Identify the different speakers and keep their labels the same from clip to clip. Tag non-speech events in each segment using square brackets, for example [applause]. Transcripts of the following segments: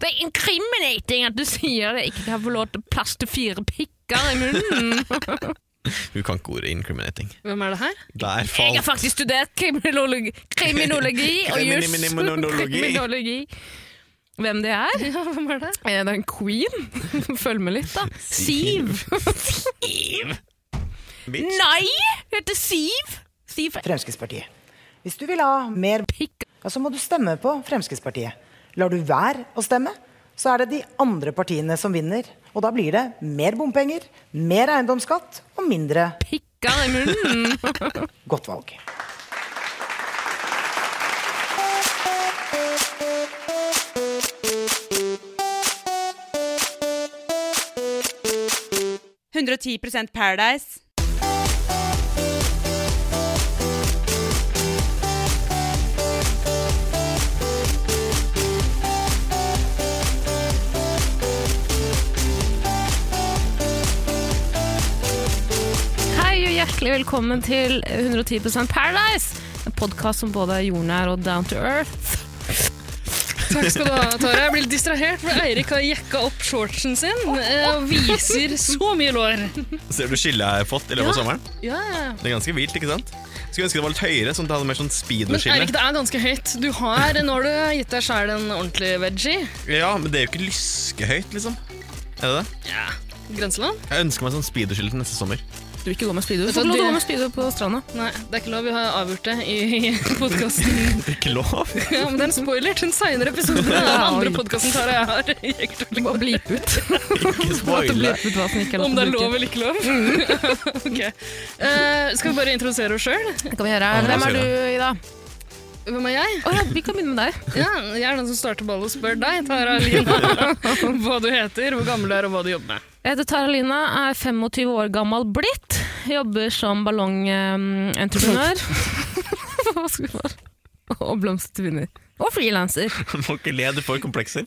Speaker 1: Det er incriminating at du sier det. Ikke kan få lov til plass til fire pikker i [laughs] munnen.
Speaker 2: Hun kan ikke ordet incriminating.
Speaker 3: Hvem er det her?
Speaker 2: Der
Speaker 1: Jeg har
Speaker 2: falt
Speaker 1: faktisk studert kriminologi, kriminologi og juss.
Speaker 2: Kriminologi.
Speaker 1: Kriminologi. Hvem det er?
Speaker 3: Ja, hvem er det?
Speaker 1: Er det en queen? [laughs] Følg med litt, da. Siv. Siv?
Speaker 2: bitch.
Speaker 1: Nei! Hun heter Siv. Siv
Speaker 4: Fremskrittspartiet. Hvis du vil ha mer
Speaker 1: Pikk.
Speaker 4: ja, så må du stemme på Fremskrittspartiet. Lar du være å stemme, så er det de andre partiene som vinner. Og da blir det mer bompenger, mer eiendomsskatt og mindre
Speaker 1: Pikker i munnen.
Speaker 4: godt valg.
Speaker 5: Paradise.
Speaker 1: [laughs] Hei og hjertelig velkommen til 110 Paradise. En podkast som både er jordnær og down to earth.
Speaker 3: Takk skal du ha, Tara. Jeg blir litt distrahert, for Eirik har jekka opp shortsen sin eh, og viser så mye lår.
Speaker 2: Ser du skillet jeg har fått i løpet av sommeren?
Speaker 3: Ja, ja.
Speaker 2: Det er ganske vilt, ikke sant? Skulle ønske det var litt høyere, sånn at jeg hadde mer sånn
Speaker 3: Men Eirik,
Speaker 2: speedo-skille.
Speaker 3: det er ganske høyt. Du har, nå har du gitt deg sjæl en ordentlig veggie.
Speaker 2: Ja, men det er jo ikke lyskehøyt, liksom. Er det det?
Speaker 3: Ja. Grenseland?
Speaker 2: Jeg ønsker meg sånn speedo-skille til neste sommer. [laughs]
Speaker 1: Du vil ikke gå med speedo? Du
Speaker 3: Vet
Speaker 1: får
Speaker 3: du
Speaker 1: ikke lov til å
Speaker 3: hva, det-
Speaker 1: gå med speedo på stranda.
Speaker 3: Nei, det er ikke lov. Vi har avgjort det i [laughs] podkasten.
Speaker 2: Ikke lov?
Speaker 3: Ja, men det er en spoiler til en seinere episode. av Den andre podkasten Tara jeg har. jekket opp
Speaker 1: Du må blipe ut.
Speaker 2: Ikke
Speaker 1: At du
Speaker 2: spoile.
Speaker 1: bliper ut hva som ikke er lov
Speaker 3: Om det er
Speaker 1: til å
Speaker 3: lov
Speaker 1: bruke.
Speaker 3: eller ikke lov? [laughs] ok. Eh, skal vi bare introdusere oss sjøl?
Speaker 1: Det kan vi gjøre.
Speaker 2: Ja,
Speaker 1: Hvem
Speaker 2: la oss
Speaker 1: er du, Ida?
Speaker 3: Hvem er jeg?
Speaker 1: Å ja, vi kan begynne med deg.
Speaker 3: Ja, jeg er den som starter ballet og spør deg, Tara Lina, [laughs] hva du heter, hvor gammel du er og hva du jobber med.
Speaker 1: Jeg heter Tara Lina, er 25 år gammel blitt. Jobber som [laughs] ballongentreprenør. Hva skal vi få? Og blomstervinner. Og frilanser.
Speaker 2: Du må ikke le, du får komplekser.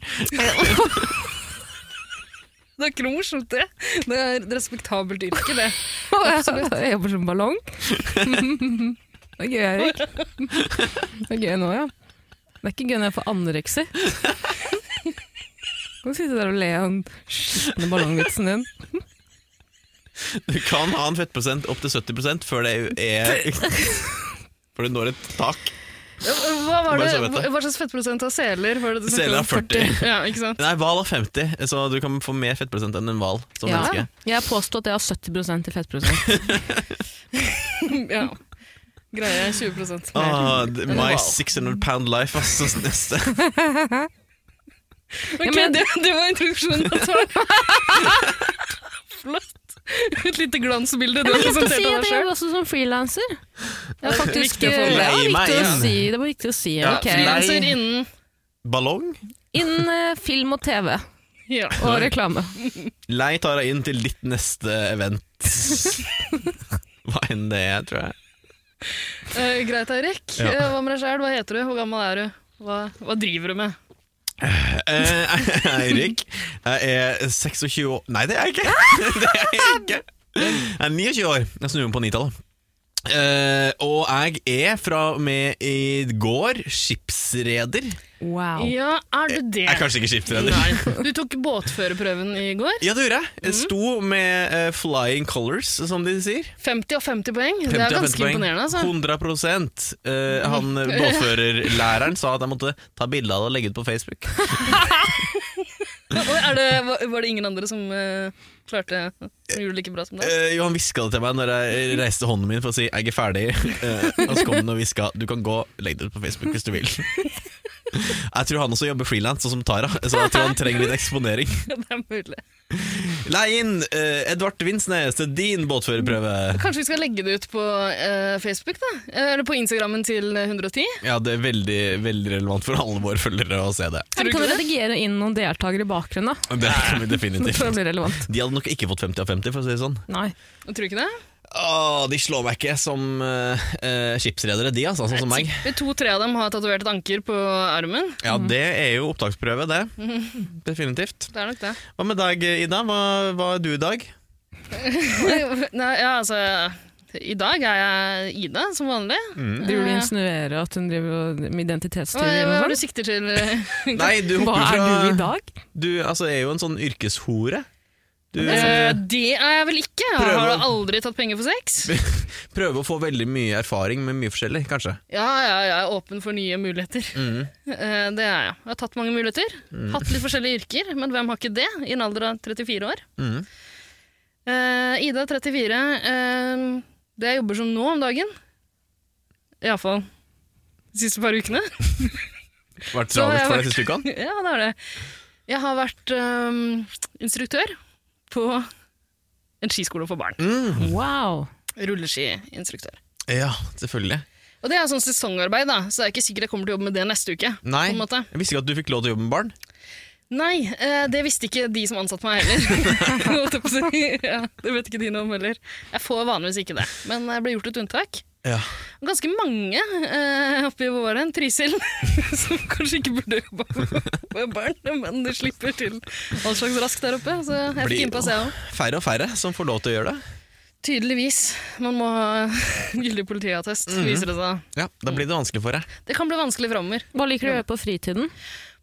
Speaker 3: Det er ikke noe morsomt, det. Det er et respektabelt yrke, det.
Speaker 1: Og jeg, jeg jobber som ballong. [laughs] Det er gøy, Erik. Det er gøy nå, ja. Det er ikke gøy når jeg får anoreksi. [laughs] Du kan sitte der og le av den skitne ballongvitsen din.
Speaker 2: Du kan ha en fettprosent opp til 70 før det er Før du når et tak.
Speaker 3: Hva, var
Speaker 2: Bare
Speaker 3: det,
Speaker 2: så jeg vet det.
Speaker 3: hva slags fettprosent av seler var det du snakket
Speaker 2: Seler er
Speaker 3: om?
Speaker 2: 40.
Speaker 3: Ja, ikke sant?
Speaker 2: Nei, hval har 50, så du kan få mer fettprosent enn en hval som
Speaker 1: Ja.
Speaker 2: menneske.
Speaker 1: Jeg påstår at jeg har 70 i [laughs] fettprosent.
Speaker 3: [laughs] Ja. Greier jeg 20 mer.
Speaker 2: Ah, d- my
Speaker 3: hval.
Speaker 2: 600 pound life, ass, [laughs] som neste.
Speaker 3: Ok,
Speaker 1: Ja, men-
Speaker 3: det, det var introduksjonen av Tara. Flott. Et lite glansbilde du har
Speaker 1: Jeg skal
Speaker 3: presentert
Speaker 1: si at
Speaker 3: av deg
Speaker 1: jeg
Speaker 3: sjøl.
Speaker 1: jobber også som frilanser. Det er faktisk eh,
Speaker 3: Viktig å få med.
Speaker 1: det er
Speaker 2: Leie meg
Speaker 1: viktig å
Speaker 2: inn.
Speaker 1: si. Det var viktig å si.
Speaker 2: Ja,
Speaker 1: ok.
Speaker 2: frilanser.
Speaker 3: Frilanser innen
Speaker 2: Ballong?
Speaker 1: Innen eh, film og TV
Speaker 3: ja.
Speaker 1: og reklame.
Speaker 2: Lei Tara inn til ditt neste event.
Speaker 3: [laughs]
Speaker 2: Hva enn det er, tror jeg.
Speaker 3: Eh, Greit, Eirik.
Speaker 2: Ja.
Speaker 3: Eh, hva med deg sjøl? Hva heter du? Hvor gammel er du? Hva, hva driver du med?
Speaker 2: Eh, [laughs] Eirik, jeg er 26 år Nei, det er jeg ikke! [laughs] Det er jeg ikke. Jeg er 29 år. Jeg snur meg på 9-tallet. Eh, og jeg er fra og med i går skipsreder.
Speaker 1: Wow.
Speaker 3: Ja, er du det?
Speaker 2: Jeg er kanskje ikke skipsreder.
Speaker 3: Nei. Mhm. Du tok båtførerprøven i går.
Speaker 2: Ja, det gjorde jeg. Jeg sto med eh, flying colors, som de sier.
Speaker 3: 50 av 50 poeng. det er
Speaker 2: 50 av
Speaker 3: ganske
Speaker 2: 50 poeng.
Speaker 3: imponerende. altså.
Speaker 2: 100 eh,
Speaker 3: [laughs]
Speaker 2: Han eh, båtførerlæreren sa at jeg måtte ta bilde av det og legge ut på Facebook.
Speaker 3: Oi, er det, var- var det ingen andre som eh, klarte som gjorde det like bra som deg?
Speaker 2: Eh, jo, han hviska det til meg når jeg reiste hånden min for å si 'jeg er ferdig'. Eh, og så kom han og hviska 'du kan gå, legg det ut på Facebook hvis du
Speaker 3: [laughs]
Speaker 2: vil'. Jeg tror han også jobber frilans, sånn som Tara, så jeg tror han trenger litt eksponering.
Speaker 3: [laughs] det er mulig.
Speaker 2: Leie inn eh, Edvard Vinsnes til din båtførerprøve.
Speaker 3: Kanskje vi skal legge det ut på eh, Facebook, da? Eller på Instagrammen til 110?
Speaker 2: Ja, det er veldig, veldig relevant for alle våre følgere å se det.
Speaker 3: Tror du
Speaker 1: Kan vi
Speaker 3: ikke det?
Speaker 1: redigere inn noen deltakere i bakgrunnen, da?
Speaker 2: Det kan
Speaker 1: For
Speaker 2: vi
Speaker 1: å
Speaker 3: [laughs]
Speaker 2: definitivt.
Speaker 1: bli relevant.
Speaker 2: De hadde nok ikke fått 50 av 50, for å si det sånn.
Speaker 1: Nei.
Speaker 3: Tror du ikke det?
Speaker 2: Åh, de slår meg ikke som eh, eh, skipsredere, de, altså, sånn som meg.
Speaker 3: To-tre av dem har tatovert et anker på armen.
Speaker 2: [laughs] Ja, det er jo opptaksprøve,
Speaker 3: [laughs]
Speaker 2: det. Definitivt.
Speaker 3: Det er nok det.
Speaker 2: eh,
Speaker 3: [laughs]
Speaker 2: Hva med deg, Ida? Hva, hva er du i dag?
Speaker 3: Nei, ja, altså I dag er jeg Ida, som vanlig.
Speaker 2: Mm.
Speaker 1: Driver du og insinuerer at hun driver og- med
Speaker 3: Hva,
Speaker 1: identitetstyveri?
Speaker 3: hva
Speaker 1: eller
Speaker 3: er
Speaker 1: noe
Speaker 3: det du
Speaker 1: sånt?
Speaker 3: sikter [laughs] til?
Speaker 2: Nei, du
Speaker 1: Hva
Speaker 2: hopper
Speaker 1: er
Speaker 2: fra
Speaker 1: du i dag?
Speaker 2: Du altså, er jo en sånn yrkeshore. Du
Speaker 3: Eh, det er jeg vel ikke. Jeg
Speaker 2: Prøver.
Speaker 3: har aldri tatt penger for sex.
Speaker 2: eh, prøver å få veldig mye erfaring med mye forskjellig, kanskje.
Speaker 3: Ja, ja, jeg er åpen for nye muligheter.
Speaker 2: Mm.
Speaker 3: Eh, det er jeg. Jeg har tatt mange muligheter. Hatt litt forskjellige yrker, men hvem har ikke det i en alder av 34 år?
Speaker 2: Mhm.
Speaker 3: Eh, Ida, 34. eh, det jeg jobber som nå om dagen, iallfall de siste par ukene [laughs]
Speaker 2: Vært
Speaker 3: Så har
Speaker 2: travelt
Speaker 3: jeg
Speaker 2: for
Speaker 3: vært-
Speaker 2: deg siste ukene?
Speaker 3: Ja, det er det. Jeg har vært eh, instruktør på en skiskole for barn.
Speaker 1: Wow.
Speaker 3: Rulleskiinstruktør.
Speaker 2: Ja, selvfølgelig.
Speaker 3: Og det er sånn sesongarbeid, da, så det er ikke sikkert jeg kommer til å jobbe med det neste uke.
Speaker 2: Nei,
Speaker 3: på en måte.
Speaker 2: jeg visste ikke at du fikk lov til å jobbe med barn.
Speaker 3: Nei, eh, det visste ikke de som ansatte meg heller. [laughs] Holdt jeg på å si. ja, det vet ikke de noe om heller. Jeg får vanligvis ikke det, men det ble gjort et unntak.
Speaker 2: Ja.
Speaker 3: Og Ganske mange eh, oppe i våren, Trysil, [laughs] som kanskje ikke burde jobba med barn, men de slipper til all slags rask der oppe, så jeg
Speaker 2: Blir
Speaker 3: fikk innpass, jeg òg.
Speaker 2: Færre og færre som får lov til å gjøre det.
Speaker 3: Tydeligvis. Man må ha [laughs] gyldig politiattest, viser det seg.
Speaker 2: Ja, Da blir det vanskelig for deg.
Speaker 3: Det kan bli vanskelig framover.
Speaker 1: Hva liker du å gjøre på fritiden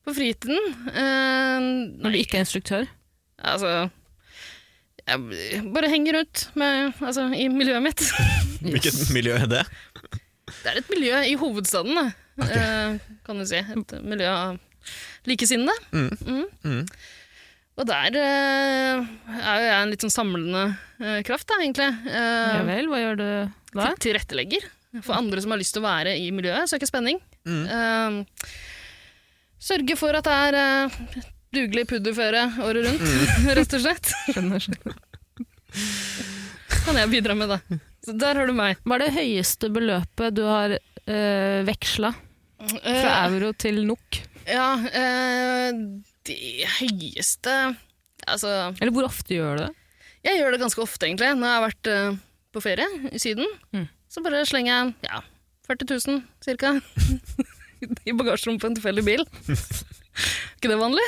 Speaker 3: På fritiden eh,
Speaker 1: når du ikke er instruktør?
Speaker 3: Altså Jeg bare henger rundt med, altså, i miljøet mitt.
Speaker 2: Hvilket miljø er det?
Speaker 3: Det er et miljø i hovedstaden, da. Eh, kan du si. Et miljø av likesinnede.
Speaker 2: Mm.
Speaker 3: Mm.
Speaker 2: Mm.
Speaker 3: Og der eh, er jo jeg en litt sånn samlende eh, kraft, da, egentlig. Eh,
Speaker 1: Ja vel, hva gjør du da?
Speaker 3: til- tilrettelegger for
Speaker 1: Mm.
Speaker 3: andre som har lyst til å være i miljøet, søke spenning. Eh, sørge for at det er eh, dugelig pudderføre året rundt, [laughs] rett og slett.
Speaker 1: Mm. Skjønner, skjønner.
Speaker 3: kan jeg bidra med, da. Så der har du meg.
Speaker 1: Hva er det høyeste beløpet du har uh, veksla fra
Speaker 3: Eh,
Speaker 1: euro til NOK?
Speaker 3: Ja, eh, det høyeste Altså,
Speaker 1: Eller hvor ofte gjør du det?
Speaker 3: jeg gjør det ganske ofte, egentlig. Når jeg har vært eh, på ferie i Syden,
Speaker 1: Mm.
Speaker 3: så bare slenger jeg ja, 40 000 cirka [laughs] i bagasjerommet på en tilfeldig bil. [laughs] ikke det vanlig?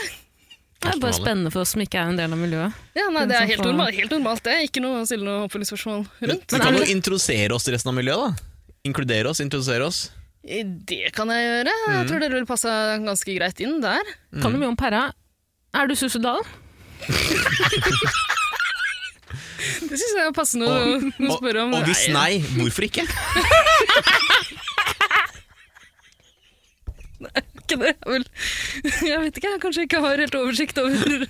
Speaker 1: Det er bare spennende for oss som ikke er en del av miljøet.
Speaker 3: Ja, nei,
Speaker 1: Den som
Speaker 3: Det er helt
Speaker 1: får-
Speaker 3: normalt, helt normalt det. Ikke noe å stille noe oppfølgingsspørsmål rundt.
Speaker 2: Du kan jo introdusere oss til resten av miljøet, da. Inkludere oss, introdusere oss.
Speaker 3: Det kan jeg gjøre.
Speaker 2: Mm.
Speaker 3: Jeg tror dere vil passe ganske greit inn der.
Speaker 1: Kan du mye om pæra? Er du suicidal?
Speaker 3: Det syns jeg er passende å- å
Speaker 2: og,
Speaker 3: spørre om.
Speaker 2: og hvis nei, hvorfor ikke?
Speaker 3: ikke det. Jeg, vil, jeg vet ikke, jeg kanskje ikke har helt oversikt over,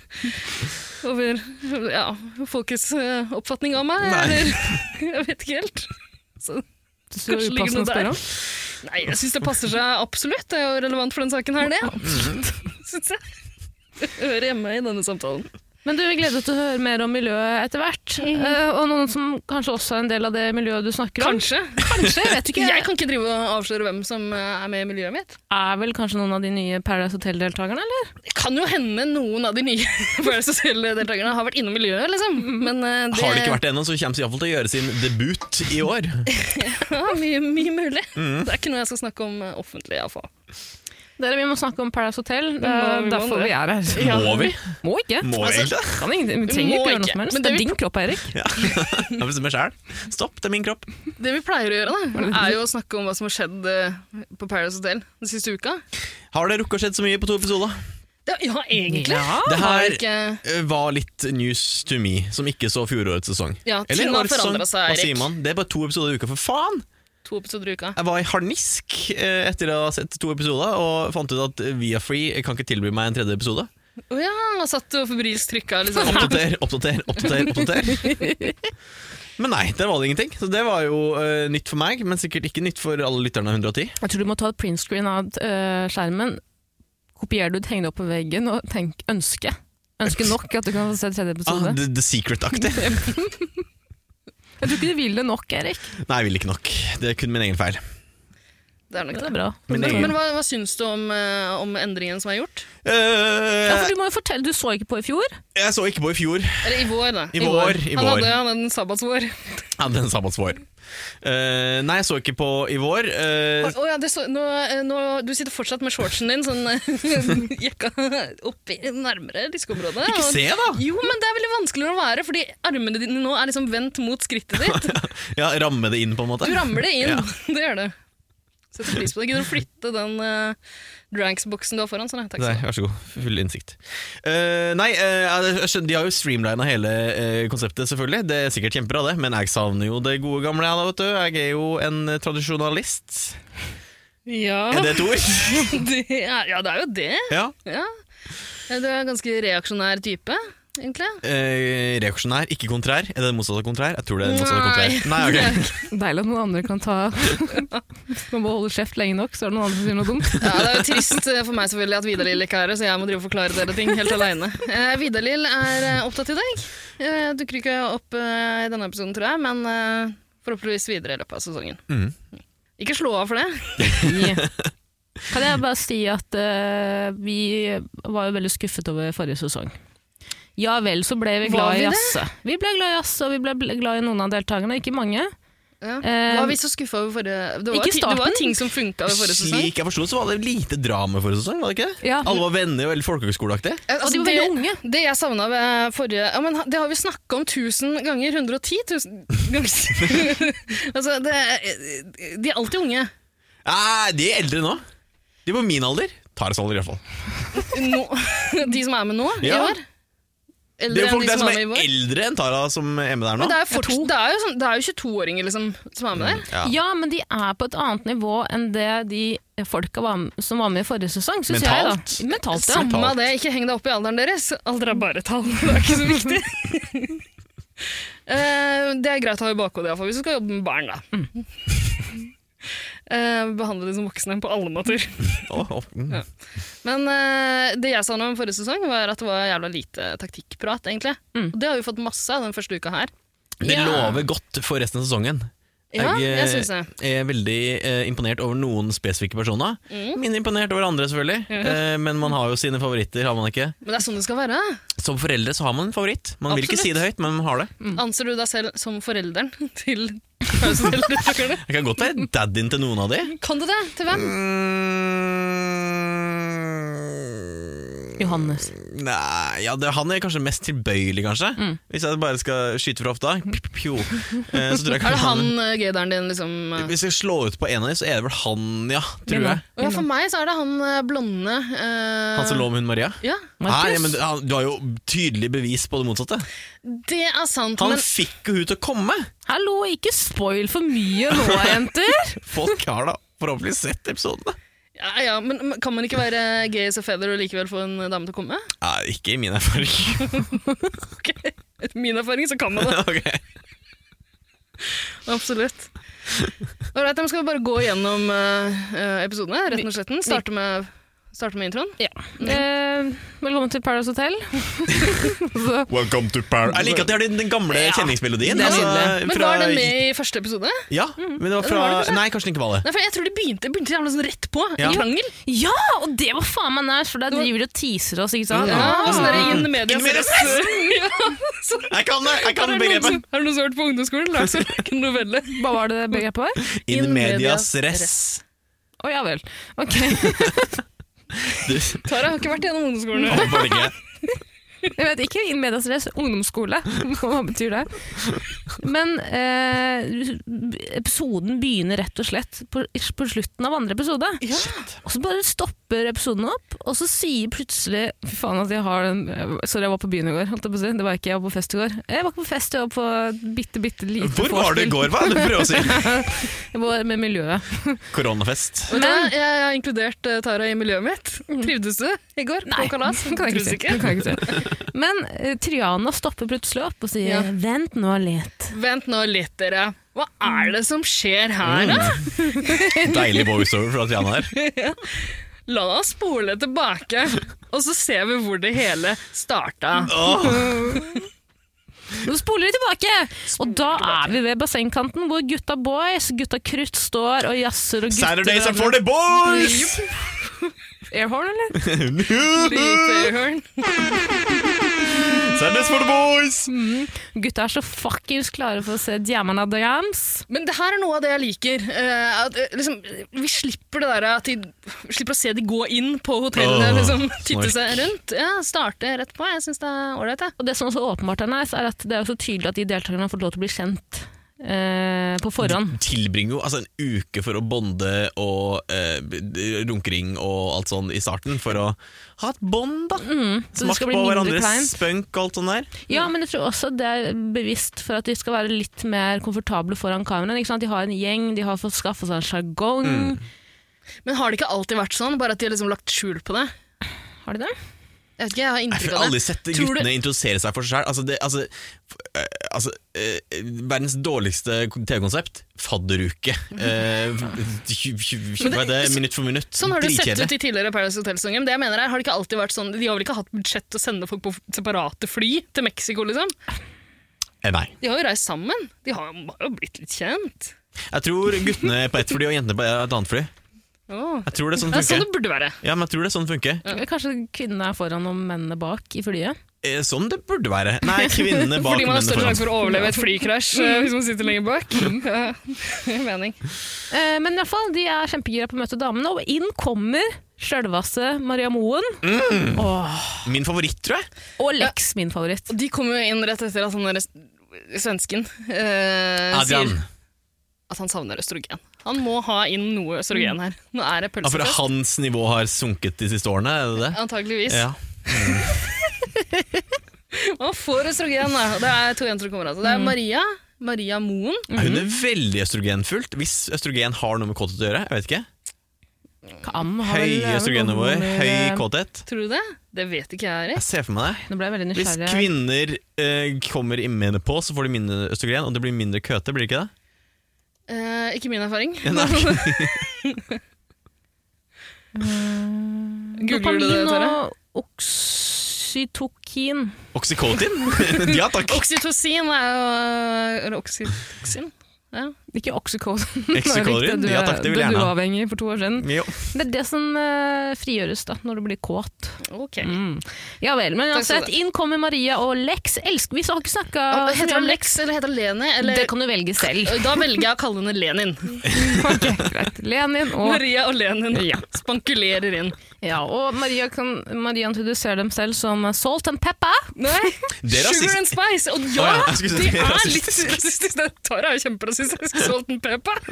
Speaker 3: over ja, folkets eh, oppfatning av meg.
Speaker 2: Nei.
Speaker 3: Eller, jeg vet ikke helt. Så,
Speaker 1: Synes du det er
Speaker 3: Kanskje ligger
Speaker 1: upassende å
Speaker 3: noe
Speaker 1: spørre om?
Speaker 3: nei, jeg syns det passer seg absolutt. Det er jo relevant for den saken her, det. [laughs] Syns jeg. Det Hører hjemme i denne samtalen.
Speaker 1: Men du, vi gleder oss til å høre mer om miljøet etter hvert. Eh, og noen som kanskje også er en del av det miljøet du snakker om.
Speaker 3: Kanskje.
Speaker 1: Kanskje, [laughs] jeg vet ikke.
Speaker 3: Jeg kan ikke drive og avsløre hvem som eh, er med i miljøet mitt.
Speaker 1: Er vel kanskje noen av de nye Paradise Hotel-deltakerne, eller?
Speaker 3: Det kan jo hende noen av de nye [laughs] Paradise Hotel-deltakerne har vært innom miljøet, liksom.
Speaker 1: Mm.
Speaker 3: Men eh, det,
Speaker 2: Har det ikke vært det ennå, så kommer de iallfall til å gjøre sin debut i år.
Speaker 3: [laughs] Ja, mye, mye mulig.
Speaker 2: Mm.
Speaker 3: Det er ikke noe jeg skal snakke om eh, offentlig, iallfall.
Speaker 1: Dere, vi må snakke om Paradise Hotel. Det
Speaker 3: må
Speaker 1: er
Speaker 3: vi, må
Speaker 1: derfor
Speaker 3: det.
Speaker 1: vi er her.
Speaker 2: Må vi?
Speaker 1: Må ikke. Altså,
Speaker 2: Må vi egentlig det?
Speaker 1: Kan ingenting. Vi trenger
Speaker 3: Må
Speaker 1: ikke gjøre noe
Speaker 3: ikke.
Speaker 1: som helst.
Speaker 3: Men
Speaker 1: Det
Speaker 3: det
Speaker 1: er
Speaker 3: vi-
Speaker 1: din kropp, Eirik.
Speaker 2: Ja. Jeg bestemmer sjæl. Stopp, det er min kropp.
Speaker 3: Det vi pleier å gjøre, da, er jo å snakke om hva som har skjedd eh, på Paradise Hotel den siste uka.
Speaker 2: Har det rukket å skjedd så mye på to episoder?
Speaker 3: Det, ja, egentlig.
Speaker 1: Ja.
Speaker 2: Det
Speaker 3: Har
Speaker 2: her
Speaker 3: ikke
Speaker 2: eh, var litt news to me, som ikke så fjorårets sesong.
Speaker 3: Ja, ting har
Speaker 2: årets sesong.
Speaker 3: forandret seg,
Speaker 2: Hva
Speaker 3: Erik.
Speaker 2: sier man? Det er bare to episoder i uka, for faen!
Speaker 3: to episoder i uka.
Speaker 2: Jeg var i harnisk eh, etter å ha sett to episoder, og fant ut at Viafree kan ikke tilby meg en tredje episode.
Speaker 3: Å ja, satt du og febrilsk trykka, liksom.
Speaker 2: Oppdater, oppdater, oppdater, oppdater. Men nei, der var det ingenting. Så det var jo eh, nytt for meg, men sikkert ikke nytt for alle lytterne av 110.
Speaker 1: Jeg tror du må ta et printscreen av eh, skjermen. Kopier du, heng det opp på veggen og tenk ønske. Ønske nok at du kan få se tredje
Speaker 2: Ah,
Speaker 1: episode.
Speaker 2: the The Secret-aktig.
Speaker 1: Jeg tror ikke du vil det nok, Erik.
Speaker 2: Nei, jeg vil ikke nok. Det er kun min egen feil.
Speaker 3: Det er nok
Speaker 1: Det
Speaker 3: det.
Speaker 1: er bra.
Speaker 2: Men det er-
Speaker 3: Men hva, hva syns du om, eh, om endringen som er gjort?
Speaker 1: Ja,
Speaker 2: Eh,
Speaker 1: for du må jo fortelle, du så ikke på i fjor.
Speaker 2: jeg så ikke på i fjor.
Speaker 3: Eller i vår, da.
Speaker 2: I vår, i
Speaker 3: Han
Speaker 2: vår.
Speaker 3: hadde, han hadde en sabbatsvår.
Speaker 2: Ja, den sabbatsvår. Eh, nei, jeg så ikke på i vår. Eh,
Speaker 3: Å ja, det så, nå, eh, nå, du sitter fortsatt med shortsen din sånn [laughs] jakka oppi nærmere diskeområdet.
Speaker 2: Ikke
Speaker 3: og-
Speaker 2: se, da!
Speaker 3: Jo, men det er veldig vanskelig å være, fordi armene dine nå er liksom vendt mot skrittet
Speaker 2: [laughs]
Speaker 3: ditt.
Speaker 2: Ja, Ramme det inn, på en måte.
Speaker 3: Du ramler det inn.
Speaker 2: Ja.
Speaker 3: [laughs] Det gjør det. Setter pris på det. Gidder du å flytte den eh, dranks-boksen du har foran? Sånn, ja. Takk
Speaker 2: Nei,
Speaker 3: skal du ha.
Speaker 2: vær så god. Full innsikt. Eh, nei, eh, jeg skjønner, de har jo streamlina hele eh, konseptet, selvfølgelig. Det er sikkert kjempebra, det, men jeg savner jo det gode gamle, jeg da, vet du. Jeg er jo en tradisjonalist. Er
Speaker 3: Ja.
Speaker 2: det et ord?
Speaker 3: [laughs] Det er, ja, det er jo det.
Speaker 2: ja.
Speaker 3: Ja. Eh, Du er en ganske reaksjonær type, egentlig.
Speaker 2: Eh, reaksjonær, ikke kontrær. Er det det motsatte av kontrær? Jeg tror det er det motsatte av
Speaker 3: Nei.
Speaker 2: kontrær. Nei, ok.
Speaker 1: Deilig at noen andre kan ta Man må holde kjeft lenge nok, så er det noen andre som sier noe dumt.
Speaker 3: Ja, Det er jo trist eh, for meg selvfølgelig at Vidar-Lill ikke er her, så jeg må drive og forklare dere ting helt alene. Eh, Vidar-Lill er eh, opptatt i dag. Eh, dukker ikke opp eh, i denne episoden, tror jeg, men eh, forhåpentligvis videre i løpet av sesongen.
Speaker 2: Mhm.
Speaker 3: Ikke slå av for det.
Speaker 1: Kan jeg bare si at eh, vi var jo veldig skuffet over forrige sesong. Ja vel, så ble vi
Speaker 3: Var
Speaker 1: glad i
Speaker 3: vi det?
Speaker 1: jazz. Vi ble glad i jazz, og vi ble bl- glad i noen av deltakerne, ikke mange.
Speaker 3: Ja.
Speaker 1: Eh,
Speaker 3: Var vi så skuffa over forrige det var,
Speaker 1: ikke
Speaker 3: ti- det var
Speaker 1: starten.
Speaker 3: ting som funka ved forrige sesong.
Speaker 2: Slik jeg forsto, så var det lite drama forrige sesong, var det ikke? det?
Speaker 1: Ja.
Speaker 2: Alle var venner og veldig folkehøgskoleaktige.
Speaker 3: Eh, altså,
Speaker 1: Og de var
Speaker 3: det-
Speaker 1: veldig unge.
Speaker 3: Det jeg savna ved forrige ja, men ha- Det har vi snakka om 1000 ganger. 110 000 [laughs] ganger. altså, det, er- de er alltid unge.
Speaker 2: Nei, Eh, de er eldre nå. De er på min alder. Tar oss alder, iallfall.
Speaker 3: Nå, [laughs] de som er med nå i
Speaker 2: Ja.
Speaker 3: år?
Speaker 2: Det
Speaker 3: Eldre
Speaker 2: er jo folk
Speaker 3: enn de
Speaker 2: der
Speaker 3: som
Speaker 2: som
Speaker 3: er med i
Speaker 2: er
Speaker 3: vår?
Speaker 2: eldre enn Tara som er med der nå. Mm.
Speaker 3: Men det er jo, fort, det er jo, sånn, det er jo 22-åringer liksom, som er med der.
Speaker 2: Ja.
Speaker 1: Ja, men de er på et annet nivå enn det de folka var med, som var med i forrige sesong, syns jeg. da.
Speaker 2: Mentalt.
Speaker 1: Mentalt, ja.
Speaker 3: Samme
Speaker 2: Talt.
Speaker 3: det, ikke heng deg opp i alderen deres. Alder er bare tall, [laughs] det er ikke så viktig. Eh, det er greit å ha i bakhodet iallfall hvis du skal jobbe med barn, da. [laughs] Eh, behandle de som voksne på alle måter.
Speaker 2: Å, å, mm.
Speaker 3: Men eh, det jeg sa om forrige sesong, var at det var jævla lite taktikkprat, egentlig. Og det har vi fått masse av den første uka her.
Speaker 2: Det
Speaker 1: Ja.
Speaker 2: lover godt for resten av sesongen.
Speaker 3: Ja,
Speaker 2: eh,
Speaker 3: jeg synes det.
Speaker 2: er veldig eh, imponert over noen spesifikke personer.
Speaker 3: Mm.
Speaker 2: Mindre imponert over andre, selvfølgelig. Eh, men man har jo sine favoritter, har man ikke?
Speaker 3: Men det er sånn det skal være.
Speaker 2: Som foreldre så har man en favoritt. Man vil ikke si
Speaker 3: Absolutt.
Speaker 2: det høyt, men man har det.
Speaker 3: Anser du deg selv som forelderen [laughs] til pausedeltakerne?
Speaker 2: Jeg kan
Speaker 3: [laughs]
Speaker 2: godt være daddyen til noen av de.
Speaker 3: Kan du det? Til hvem?
Speaker 1: Johannes.
Speaker 2: Mm, Nei, ja, det, Han er kanskje mest tilbøyelig, kanskje.
Speaker 3: Mm.
Speaker 2: Hvis jeg bare skal skyte fra hofta. pip, pip, pjo, eh, Så tror jeg
Speaker 3: Er det
Speaker 2: kanskje
Speaker 3: han eh, gøyderen din, liksom? eh?
Speaker 2: Hvis jeg slår ut på en av dem, så er det vel han, ja. Tror
Speaker 1: Min, da.
Speaker 2: jeg.
Speaker 3: Og ja, for meg så er det han eh, blonde eh,
Speaker 2: Han som lå med hun Maria.
Speaker 3: Ja,
Speaker 2: Nei,
Speaker 1: Markus?
Speaker 2: men han, Du har jo tydelig bevis på det motsatte.
Speaker 3: det er sant,
Speaker 2: Han
Speaker 3: men
Speaker 2: fikk jo hun til å komme!
Speaker 1: Hallo, ikke spoil for mye
Speaker 2: [laughs]
Speaker 1: nå, jenter!
Speaker 2: Folk har da forhåpentlig sett episodene.
Speaker 3: ja, ja, men men kan man ikke være gay as a feather og likevel få en dame til å komme?
Speaker 2: Nei, ikke i min erfaring.
Speaker 3: Ok, Etter min erfaring så kan man det.
Speaker 2: [laughs] Ok.
Speaker 3: Absolutt. Alright, da skal vi bare gå gjennom eh, eh, episodene, retten og sletten. Starte med, starte med introen.
Speaker 1: Ja.
Speaker 2: Mm.
Speaker 1: Eh, velkommen til Paradise Hotel. Så-
Speaker 2: Welcome to Paris Jeg liker at de har den, den gamle
Speaker 1: Ja.
Speaker 2: kjenningsmelodien. altså,
Speaker 1: Det er nydelig.
Speaker 3: Men var den med i første episode?
Speaker 2: Ja, men det var fra
Speaker 3: Var det kanskje?
Speaker 2: Nei, kanskje den ikke var det.
Speaker 3: Nei, for jeg tror de begynte, begynte jævla sånn rett på,
Speaker 2: Ja.
Speaker 3: i krangel.
Speaker 1: ja, og det var faen meg nært, for der driver de og teaser oss, ikke sant?
Speaker 3: Ja, og sånn der in the media.
Speaker 2: In the media.
Speaker 3: [laughs] Ja, så-
Speaker 2: Jeg kan det! jeg kan
Speaker 3: Har du noen som-
Speaker 2: begrepet
Speaker 3: Har du noen som har hørt på ungdomsskolen? Lars som en novelle.
Speaker 1: Hva var det begrepet var?
Speaker 2: In
Speaker 3: in
Speaker 2: medias
Speaker 3: medias
Speaker 2: res.
Speaker 1: Å ja vel. Ok,
Speaker 2: Du,
Speaker 3: Tara har ikke vært gjennom ungdomsskolen.
Speaker 2: Å, var det ikke?
Speaker 1: jeg vet ikke. In medias res, ungdomsskole. [laughs] Hva betyr det? Men eh, episoden begynner rett og slett på, på slutten av andre episode.
Speaker 3: Ja.
Speaker 1: Og så bare stopper episoden opp, og så sier plutselig Fy faen at jeg har den Sorry, jeg var på byen i går. Holdt jeg på å si. Det var ikke jeg var på fest i går. Jeg var ikke på fest, jeg var på et bitte, bitte lite
Speaker 2: Hvor var du i
Speaker 1: vorspiel.
Speaker 2: går, hva? Du prøver å si
Speaker 1: Jeg var med miljøet.
Speaker 2: koronafest.
Speaker 3: Men jeg, jeg har inkludert eh, Tara i miljøet mitt. Trivdes du i går på kalas?
Speaker 1: Mhm. det [laughs] kan jeg ikke si.
Speaker 3: Trivdes
Speaker 1: Det kan jeg ikke si. Men eh, Triana stopper plutselig opp og sier
Speaker 3: Ja.
Speaker 1: 'vent nå litt'.
Speaker 3: Vent nå litt, dere. Hva er det som skjer her,
Speaker 1: Mm.
Speaker 3: da?
Speaker 2: Deilig voiceover fra Triana her.
Speaker 3: La oss spole tilbake, og så ser vi hvor det hele starta.
Speaker 2: Åh.
Speaker 1: Nå spoler vi tilbake! Og da er vi ved bassengkanten hvor gutta boys, gutta krutt, står og jazzer og gutter
Speaker 2: Saturdays are for the boys!
Speaker 1: Airhorn, eller?
Speaker 2: [laughs] Saturdays for the boys!
Speaker 1: Gutta er så fuckings klare for å se Diamana Diams.
Speaker 3: Men det her er noe av det jeg liker. eh, at, eh, liksom, vi slipper det der at de vi slipper å se de gå inn på hotellene
Speaker 2: Åh,
Speaker 3: liksom, titte
Speaker 2: snork.
Speaker 3: seg rundt. Ja, Starte rett på. Jeg syns det er ålreit. jeg.
Speaker 1: Og det som også åpenbart er nice, er at det er jo så tydelig at de deltakerne har fått lov til å bli kjent eh, på forhånd.
Speaker 2: Tilbringer jo altså, en uke for å bonde og eh, b- runkering og alt sånn i starten, for å ha et bånd, da.
Speaker 3: Mm,
Speaker 1: så det
Speaker 2: Smakt
Speaker 1: skal
Speaker 2: på
Speaker 1: bli mindre
Speaker 2: hverandres
Speaker 1: kleint.
Speaker 2: spunk og alt sånt der.
Speaker 1: Ja, men jeg tror også det er bevisst for at de skal være litt mer komfortable foran kameraet. Ikke sant? De har en gjeng, de har fått skaffa seg en sjargong.
Speaker 3: Men har det ikke alltid vært sånn? Bare at de har liksom lagt skjul på det?
Speaker 1: Har de det?
Speaker 3: Jeg vet ikke, jeg har
Speaker 2: Jeg
Speaker 3: inntrykk
Speaker 2: har
Speaker 3: av
Speaker 2: aldri
Speaker 3: det.
Speaker 2: sett
Speaker 3: Tror du-
Speaker 2: guttene introdusere seg for seg selv. Altså, det, altså, f- eh, altså eh, Verdens dårligste TV-konsept. Fadderuke. Eh, tju- tju- tju-
Speaker 3: Men det-
Speaker 2: hva er det? Minutt for minutt.
Speaker 3: Sånn har det sett
Speaker 2: Dritkjedelig.
Speaker 3: ut i tidligere Paradise Hotel-sanger. Men det jeg mener er, har det ikke alltid vært sånn, de har vel ikke hatt budsjett til å sende folk på separate fly til Mexico, liksom?
Speaker 2: Eh, Nei.
Speaker 3: De har jo reist sammen. De har jo har jo blitt litt kjent.
Speaker 2: Jeg tror guttene på ett fly og jentene på et annet fly.
Speaker 3: Åh.
Speaker 2: Jeg tror det er sånn det
Speaker 3: Det er sånn det
Speaker 2: funker.
Speaker 3: burde være.
Speaker 2: Ja, men jeg tror det er sånn det funker.
Speaker 1: Kanskje kvinnene er foran og mennene bak i flyet?
Speaker 2: Eh, Sånn det burde være.
Speaker 3: [laughs]
Speaker 2: Nei, kvinnene bak
Speaker 3: Fordi man
Speaker 2: mennene
Speaker 3: har større
Speaker 2: foran.
Speaker 3: sjanse for å overleve et flykrasj eh, hvis man sitter lenger
Speaker 2: [laughs]
Speaker 3: bak. [laughs] Ja, mening.
Speaker 1: Eh, men i hvert fall, de er kjempegira på å møte damene, og inn kommer sjølvasse Maria Moen. Åh,
Speaker 2: Min favoritt, tror jeg.
Speaker 1: og Lex, min favoritt.
Speaker 3: Og de kommer jo inn rett etter at han der svensken eh,
Speaker 2: Adrian.
Speaker 3: sier at han savner østrogen. Han må ha inn noe østrogen her. Nå er det
Speaker 2: Ja, for
Speaker 3: pølsefest.
Speaker 2: Altså, hans nivå har sunket de siste årene, er det det?
Speaker 3: Antageligvis.
Speaker 2: Ja.
Speaker 3: Han får østrogen, da. Det er to jenter som kommer. Altså. Det er Maria. Maria Moen.
Speaker 2: Hun er veldig østrogenfullt. Hvis østrogen har noe med kåthet å gjøre. jeg vet ikke.
Speaker 1: Kam har vel- eh,
Speaker 2: Høye østrogennivåer,
Speaker 1: Nå
Speaker 2: høy kåthet.
Speaker 3: Tror du det? Det vet ikke jeg,
Speaker 2: Jeg
Speaker 3: Erik.
Speaker 2: ser for meg det.
Speaker 1: eh, ble jeg veldig
Speaker 2: Hvis
Speaker 1: nysgjerrig.
Speaker 2: kvinner eh, kommer innvendig på, så får de mindre østrogen, og det blir mindre køte, blir det ikke det?
Speaker 3: Eh, ikke min erfaring.
Speaker 2: Ja, nei.
Speaker 3: Googler du det, Tore?
Speaker 1: og oksytokin.
Speaker 2: Oxycotin? [laughs] ja takk.
Speaker 3: Oksytocin er jo Eller oksytocin? Ja.
Speaker 1: Ikke [laughs] oxycodon.
Speaker 2: Oxycodon,
Speaker 1: Du er-
Speaker 2: ja takk, det vil jeg
Speaker 1: du
Speaker 2: gjerne
Speaker 1: er
Speaker 2: ha.
Speaker 1: avhengig for to år siden.
Speaker 2: Jo.
Speaker 1: Det er det som eh, frigjøres da, når du blir kåt.
Speaker 3: Ok.
Speaker 1: Mm. Ja vel, men
Speaker 3: Takk skal
Speaker 1: uansett,
Speaker 3: du ha.
Speaker 1: inn kommer Maria og Lex. Elsker, vi har ikke snakka
Speaker 3: heter han Lex eller heter han Leni? Eller,
Speaker 1: Det kan du velge selv.
Speaker 3: [laughs] Da velger jeg å kalle henne Lenin.
Speaker 1: Ok, greit. Lenin og
Speaker 3: Maria og Lenin spankulerer inn.
Speaker 1: Ja, og Maria, kan, Maria introduserer dem selv som Salt and Pepper.
Speaker 3: Nei,
Speaker 2: Det er rasist-
Speaker 3: Sugar and Spice! Og ja,
Speaker 2: Å ja, jeg skulle si
Speaker 3: det
Speaker 2: det er
Speaker 3: er litt [laughs]
Speaker 2: rasistisk. [laughs]
Speaker 3: rasistisk. Det- Tara er jo kjemperasistisk. Salt and pepper. [laughs]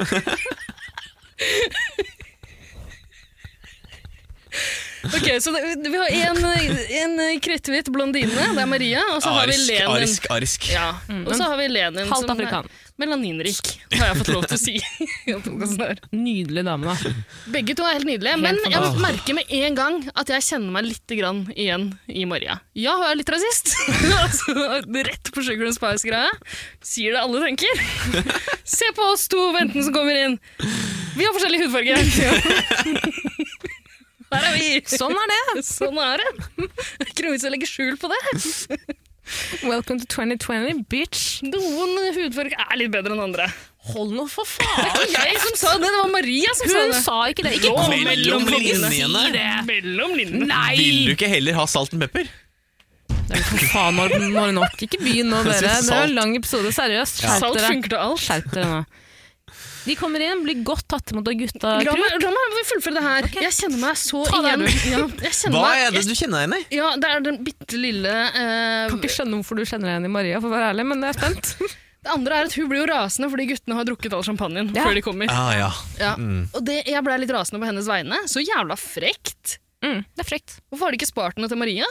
Speaker 3: Ok, så det, Vi har en, en kritthvit blondine, det er Maria, og så har vi
Speaker 2: Arisk,
Speaker 3: Lenin.
Speaker 2: arisk, arisk.
Speaker 3: Ja, Og så har vi Lenin,
Speaker 1: Mm. Halvt
Speaker 3: som er
Speaker 1: afrikan.
Speaker 3: melaninrik, har jeg fått lov til å si. [laughs] i podcasten her.
Speaker 1: Nydelig dame, da.
Speaker 3: Begge to er helt nydelige, men jeg merker med en gang at jeg kjenner meg litt grann igjen i Maria. Ja, hun er litt
Speaker 1: [laughs]
Speaker 3: rasist. altså, rett på Sugar and Spice-greia. Sier det alle tenker. Se på oss to ventene som kommer inn. Vi har
Speaker 1: [laughs]
Speaker 3: forskjellig hudfarge. Her er vi.
Speaker 1: Sånn er det.
Speaker 3: Sånn er det. Det er Ikke noe vits i å legge skjul på det.
Speaker 1: Welcome to 2020, bitch.
Speaker 3: Noen hudfarger er litt bedre enn andre.
Speaker 1: Hold nå for faen!
Speaker 3: Det var ikke jeg som sa det, det var Maria som
Speaker 1: [laughs]
Speaker 3: sa
Speaker 1: Hun
Speaker 3: det.
Speaker 1: sa ikke det. Ikke kom med
Speaker 2: Mellom linjene.
Speaker 1: Si det.
Speaker 3: Mellom
Speaker 2: Vil
Speaker 3: linjene.
Speaker 2: du
Speaker 1: Nei!
Speaker 2: ikke heller ha salt and pepper?
Speaker 1: Det er for faen når, når nok. Ikke begynn nå,
Speaker 2: Jeg
Speaker 1: dere. Det
Speaker 2: synes
Speaker 1: er
Speaker 2: salt.
Speaker 1: en lang episode, seriøst. Skjerp
Speaker 3: Salt
Speaker 1: dere.
Speaker 3: funker til alt.
Speaker 1: Skjerp dere nå. De kommer inn, blir godt tatt imot av gutta.
Speaker 3: La meg, la meg fullføre det her. Jeg kjenner meg så
Speaker 1: Ta det,
Speaker 3: igjen.
Speaker 1: du.
Speaker 3: Ja, jeg kjenner
Speaker 2: Hva
Speaker 3: meg,
Speaker 2: er det du kjenner deg igjen i?
Speaker 3: Ja, det er den bitte lille eh,
Speaker 1: Jeg kan ikke skjønne hvorfor du kjenner deg igjen i Maria, for å være ærlig, men jeg er spent.
Speaker 3: Det andre er at hun blir jo rasende fordi guttene har drukket all champagnen
Speaker 1: Ja.
Speaker 3: før de kommer.
Speaker 2: Ah, ja.
Speaker 3: Ja. Og det, jeg ble litt rasende på hennes vegne. Så jævla frekt!
Speaker 1: Mm, det er frekt.
Speaker 3: Hvorfor har de ikke spart noe til Maria?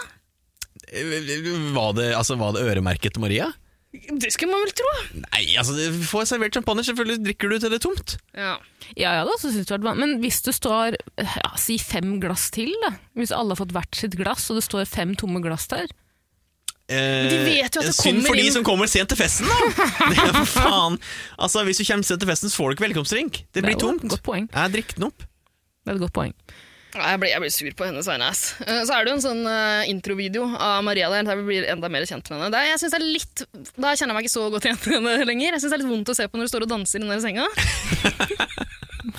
Speaker 2: Var det, altså, var det øremerket Maria?
Speaker 3: Det skulle man vel tro!
Speaker 2: Nei, altså, du får servert champagne, selvfølgelig drikker du til det er tomt.
Speaker 3: Ja.
Speaker 1: Ja, ja, det synes jeg det vært vanskelig. Men hvis du står ja, si fem glass til, da. Hvis alle har fått hvert sitt glass, og det står fem tomme glass der.
Speaker 2: Eh,
Speaker 3: de vet jo at det
Speaker 2: synd for
Speaker 3: kommer
Speaker 2: de
Speaker 3: inn-
Speaker 2: som kommer sent til festen,
Speaker 3: [laughs]
Speaker 2: da! Det er for faen. Altså, Hvis du kommer sent til festen, så får du ikke velkomstdrink. Det
Speaker 1: Det er
Speaker 2: blir
Speaker 1: jo et
Speaker 2: tomt.
Speaker 1: godt poeng.
Speaker 2: Jeg drikk den opp.
Speaker 1: Det er et godt poeng.
Speaker 3: Nei, Jeg blir, jeg blir sur på hennes vegne. ass. Eh, Så er det jo en sånn eh, introvideo av Maria der der vi blir enda mer kjent med henne. Der, jeg synes det er litt, da kjenner jeg meg ikke så godt igjen med henne lenger. Jeg synes det er litt vondt å se på når du står og danser i den der senga.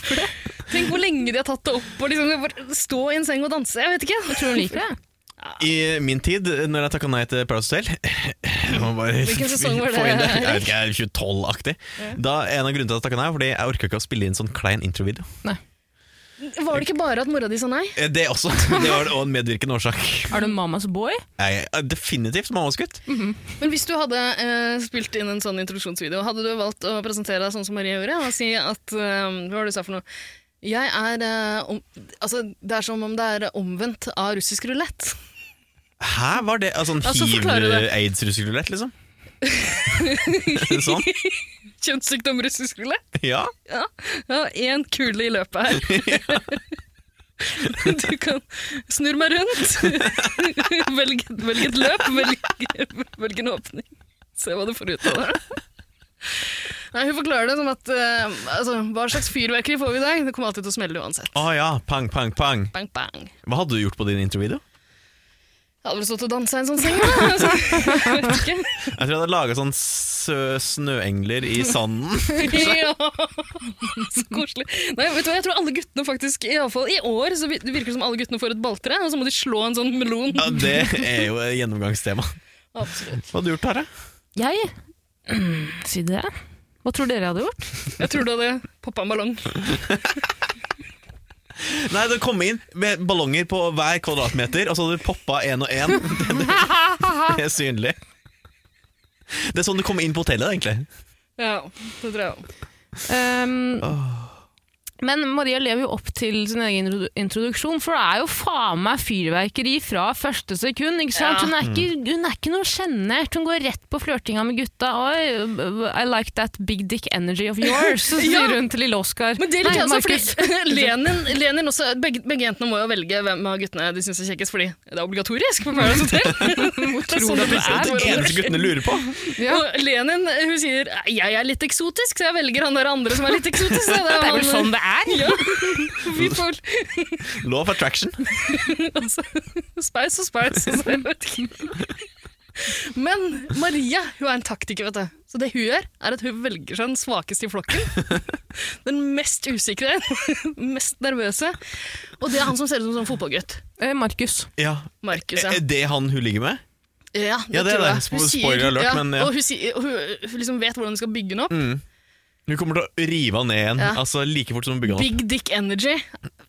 Speaker 3: For det- Tenk hvor lenge de har tatt det opp og liksom bare stå i en seng og danse. Jeg vet ikke. Jeg tror
Speaker 1: Hun liker det.
Speaker 2: I min tid, når jeg takka nei til Paradise Hotel jeg må bare [laughs]
Speaker 3: Hvilken sesong var det,
Speaker 2: få inn Jeg vet ikke, jeg er 2012-aktig. Da En av grunnene til at jeg takka nei, var fordi jeg orka ikke å spille inn sånn klein introvideo.
Speaker 1: Nei.
Speaker 3: Var det ikke bare at mora di sa nei?
Speaker 2: Eh, Det også. [laughs] Det var også en medvirkende årsak.
Speaker 1: Er du mammas boy?
Speaker 2: Jeg er definitivt mammaskutt.
Speaker 3: Men hvis du hadde eh, spilt inn en sånn introduksjonsvideo, hadde du valgt å presentere deg sånn som Maria gjorde, og si at eh, Hva var det du sa for noe? Jeg er eh, om, Altså, det er som om det er omvendt av russisk rulett. [laughs]
Speaker 2: Hæ, var det altså, en
Speaker 3: Ja, så forklarer du det.
Speaker 2: hiv-aids-russekulett,
Speaker 3: [laughs]
Speaker 2: liksom? sånn?
Speaker 3: Kjønnssykdom russisk rulett.
Speaker 2: Ja.
Speaker 3: Ja, ja én kule i løpet her. Du kan snurre meg rundt, [laughs] velg, velg et løp, velg, velg en åpning. Se hva du får ut av det. Nei, hun forklarer det som at eh, altså, Hva slags fyrverkeri får vi i dag? Det kommer alltid til å smelle uansett.
Speaker 2: Å ja, pang, pang, pang.
Speaker 3: Bang, bang.
Speaker 2: Hva hadde du gjort på din introvideo?
Speaker 3: Jeg hadde vel stått og dansa i en sånn seng, da. [laughs] Altså, jeg vet
Speaker 2: Jeg tror jeg hadde laga sånn sø snøengler i sanden.
Speaker 3: ikke. Ja. Så koselig. Nei, vet du hva, jeg tror alle guttene faktisk, i, alle fall, i år, så vi- det virker det som alle guttene får et balltre, og så må de slå en sånn melon.
Speaker 2: Ja, Det er jo et gjennomgangstema.
Speaker 3: Absolutt.
Speaker 2: Hva hadde du gjort, Tare?
Speaker 1: Jeg? [clears throat] Si det. Hva tror dere jeg hadde gjort?
Speaker 3: Jeg tror du hadde poppa en ballong.
Speaker 2: Nei, det kom inn med ballonger på hver kvadratmeter, og så hadde du poppa én og én. Det er synlig. Det er sånn du kommer inn på hotellet, egentlig.
Speaker 3: Ja, det tror jeg også.
Speaker 1: Um, Men Maria lever jo opp til sin egen introdu- introduksjon, for det er jo faen meg fyrverkeri fra første sekund. ikke sant?
Speaker 3: Ja.
Speaker 1: Hun, er ikke, hun er ikke noe sjenert. Hun går rett på flørtinga med gutta. Oi, I like that big dick energy of yours,
Speaker 3: [laughs]
Speaker 1: så sier
Speaker 3: Ja.
Speaker 1: hun til lille Oskar.
Speaker 3: Men det liker jeg også,
Speaker 1: Markus.
Speaker 3: fordi [laughs] Lenin, Lenin også, begge, begge jentene må jo velge hvem av guttene de syns er kjekkest, fordi det er obligatorisk på Paradise
Speaker 1: [laughs]
Speaker 3: Hotel. sånn Hvor
Speaker 1: tror du at
Speaker 2: Det er det eneste guttene lurer på.
Speaker 1: Ja.
Speaker 3: Og Lenin hun sier jeg er litt eksotisk, så jeg velger han der andre som er litt eksotisk. Det
Speaker 1: Det er vel
Speaker 3: han-
Speaker 1: sånn det er?
Speaker 3: Ja, vi får
Speaker 2: Law of attraction.
Speaker 3: altså, speis og speis. Altså, jeg vet ikke. Men Maria hun er en taktiker, vet du. Så det hun gjør, er at hun velger seg den svakeste i flokken. Den mest usikre, den mest nervøse. Og det er han som ser ut som en sånn fotballgutt.
Speaker 1: Eh, Markus.
Speaker 2: Ja.
Speaker 3: Markus, ja.
Speaker 2: Er Eh, det han hun ligger med?
Speaker 3: Ja,
Speaker 2: eh, Ja, det er
Speaker 3: tror jeg.
Speaker 2: det. Spo-
Speaker 3: Hun sier-
Speaker 2: spoiler alert, men ja. Mm.
Speaker 3: Og hun, sier, og hun, hun liksom vet hvordan hun skal bygge den opp.
Speaker 2: Hun kommer til å rive han ned igjen
Speaker 3: Ja.
Speaker 2: Altså like fort som hun bygger han opp.
Speaker 3: Big dick energy.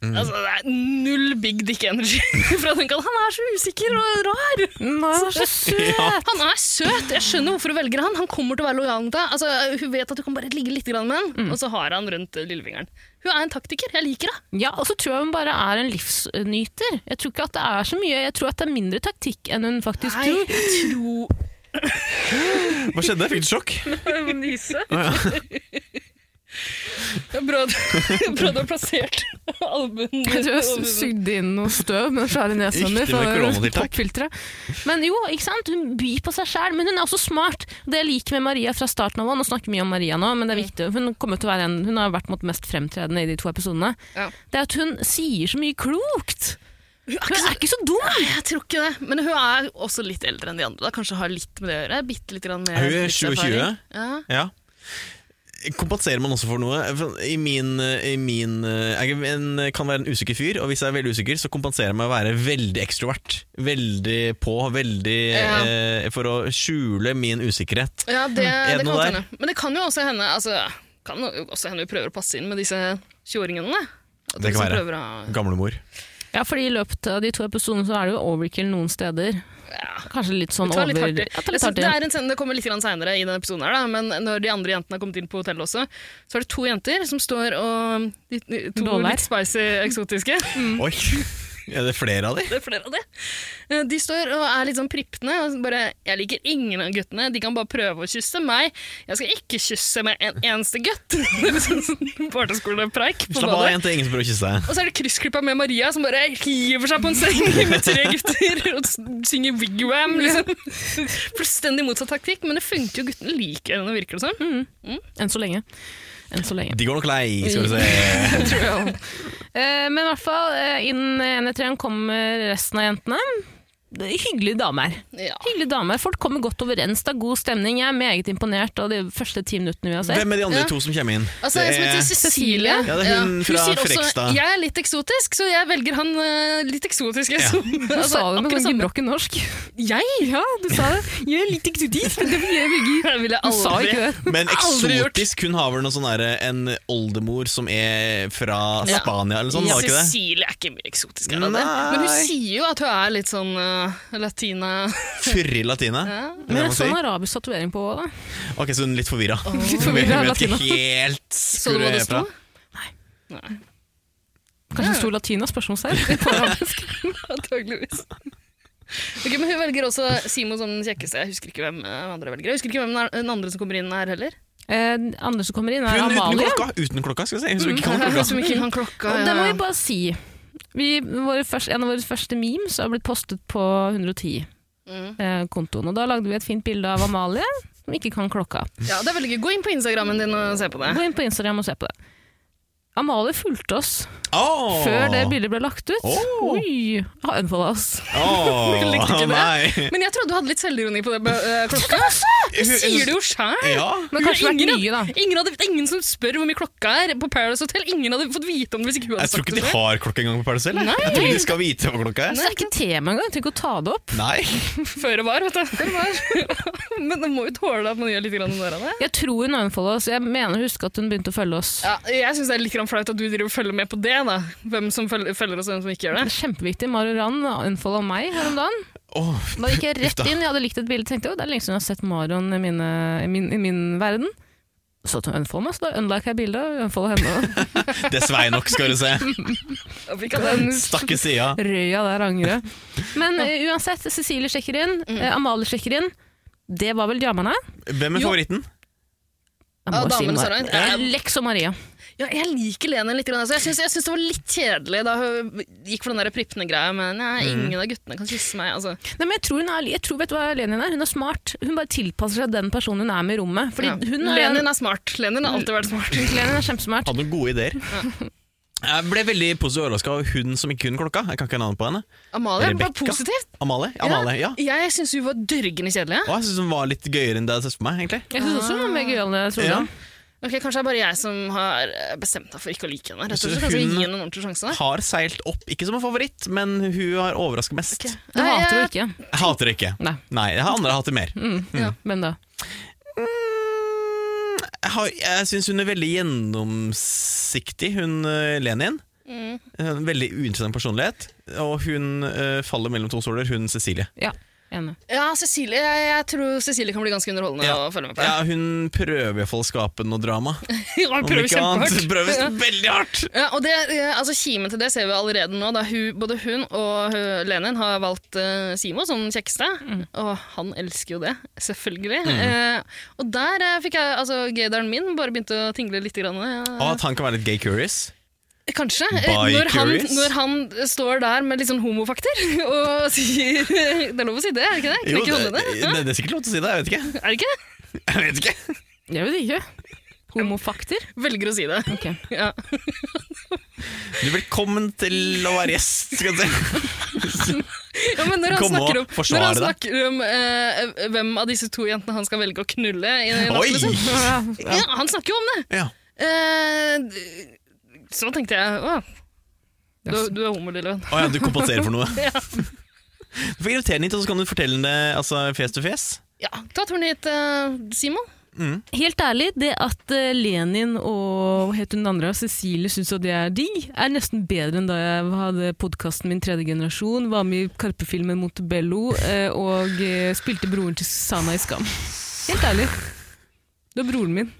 Speaker 2: Mm.
Speaker 3: Altså, det er null big dick energy [laughs] fra den kanten. Han er så usikker og rar.
Speaker 1: Nå, så søt!
Speaker 3: Han er søt. Jeg skjønner hvorfor du velger han. Han kommer til å være lojal mot deg. Altså, hun vet at du kan bare ligge litt grann med han, og så har han rundt eh, lillefingeren. Hun er en taktiker. Jeg liker det.
Speaker 1: Ja, og så tror jeg hun bare er en livsnyter. Jeg tror ikke at det er så mye. Jeg tror at det er mindre taktikk enn hun faktisk
Speaker 3: Nei,
Speaker 1: tror.
Speaker 3: jeg tror
Speaker 2: Hva skjedde? Fikk du sjokk?
Speaker 3: [laughs] Jeg må
Speaker 1: [laughs]
Speaker 3: nyse. Det er bra du- bra du har plassert albuen
Speaker 1: Jeg tror jeg
Speaker 3: over-
Speaker 1: sugde inn noe støv med den svære nesa mi.
Speaker 2: Riktig med
Speaker 1: fra det
Speaker 2: koronatiltak.
Speaker 1: popfilteret. Men jo, ikke sant? Hun byr på seg sjæl, men hun er også smart. Det jeg liker med Maria fra starten av, nå snakker vi mye om Maria nå, men det er viktig. Hun, kommer til å være en, hun har vært mot mest fremtredende i de to episodene.
Speaker 3: Ja.
Speaker 1: Det er at hun sier så mye klokt. Hun er ikke så dum!
Speaker 3: Nei, Jeg tror ikke det. Men hun er også litt eldre enn de andre. Da. Kanskje har litt med det å gjøre. Bitte litt grann mer
Speaker 2: Er hun
Speaker 3: livserfaring.
Speaker 2: 27?
Speaker 3: Ja.
Speaker 2: Ja. Kompenserer man også for noe? For I min, eh, i min Jeg er en, kan være en usikker fyr, og hvis jeg er veldig usikker, så kompenserer jeg med å være veldig ekstrovert. Veldig på, veldig
Speaker 3: Ja.
Speaker 2: eh, For å skjule min usikkerhet.
Speaker 3: Ja, det,
Speaker 2: det
Speaker 3: det kan
Speaker 2: noe
Speaker 3: godt
Speaker 2: der?
Speaker 3: hende. Men det kan jo også hende altså, kan jo også hende vi prøver å passe inn med disse 20-åringene. At
Speaker 2: Det kan
Speaker 3: vi liksom
Speaker 2: være.
Speaker 3: prøver å-
Speaker 2: Gamlemor.
Speaker 1: Ja, fordi I løpet av de to episodene så er det jo overkill noen steder.
Speaker 3: Ja.
Speaker 1: Kanskje litt sånn
Speaker 3: Det tar litt
Speaker 1: over...
Speaker 3: hardt i.
Speaker 1: Ja, ta
Speaker 3: Jeg
Speaker 1: litt
Speaker 3: synes
Speaker 1: hardt i.
Speaker 3: Det er en scene, det kommer litt seinere i denne episoden, her, da, men når de andre jentene har kommet inn på hotellet også, så er det to jenter som står og de, de, To
Speaker 1: Dollar.
Speaker 3: litt spicy eksotiske. [laughs]
Speaker 2: Oi! Er det flere av de?
Speaker 3: Det er flere av de. Eh, De står og er litt sånn prippende og bare Jeg liker ingen av guttene. De kan bare prøve å kysse meg. Jeg skal ikke kysse med en eneste gutt. [laughs] Det er liksom sånn Barneskolepreik på
Speaker 2: Slapp av,
Speaker 3: badet.
Speaker 2: jente. Ingen som prøver å kysse deg.
Speaker 3: Og så er det kryssklippa med Maria som bare hiver seg på en seng [laughs] med tre gutter og s- synger wigwam. [laughs] Liksom. Mm. Fullstendig motsatt taktikk, men det funker jo. Guttene liker henne, virker det som.
Speaker 1: Enn så lenge. enn så lenge.
Speaker 2: De går nok lei,
Speaker 3: [laughs]
Speaker 2: skal du se.
Speaker 1: Tror jeg også. Eh, Men i hvert fall, eh, innen en etter en kommer resten av jentene. Det er Hyggelige damer.
Speaker 3: Ja.
Speaker 1: Hyggelige damer. Folk kommer godt overens. Det er god stemning. Jeg er meget imponert av de første ti minuttene vi har sett.
Speaker 2: Hvem er de andre
Speaker 3: Ja.
Speaker 2: to som kommer inn?
Speaker 3: Altså, en som heter
Speaker 2: Det er-
Speaker 3: Cecilie.
Speaker 1: Cecilie.
Speaker 2: Ja, det er hun fra
Speaker 3: sier
Speaker 2: Frekstad.
Speaker 3: Jeg er litt eksotisk, så jeg velger han eh, litt eksotiske.
Speaker 2: Ja.
Speaker 3: som-
Speaker 1: Du
Speaker 3: altså,
Speaker 1: sa det med
Speaker 3: akkurat
Speaker 1: sånn
Speaker 3: samme.
Speaker 1: gebrokken norsk.
Speaker 3: Jeg?
Speaker 1: Ja, du sa det. Jeg er litt eksotisk, men det vil jeg velge.
Speaker 3: Det ville jeg
Speaker 1: Du sa
Speaker 3: aldri.
Speaker 1: ikke
Speaker 3: [laughs]
Speaker 1: det.
Speaker 2: Men
Speaker 3: Aldri gjort.
Speaker 2: eksotisk, hun har vel noe sånn derre en oldemor som er fra
Speaker 3: Ja.
Speaker 2: Spania eller sånn,
Speaker 3: Ja,
Speaker 2: var ikke det?
Speaker 3: Cecilie er ikke mye eksotisk. Er hun
Speaker 2: Nei.
Speaker 3: det? Men hun sier jo at hun er litt sånn eh, latina.
Speaker 2: Fyrre latina. er det
Speaker 1: Men
Speaker 2: man
Speaker 1: jeg så en
Speaker 2: sier.
Speaker 1: arabisk tatovering på henne. da.
Speaker 2: Ok, så hun er litt forvirra. Litt
Speaker 1: forvirra
Speaker 2: vet
Speaker 1: latina.
Speaker 2: ikke helt
Speaker 3: Så
Speaker 2: hvor
Speaker 3: du hva
Speaker 2: hun er
Speaker 3: det
Speaker 2: fra.
Speaker 3: sto? Nei.
Speaker 1: Kanskje en stor latina spørsmålstegn på arabisk.
Speaker 3: Antageligvis. Ok, men Hun velger også Simo som den kjekkeste. Jeg husker ikke hvem eh, andre velger. Jeg husker ikke hvem den er- den andre som kommer inn er heller.
Speaker 1: Eh, den andre som kommer inn, er
Speaker 2: Hun uten
Speaker 1: Amalie.
Speaker 2: klokka, uten klokka skal jeg si. Hun som ikke
Speaker 3: [laughs]
Speaker 2: kan
Speaker 3: Hun
Speaker 2: klokka.
Speaker 3: som ikke kan klokka.
Speaker 1: Og det må
Speaker 3: ja.
Speaker 1: vi bare si. Vi, våre først, en av våre første memes har blitt postet på 110-kontoen. eh, og Da lagde vi et fint bilde av Amalie, som ikke kan klokka.
Speaker 3: Ja, det er veldig gøy. Gå inn på Instagrammen din og se på det.
Speaker 1: Gå inn på Instagram og se på det. Amalie fulgte oss
Speaker 2: Åh!
Speaker 1: før det bildet ble lagt ut.
Speaker 2: Åh.
Speaker 1: Oi! Har unfolda oss.
Speaker 2: Åh,
Speaker 3: Jeg [laughs] likte ikke det.
Speaker 2: nei.
Speaker 3: Men jeg trodde du hadde litt selvironi på det eh, klokka. Du sier det jo sjæl!
Speaker 2: Ja.
Speaker 1: Men kanskje det er nye, da.
Speaker 3: Ingen, hadde, ingen som spør hvor mye klokka er på Paradise Hotel. Ingen hadde fått vite om det hvis ikke hun hadde
Speaker 2: Jeg tror
Speaker 3: sagt
Speaker 2: ikke de
Speaker 3: det.
Speaker 2: har klokka engang på Paradise Hotel. Jeg tror ikke de skal vite hva
Speaker 1: Så
Speaker 2: klokka er.
Speaker 1: det er ikke tema engang. Tenk å ta det opp.
Speaker 2: Nei.
Speaker 3: Før det var, vet du. [laughs] Men det må jo tåle at man gjør litt grann mer av det.
Speaker 1: Jeg tror hun unfolda oss. Jeg mener å huske at hun begynte å følge oss.
Speaker 3: Ja, jeg syns det er litt grann flaut at du driver og følger med på det. da. Hvem som følger, følger oss, og hvem som ikke gjør
Speaker 1: Det
Speaker 3: det.
Speaker 1: er kjempeviktig. Maru Rand unfolda meg her om dagen.
Speaker 2: Åh,
Speaker 1: Da gikk jeg rett
Speaker 2: Uff da.
Speaker 1: inn, jeg hadde likt et bilde tenkte jeg, «Å, det er lenge siden jeg har sett Marion i, mine, i, min, i min verden. Så til hun unfolda meg, så da unlike jeg bildet og unfolda henne.
Speaker 2: det svei nok, skal du se.
Speaker 3: Jeg fikk av [laughs] den.
Speaker 1: Den
Speaker 2: Stakke sida.
Speaker 1: røya der angrer [laughs] jeg. Men eh, uansett, Cecilie sjekker inn, eh, Amalie sjekker inn. Det var vel damene?
Speaker 2: Hvem er
Speaker 3: Jo.
Speaker 2: favoritten?
Speaker 1: Jeg
Speaker 3: Ja,
Speaker 1: må si
Speaker 3: damene så
Speaker 1: Mar-
Speaker 3: langt.
Speaker 1: Eh, Lex og Maria.
Speaker 3: Ja, jeg liker Lene litt. Grann, altså. jeg, syns, jeg syns det var litt kjedelig da hun gikk for den der prippende-greia, men nei,
Speaker 2: Mm.
Speaker 3: ingen av guttene kan kysse meg. altså.
Speaker 1: Nei, men jeg tror, hun er, jeg tror vet du hva Lenin er? Hun er smart. Hun bare tilpasser seg den personen hun er med i rommet. Fordi
Speaker 3: Ja.
Speaker 1: hun er,
Speaker 3: Lenin er smart. Lenin har alltid vært
Speaker 2: [laughs]
Speaker 3: smart.
Speaker 1: Lenin er kjempesmart.
Speaker 2: Hadde noen gode ideer. [laughs] Jeg ble veldig positivt overraska av hun som ikke kunne klokka. Jeg kan ikke navnet på henne.
Speaker 3: Amalie var
Speaker 2: Rebecca?
Speaker 3: positivt.
Speaker 2: Amalie? Amalie, ja.
Speaker 3: Jeg syns hun var dørgende kjedelig.
Speaker 2: Og jeg syns hun var litt gøyere enn det jeg hadde sett for meg. egentlig
Speaker 1: Jeg syns også hun var mer gøyal enn jeg trodde.
Speaker 2: Ja.
Speaker 3: Ok, Kanskje det er bare jeg som har eh, bestemt meg for ikke å like henne. Rett og
Speaker 2: Så
Speaker 3: slett, Kanskje vi
Speaker 2: hun-
Speaker 3: gir henne en ordentlig sjanse?
Speaker 2: Har seilt opp, ikke som en favoritt, men hun har overraska mest.
Speaker 1: Du
Speaker 3: Nei,
Speaker 1: hater
Speaker 3: jeg-
Speaker 1: henne ikke.
Speaker 2: Jeg hater det ikke.
Speaker 1: Nei.
Speaker 2: Nei, jeg har andre jeg hater mer.
Speaker 1: Men da.
Speaker 2: Mm, Jeg, har- jeg syns hun er veldig gjennomsiktig, hun eh, Lenin. En veldig uinteressant personlighet. Og hun eh, faller mellom to stoler, hun Cecilie.
Speaker 1: Ja, enig.
Speaker 3: Ja, Cecilie, jeg, jeg tror Cecilie kan bli ganske underholdende
Speaker 2: Ja.
Speaker 3: å følge med på. [laughs]
Speaker 2: Ja, hun prøver iallfall å skape noe drama.
Speaker 3: Hun
Speaker 2: Om
Speaker 3: prøver
Speaker 2: ikke annet,
Speaker 3: kjempehardt.
Speaker 2: prøver
Speaker 3: Ja.
Speaker 2: veldig hardt!
Speaker 3: Ja, og det, eh, altså Kimen til det ser vi allerede nå. Da hun, både hun og eh, Lenin har valgt eh, Simo som den kjekkeste.
Speaker 2: Mm.
Speaker 3: Og han elsker jo det, selvfølgelig. Eh, og der eh, fikk jeg altså gaydaren min bare begynte å tingle litt. Grann, eh,
Speaker 2: Og at han kan være litt gay curious.
Speaker 3: Kanskje. Eh,
Speaker 2: By
Speaker 3: Når han,
Speaker 2: curious?
Speaker 3: når han står der med litt sånn homofakter [laughs] og sier Det er lov å si det, er det ikke det? Kan ikke holde det?
Speaker 2: det, det er sikkert lov til å si det. Jeg vet ikke.
Speaker 3: [laughs] Er
Speaker 2: Jeg
Speaker 3: det ikke?
Speaker 2: vet ikke.
Speaker 1: Jeg vet ikke. Homofakter?
Speaker 3: Velger å si det.
Speaker 1: Ok.
Speaker 3: [laughs] Ja.
Speaker 2: Du er velkommen til å være gjest. Skal jeg si.
Speaker 3: Ja, men når han
Speaker 2: Kom og
Speaker 3: snakker om,
Speaker 2: forsvare
Speaker 3: når han
Speaker 2: deg.
Speaker 3: snakker om eh, hvem av disse to jentene han skal velge å knulle i natt,
Speaker 2: Oi!
Speaker 3: liksom.
Speaker 1: Ja.
Speaker 3: Ja, han snakker jo om det!
Speaker 2: Ja.
Speaker 3: Eh, d- så tenkte jeg Å, du, du er homo, lille venn.
Speaker 2: Å ja, du kompenserer for noe.
Speaker 3: Ja.
Speaker 2: Du får invitere den hit, og så kan du fortelle den det altså, fjes til fjes.
Speaker 3: Ja, ta turen hit, eh, Simon.
Speaker 1: Helt ærlig, det at eh, Lenin og hva het hun andre, Cecilie syns at det er digg, er nesten bedre enn da jeg hadde podkasten min tredje generasjon, var med i Karpe-filmen Montebello eh, og eh, spilte broren til Sana i Skam. Helt ærlig. Du er broren min.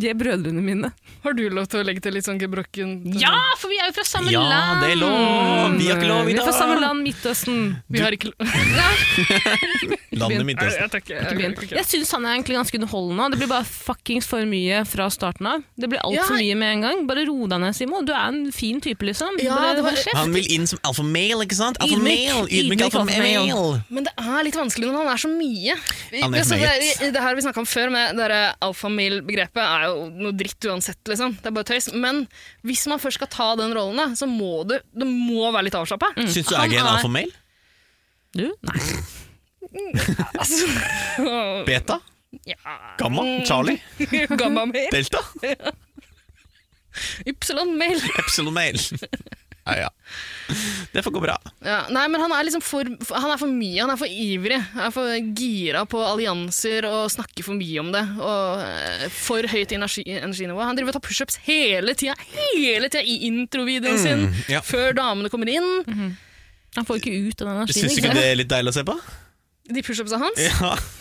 Speaker 1: De er brødrene mine.
Speaker 3: Har du lov til å legge til litt sånn gebrokken
Speaker 1: Ja, for vi er jo fra samme
Speaker 2: Ja,
Speaker 1: land!
Speaker 2: det er lov. Vi har ikke lov i
Speaker 1: Vi er fra
Speaker 2: dag.
Speaker 1: samme land, Midtøsten.
Speaker 3: Vi har [laughs] ikke lov
Speaker 2: Landet mitt
Speaker 3: Nei,
Speaker 2: også.
Speaker 3: jeg takker. Jeg,
Speaker 1: Byen. Jeg syns han er egentlig ganske underholdende. og Det blir bare fuckings for mye fra starten av. Det blir
Speaker 3: Ja.
Speaker 1: altfor for mye med en gang. Bare ro deg ned, Simon. Du er en fin type, liksom.
Speaker 3: Ja,
Speaker 1: Bare
Speaker 3: det var-
Speaker 1: hold kjeft.
Speaker 2: Han vil inn som alfa male, ikke sant? Alfa
Speaker 1: Ydmyk.
Speaker 2: male, ydmyk
Speaker 1: Ydmyk
Speaker 2: alfa
Speaker 1: alfa male.
Speaker 2: male.
Speaker 3: Men det er litt vanskelig når han er så mye. Vi-
Speaker 2: Han er
Speaker 3: altså,
Speaker 2: meget.
Speaker 3: det, er- det her har vi snakka om før, med det alfamil-begrepet er er jo noe dritt uansett, liksom. Det er bare tøys. Men hvis man først skal ta den rollen, da, så må du det må være litt avslappa.
Speaker 2: Syns du
Speaker 3: Mm. Han
Speaker 2: jeg er en
Speaker 3: er-
Speaker 2: alfamel?
Speaker 1: Du? Nei.
Speaker 3: Altså, [laughs]
Speaker 2: Beta?
Speaker 3: ja.
Speaker 2: [laughs] Gamma? Charlie?
Speaker 3: Gamma mail.
Speaker 2: Delta?
Speaker 3: Ypsilon mail.
Speaker 2: Epsilon mail. [laughs] Ja, ja. Det får gå bra.
Speaker 3: Ja, nei, men han er liksom for, han er for mye, han er for ivrig. Han er for gira på allianser og snakker for mye om det. Og eh, for høyt energi, energinivå. Han driver og tar pushups hele tida, hele tida i introvideoen sin,
Speaker 2: Mm, ja.
Speaker 3: før damene kommer inn.
Speaker 1: Han får ikke ut den energien.
Speaker 2: Syns du ikke
Speaker 1: sant?
Speaker 2: det er litt deilig å se på?
Speaker 3: De pushupsa hans.
Speaker 2: [laughs]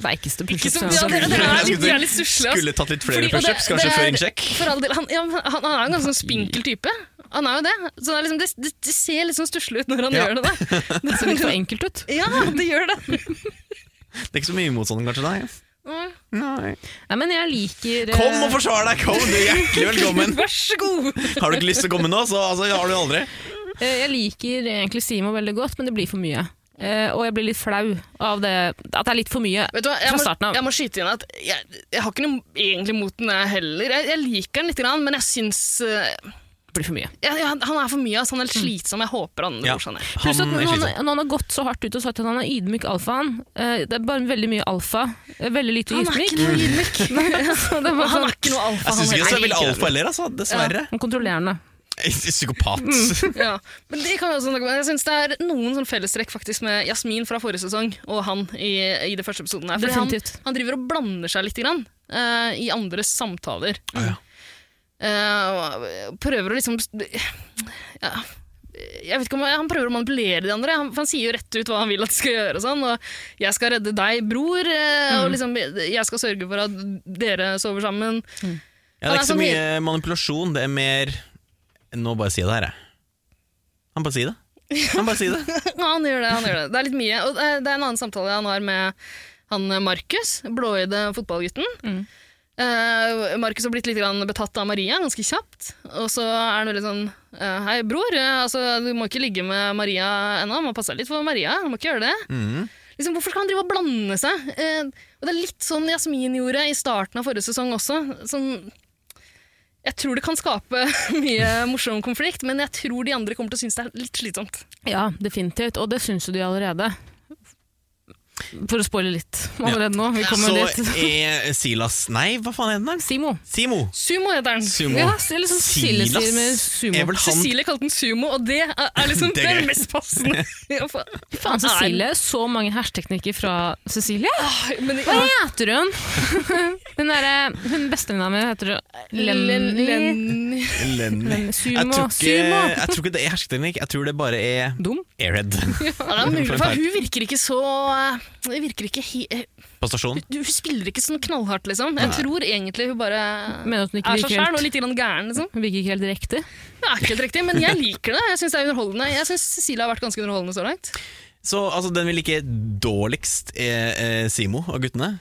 Speaker 1: Det er veikeste
Speaker 3: Ikke
Speaker 1: pushups
Speaker 3: som,
Speaker 1: jeg
Speaker 3: ja,
Speaker 1: har
Speaker 3: det,
Speaker 1: sett.
Speaker 3: det er
Speaker 2: Jeg skulle-
Speaker 3: litt, de er litt stusslige. ass.
Speaker 2: Skulle tatt litt flere
Speaker 3: Fordi- og det-
Speaker 2: pushups, kanskje
Speaker 3: det er-
Speaker 2: før en sjekk.
Speaker 3: For all del, han, ja, men han, han er en ganske sånn spinkel type. Han er jo det. Så det, er liksom, det, det, det ser litt sånn stusslig ut når han
Speaker 2: Ja.
Speaker 3: gjør det.
Speaker 2: [laughs]
Speaker 3: Da.
Speaker 1: Det ser litt for enkelt
Speaker 3: [laughs]
Speaker 1: ut.
Speaker 3: Ja, det gjør det.
Speaker 2: Det er ikke så mye motstand, kanskje? Nei. Nei.
Speaker 1: Nei, men jeg liker eh,
Speaker 2: Kom og forsvar deg! Kom, du er
Speaker 3: [laughs]
Speaker 2: Hjertelig velkommen!
Speaker 3: Vær så god!
Speaker 2: Har du ikke lyst til å komme nå, så altså, har du aldri.
Speaker 1: eh, Jeg liker egentlig Simo veldig godt, men det blir for mye. Eh, og jeg blir litt flau av det at det er litt for mye
Speaker 3: Vet du hva, jeg
Speaker 1: fra
Speaker 3: må,
Speaker 1: starten av.
Speaker 3: jeg må skyte inn at jeg, jeg har ikke noe egentlig mot den jeg heller. Jeg, jeg liker den litt, grann, men jeg syns eh,
Speaker 1: Det blir for mye.
Speaker 3: jeg, jeg, Han er for mye, altså,
Speaker 1: Mm.
Speaker 3: han er litt slitsom. Jeg håper han
Speaker 2: Ja.
Speaker 3: går sånn. jeg.
Speaker 1: Pluss at
Speaker 2: Han
Speaker 1: når
Speaker 2: er
Speaker 1: han,
Speaker 2: sliten.
Speaker 1: når han har gått så hardt ut og sagt at han er ydmyk alfaen eh, Det er bare veldig mye alfa, eh, veldig lite
Speaker 3: Han er
Speaker 1: ydmyk.
Speaker 3: ikke noe ydmyk. [laughs]
Speaker 1: [laughs] Så det var sånn,
Speaker 3: Han er ikke noe alfa.
Speaker 2: Jeg syns
Speaker 3: han
Speaker 2: ikke det
Speaker 3: heller.
Speaker 2: er veldig alfa heller, altså. [laughs] Dessverre.
Speaker 1: han kontrollerende.
Speaker 2: Psykopat.
Speaker 3: Mm.
Speaker 2: [laughs]
Speaker 3: [laughs] Ja, men det kan vi også snakke om. Jeg synes det er noen sånn fellestrekk faktisk med Jasmin fra forrige sesong og han i, i det første episoden. her. Fordi han,
Speaker 1: Definitivt.
Speaker 3: han driver og blander seg litt grann, eh, i andres samtaler.
Speaker 2: Ja, ja.
Speaker 3: Eh, og prøver å liksom ja, jeg vet ikke om Han prøver å manipulere de andre. Han, for han sier jo rett ut hva han vil at de skal gjøre. Og sånn, og 'Jeg skal redde deg, bror', eh, og liksom 'Jeg skal sørge for at dere sover sammen'.
Speaker 2: Ja, det er ikke
Speaker 3: sånn
Speaker 2: så mye eh, manipulasjon, det er mer Nå bare si det her, jeg. Han bare sier det. Han bare sier det.
Speaker 3: Ja, han gjør det. han gjør Det Det er litt mye. Og eh, det er en annen samtale han har med han eh, Markus, blåøyde fotballgutten. Eh, Markus har blitt litt grann betatt av Maria ganske kjapt. Og så er han veldig sånn eh, Hei, bror. eh, Altså, du må ikke ligge med Maria ennå. Må passe deg litt for Maria. Du må ikke gjøre det. Liksom, hvorfor skal han drive og blande seg? Eh, og det er litt sånn Jasmin gjorde i starten av forrige sesong også. Sånn, jeg tror det kan skape [laughs] mye morsom konflikt, men jeg tror de andre kommer til å synes det er litt slitsomt.
Speaker 1: Ja, definitivt. Og det syns jo de allerede. For å spoile litt allerede nå. Vi kommer
Speaker 2: Så
Speaker 1: dit.
Speaker 2: er Silas Nei, hva faen er den der?
Speaker 1: Simo.
Speaker 2: Simo.
Speaker 3: Sumo heter den.
Speaker 2: Sumo.
Speaker 1: Ja, så eller sånn Silas sier med sumo.
Speaker 2: er vel han
Speaker 3: Cecilie kalte den sumo, og det er, er liksom
Speaker 2: [laughs] Det
Speaker 3: det,
Speaker 2: er gøy.
Speaker 3: mest
Speaker 2: [laughs]
Speaker 3: passende. Ja, for-
Speaker 1: Faen, Cecilie. Så mange hersketeknikker fra Cecilie.
Speaker 2: Ah.
Speaker 3: Nei, Men,
Speaker 1: Hva
Speaker 3: ja.
Speaker 1: heter hun? Hun, [laughs] derre- hun bestevenninna mi heter
Speaker 3: Len-
Speaker 1: Lenny
Speaker 3: Lenny.
Speaker 2: Lenny.
Speaker 1: Lenny- Sumo.
Speaker 2: Jeg tror, ikke,
Speaker 1: Sumo.
Speaker 2: jeg tror ikke det er hersketeknikk, jeg tror det bare er
Speaker 1: Dum.
Speaker 2: airhead [laughs]
Speaker 3: Ja, det er mulig, for hun virker ikke så eh, hun virker ikke he, eh,
Speaker 2: på stasjonen.
Speaker 3: du, Hun spiller ikke sånn knallhardt, liksom. Jeg tror egentlig hun bare
Speaker 1: Mener at hun ikke
Speaker 3: er seg
Speaker 1: virker helt-
Speaker 3: sjæl og litt grann gæren. liksom.
Speaker 1: Hun virker ikke helt riktig.
Speaker 3: Det er ikke helt riktig, men jeg liker det. Jeg syns Cecilie har vært ganske underholdende så langt.
Speaker 2: Så altså, den vi liker dårligst, er eh, Simo og guttene.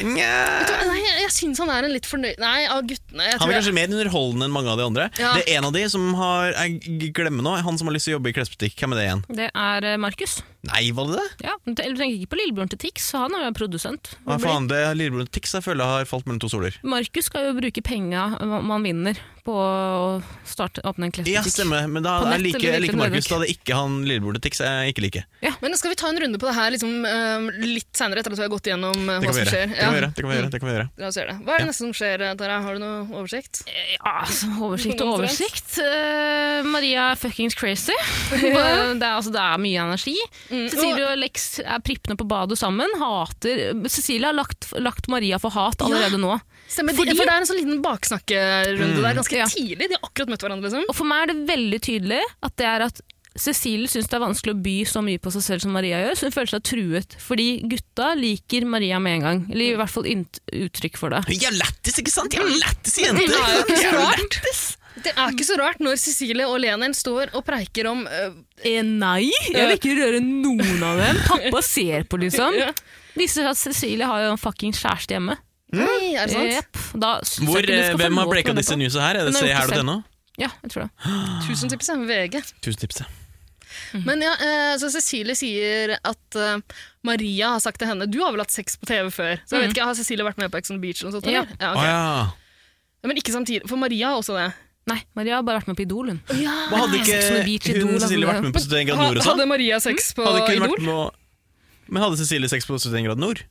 Speaker 2: Nja
Speaker 3: Nei, jeg, jeg syns han er en litt fornøyd Nei, av guttene. Jeg
Speaker 2: Han
Speaker 3: tror
Speaker 2: er
Speaker 3: jeg-
Speaker 2: kanskje mer underholdende enn mange av de andre.
Speaker 3: Ja.
Speaker 2: Det er en av de som har Jeg glemmer nå, han som har lyst til å jobbe i klesbutikk. Hvem er det igjen?
Speaker 1: Det er eh, Markus.
Speaker 2: Nei, var det det?
Speaker 1: Ja, men te- eller tenker ikke på lillebjørn til Tix, så han er jo produsent.
Speaker 2: Hva faen, det er lillebror Tix jeg føler har falt mellom to stoler.
Speaker 1: Markus skal jo bruke penga man vinner på å starte, åpne en
Speaker 2: Ja,
Speaker 1: klesbutikk.
Speaker 2: stemmer. Men da,
Speaker 1: På nett
Speaker 2: jeg liker,
Speaker 1: eller
Speaker 2: jeg liker
Speaker 1: hvilken
Speaker 2: Markus.
Speaker 1: nedrykk?
Speaker 2: Da det er ikke han lillebror til Tix jeg ikke liker.
Speaker 3: Men skal vi ta en runde på det her liksom, eh, litt seinere, etter at vi har gått gjennom eh,
Speaker 2: Det
Speaker 3: hva
Speaker 2: kan vi
Speaker 3: som
Speaker 2: gjøre.
Speaker 3: skjer?
Speaker 2: Det kan vi gjøre. Det kan vi gjøre. Det kan vi gjøre.
Speaker 3: La oss gjøre det. Hva er det neste som skjer, Tara? Har du noe oversikt?
Speaker 1: Ja, altså, oversikt og oversikt. Eh, Maria er fuckings crazy. det, er, altså, det er mye energi. Cecilie og Lex er prippende på badet sammen. Hater Cecilie har lagt, lagt Maria for hat allerede nå.
Speaker 3: Stemmer,
Speaker 1: Fordi-
Speaker 3: Fordi... For det er en sånn liten baksnakkerunde
Speaker 2: Mm.
Speaker 3: der ganske
Speaker 1: Ja.
Speaker 3: tidlig. De har akkurat møtt hverandre, liksom.
Speaker 1: Og for meg er det veldig tydelig at det er at Cecilie syns det er vanskelig å by så mye på seg selv som Maria gjør, så hun føler seg truet. Fordi gutta liker Maria med en gang. Eller i hvert fall int- uttrykk for det.
Speaker 2: Jeg er lættis, ikke sant? Jeg er lættis jente!
Speaker 3: [laughs] Det er jo ikke så
Speaker 2: Jeg er
Speaker 3: rart. Det er ikke så rart når Cecilie og Lenin står og preiker om øh,
Speaker 1: Eh, nei, jeg vil ikke røre noen av dem. Pappa ser på, liksom.
Speaker 3: Ja.
Speaker 1: Viser seg at Cecilie har jo en fucking kjæreste hjemme.
Speaker 2: Mm.
Speaker 3: Oi, er det sant?
Speaker 1: Jepp. Da syns
Speaker 2: [laughs] Hvor,
Speaker 1: jeg ikke du
Speaker 2: eh,
Speaker 1: skal få lov
Speaker 2: hvem har
Speaker 1: til å
Speaker 2: bleka
Speaker 1: være
Speaker 2: disse
Speaker 1: på.
Speaker 2: newsa her? Er det
Speaker 1: Hun har gjort det
Speaker 2: seher.no?
Speaker 1: Ja, jeg tror det.
Speaker 3: Tusen tips, jeg, VG.
Speaker 2: Tusen tipset.
Speaker 3: Men ja, eh, så Cecilie sier at eh, Maria har sagt til henne Du har vel hatt sex på TV før? Så jeg vet ikke, Har Cecilie vært med på Ex on the Beach? eller noe sånt?
Speaker 1: Ja.
Speaker 3: eller? Mm. Ja,
Speaker 2: Å
Speaker 3: ok.
Speaker 2: ja.
Speaker 3: Ja, Men ikke samtidig, for Maria har også det.
Speaker 1: Nei, Maria har bare vært med på Idol, hun.
Speaker 2: Men hadde
Speaker 1: Nei, Sex on the Beach,
Speaker 2: ikke hun
Speaker 1: Idol,
Speaker 2: Cecilie
Speaker 1: altså.
Speaker 2: vært med på 71 grad
Speaker 3: Ha,
Speaker 2: nord også?
Speaker 3: hadde Maria sex på
Speaker 2: Mm. Hadde ikke hun
Speaker 3: Idol?
Speaker 2: vært med å- Men hadde Cecilie sex på 71 grad nord?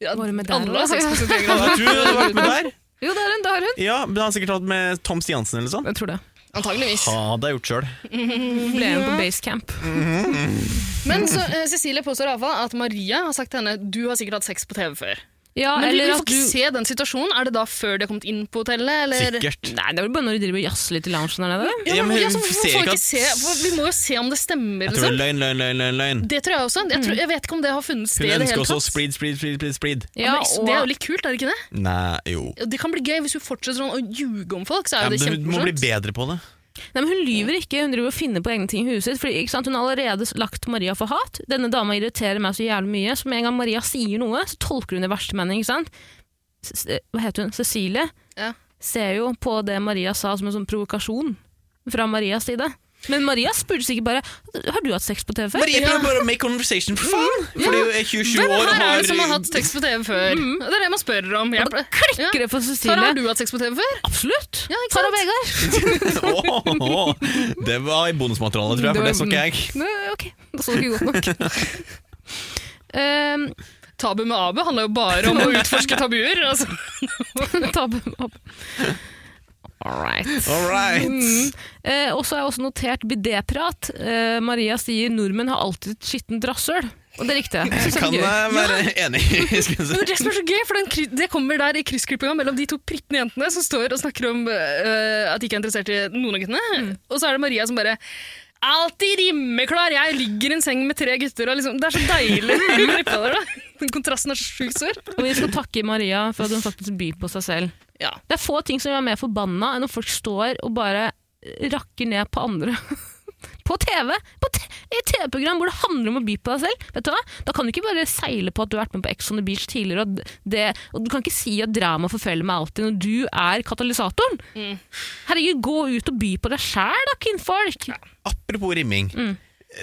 Speaker 3: Ja,
Speaker 1: Var hun med der,
Speaker 3: alle
Speaker 1: da?
Speaker 3: har sex på 71 grader.
Speaker 2: Jeg tror hun hadde vært med der.
Speaker 1: Jo, det er hun! det er hun
Speaker 2: Ja, men han har sikkert hatt med Tom Stiansen eller sånn.
Speaker 1: Jeg tror det.
Speaker 3: [laughs] Antageligvis.
Speaker 2: Hadde jeg gjort sjøl.
Speaker 1: Hun ble igjen på basecamp.
Speaker 3: Men så, eh, Cecilie påstår iallfall at Maria har sagt til henne du har sikkert hatt sex på TV før.
Speaker 1: Ja,
Speaker 3: Men du,
Speaker 1: eller
Speaker 3: du får
Speaker 1: at
Speaker 3: ikke
Speaker 1: du
Speaker 3: se den situasjonen. Er det da før de har kommet inn på hotellet? Eller?
Speaker 2: Sikkert.
Speaker 1: Nei, det er vel bare når du driver og jazzer litt i loungen der nede.
Speaker 3: Ja,
Speaker 2: Ja,
Speaker 3: men,
Speaker 2: men
Speaker 3: ja, så
Speaker 2: vi
Speaker 3: hvorfor
Speaker 2: ser
Speaker 3: får
Speaker 2: ikke
Speaker 3: vi ikke se?
Speaker 2: at-
Speaker 3: For Vi må jo se om det stemmer.
Speaker 2: Jeg tror det er
Speaker 3: Liksom.
Speaker 2: løgn, løgn, løgn. løgn, løgn.
Speaker 3: Det tror jeg også. Jeg,
Speaker 1: Mm.
Speaker 3: tror, jeg vet ikke om det har funnet sted.
Speaker 2: Hun
Speaker 3: i det
Speaker 2: ønsker
Speaker 3: hele
Speaker 2: også å
Speaker 3: tatt.
Speaker 2: spreed, spreed, spreed, spreed, spreed.
Speaker 3: Ja,
Speaker 1: Ja,
Speaker 3: men Det er jo
Speaker 1: og
Speaker 3: litt kult, er det ikke det?
Speaker 2: Nei, jo.
Speaker 3: Ja, Det kan bli gøy hvis hun fortsetter sånn å ljuge om folk. Så
Speaker 2: Ja,
Speaker 3: er jo det
Speaker 2: men du må bli
Speaker 3: kjempemorsomt.
Speaker 2: bedre på det.
Speaker 1: Nei, men Hun lyver ikke, hun driver og finner på egne ting i huset sitt. Fordi, ikke sant? Hun har allerede lagt Maria for hat. Denne dama irriterer meg så jævlig mye. Så med en gang Maria sier noe, så tolker hun det i verste mening. ikke sant? S eh, hva heter hun? Cecilie
Speaker 3: Ja.
Speaker 1: ser jo på det Maria sa som en sånn provokasjon fra Marias side. Men Maria spurte sikkert bare Har du hatt sex på TV før?
Speaker 2: Marie prøver bare å make conversation, for faen! Fordi hun er 27
Speaker 3: Hvem
Speaker 2: år og
Speaker 3: her er det som har
Speaker 2: har
Speaker 3: hatt sex på TV før? Det er det man spør om. Jeg,
Speaker 1: Mm. Og da klikker det for
Speaker 3: Ja. Tara,
Speaker 1: Cecilie.
Speaker 3: har du hatt sex på TV før?
Speaker 1: Absolutt!
Speaker 3: Ja, ikke
Speaker 1: Tara
Speaker 3: sant?
Speaker 1: Vegard.
Speaker 2: [laughs] Åh, åh. Det var i bonusmaterialet, tror jeg, for det så ikke jeg.
Speaker 1: Nei, ok, da så du ikke godt nok.
Speaker 3: [laughs]
Speaker 1: Ehm, [laughs]
Speaker 3: Tabu med Abu handler jo bare om å utforske tabuer. Altså.
Speaker 1: ta med opp. All right.
Speaker 3: Mm.
Speaker 2: All right.
Speaker 1: Eh, og så har jeg også notert bidéprat. Eh, Maria sier nordmenn har alltid et skittent rasshøl. Og det er riktig.
Speaker 2: [laughs]
Speaker 1: Jeg synes det er
Speaker 2: Kan
Speaker 1: gøy.
Speaker 2: jeg være enig? [laughs] Skal jeg si.
Speaker 3: Men det som er så gøy, for den, kry- Det kommer der i kryssklippinga mellom de to prittende jentene som står og snakker om øh, at de ikke er interessert i noen av guttene.
Speaker 2: Mm.
Speaker 3: Og så er det Maria som bare Alltid rimeklar! Jeg ligger i en seng med tre gutter. Og liksom, det er så deilig.
Speaker 2: [laughs]
Speaker 3: å klippe der, da. Den kontrasten er så sjukt stor.
Speaker 1: Og vi skal takke Maria for at hun faktisk byr på seg selv.
Speaker 3: Ja.
Speaker 1: Det er få ting som gjør meg mer forbanna enn når folk står og bare rakker ned på andre. [laughs] På TV! På t I et TV-program hvor det handler om å by på deg selv. Vet du hva? Da kan du ikke bare seile på at du har vært med på Ex on the Beach tidligere, og, det, og du kan ikke si at drama forfølger meg alltid når du er katalysatoren. Herregud, gå ut og by på deg sjæl, da, kvinnfolk!
Speaker 2: Apropos rimming.
Speaker 3: Mm.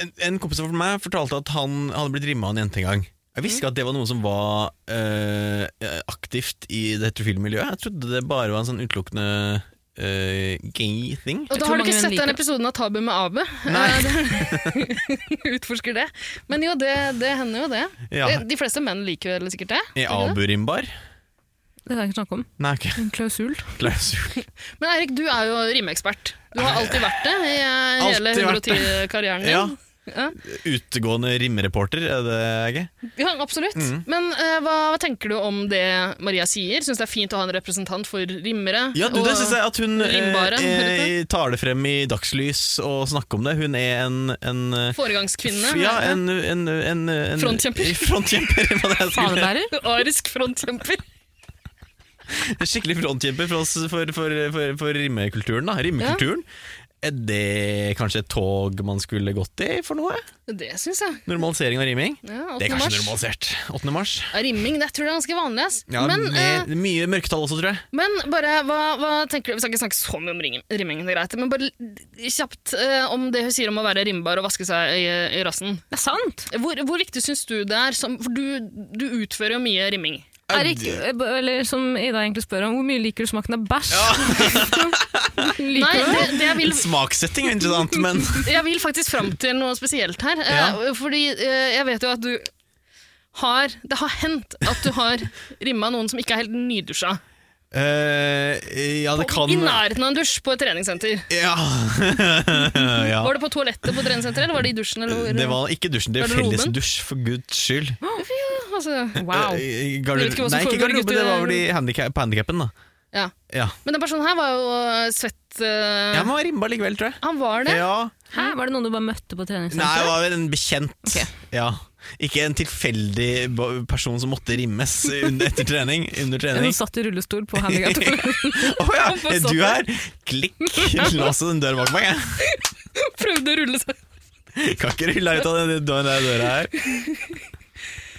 Speaker 2: En, en kompis av meg fortalte at han hadde blitt rimma av en jente en gang. Jeg visste ikke at det var noe som var eh, aktivt i det heterofile miljøet. Jeg trodde det bare var en sånn utelukkende eh, gay thing.
Speaker 3: Og
Speaker 1: Jeg
Speaker 3: da
Speaker 1: tror
Speaker 3: har du
Speaker 1: mange
Speaker 3: ikke sett den
Speaker 1: liker det.
Speaker 3: episoden av Tabu med Abu. Utforsker det. [laughs] Men jo, det, det hender jo det.
Speaker 2: Ja.
Speaker 3: Det- De fleste menn liker vel sikkert det.
Speaker 2: Er
Speaker 3: gjør de det?
Speaker 2: Abu rimbar?
Speaker 1: Det kan jeg ikke snakke om.
Speaker 2: Nei, ok.
Speaker 3: [laughs]
Speaker 1: En [laughs] klausul.
Speaker 2: Klausul.
Speaker 3: Men Eirik, du er jo rimeekspert. Du har alltid vært det i eh, hele
Speaker 2: Alltid vært det.
Speaker 3: 110-karrieren din.
Speaker 2: Ja.
Speaker 3: Ja.
Speaker 2: Utegående rimreporter, er det ikke?
Speaker 3: Ja, absolutt.
Speaker 2: Mm.
Speaker 3: Men eh, hva, hva tenker du om det Maria sier? Syns det er fint å ha en representant for rimmere?
Speaker 2: Ja, du, det syns jeg at hun
Speaker 3: rimbaren,
Speaker 2: eh, eh, tar det frem i dagslys og snakker om det. Hun er en, en eh,
Speaker 3: Foregangskvinne.
Speaker 2: f- Ja, en, en, en, en
Speaker 3: Frontkjemper.
Speaker 2: [laughs] Frontkjemper, hva det er jeg skulle
Speaker 1: Fanebærer.
Speaker 3: [laughs] Arisk frontkjemper.
Speaker 2: [laughs] Skikkelig frontkjemper for oss for, for, for, for rimmekulturen. da Rimmekulturen Er det kanskje et tog man skulle gått i for noe?
Speaker 3: Det syns jeg.
Speaker 2: Normalisering av rimming?
Speaker 3: Ja, 8.
Speaker 2: Det er kanskje
Speaker 3: mars.
Speaker 2: normalisert. 8. mars.
Speaker 3: Ja, Rimming det tror jeg er ganske vanlig. ass.
Speaker 2: Ja,
Speaker 3: men, eh,
Speaker 2: med, mye mørketall også, tror jeg.
Speaker 3: men bare, hva, hva tenker du Vi skal ikke snakke så mye om ringen- rimming, det er greit. Men bare l- kjapt eh, om det hun sier om å være rimbar og vaske seg i, i rassen.
Speaker 1: Det er sant!
Speaker 3: Hvor, hvor viktig syns du det er? Som, for du, du utfører jo mye rimming.
Speaker 1: Erik, eller som Ida egentlig spør om, hvor mye liker du smaken av bæsj? [laughs] liker
Speaker 3: Nei,
Speaker 1: du det?
Speaker 3: det, det jeg vil
Speaker 2: Smakssetting er interessant, men
Speaker 3: Jeg vil faktisk fram til noe spesielt her.
Speaker 2: Ja.
Speaker 3: eh, Fordi eh, jeg vet jo at du har Det har hendt at du har rimma noen som ikke er helt nydusja.
Speaker 2: Eh, Ja, det kan
Speaker 3: I nærheten av en dusj på et treningssenter.
Speaker 2: Ja. [laughs] ja.
Speaker 3: Var det på toalettet på treningssenteret, eller var det i dusjen? Eller hvor?
Speaker 2: Det var ikke dusjen, det er
Speaker 3: Garderoben?
Speaker 2: fellesdusj, for guds skyld.
Speaker 3: altså,
Speaker 1: Wow.
Speaker 2: Eh,
Speaker 3: Jeg vet
Speaker 2: Garder...
Speaker 3: ikke hva som
Speaker 2: Nei, ikke
Speaker 3: foregår,
Speaker 2: garderoben,
Speaker 3: gutter.
Speaker 2: det var vel i handicap, på handikappen, da.
Speaker 3: ja.
Speaker 2: Ja.
Speaker 3: Men den personen her var jo eh, svett eh,
Speaker 2: Jeg må ha rimba likevel, tror jeg.
Speaker 3: Han var det.
Speaker 2: Ja.
Speaker 1: Hæ, var det noen du bare møtte på
Speaker 2: Nei, det
Speaker 1: treningssenteret?
Speaker 2: var vel en bekjent.
Speaker 1: Ok.
Speaker 2: Ja. Ikke en tilfeldig bo- person som måtte rimmes under- etter trening.
Speaker 3: [laughs]
Speaker 2: Under
Speaker 1: Hun
Speaker 2: trening.
Speaker 1: satt i rullestol på
Speaker 2: [laughs]
Speaker 1: handikaptoren.
Speaker 2: Å ja,
Speaker 3: Han bare
Speaker 2: er
Speaker 3: satt
Speaker 2: du
Speaker 3: der.
Speaker 2: her? Klikk! Lås den døra bak meg. jeg.
Speaker 3: Prøvde å rulle seg.
Speaker 2: [laughs] Kan ikke rulle deg ut av den dø- den der døra her.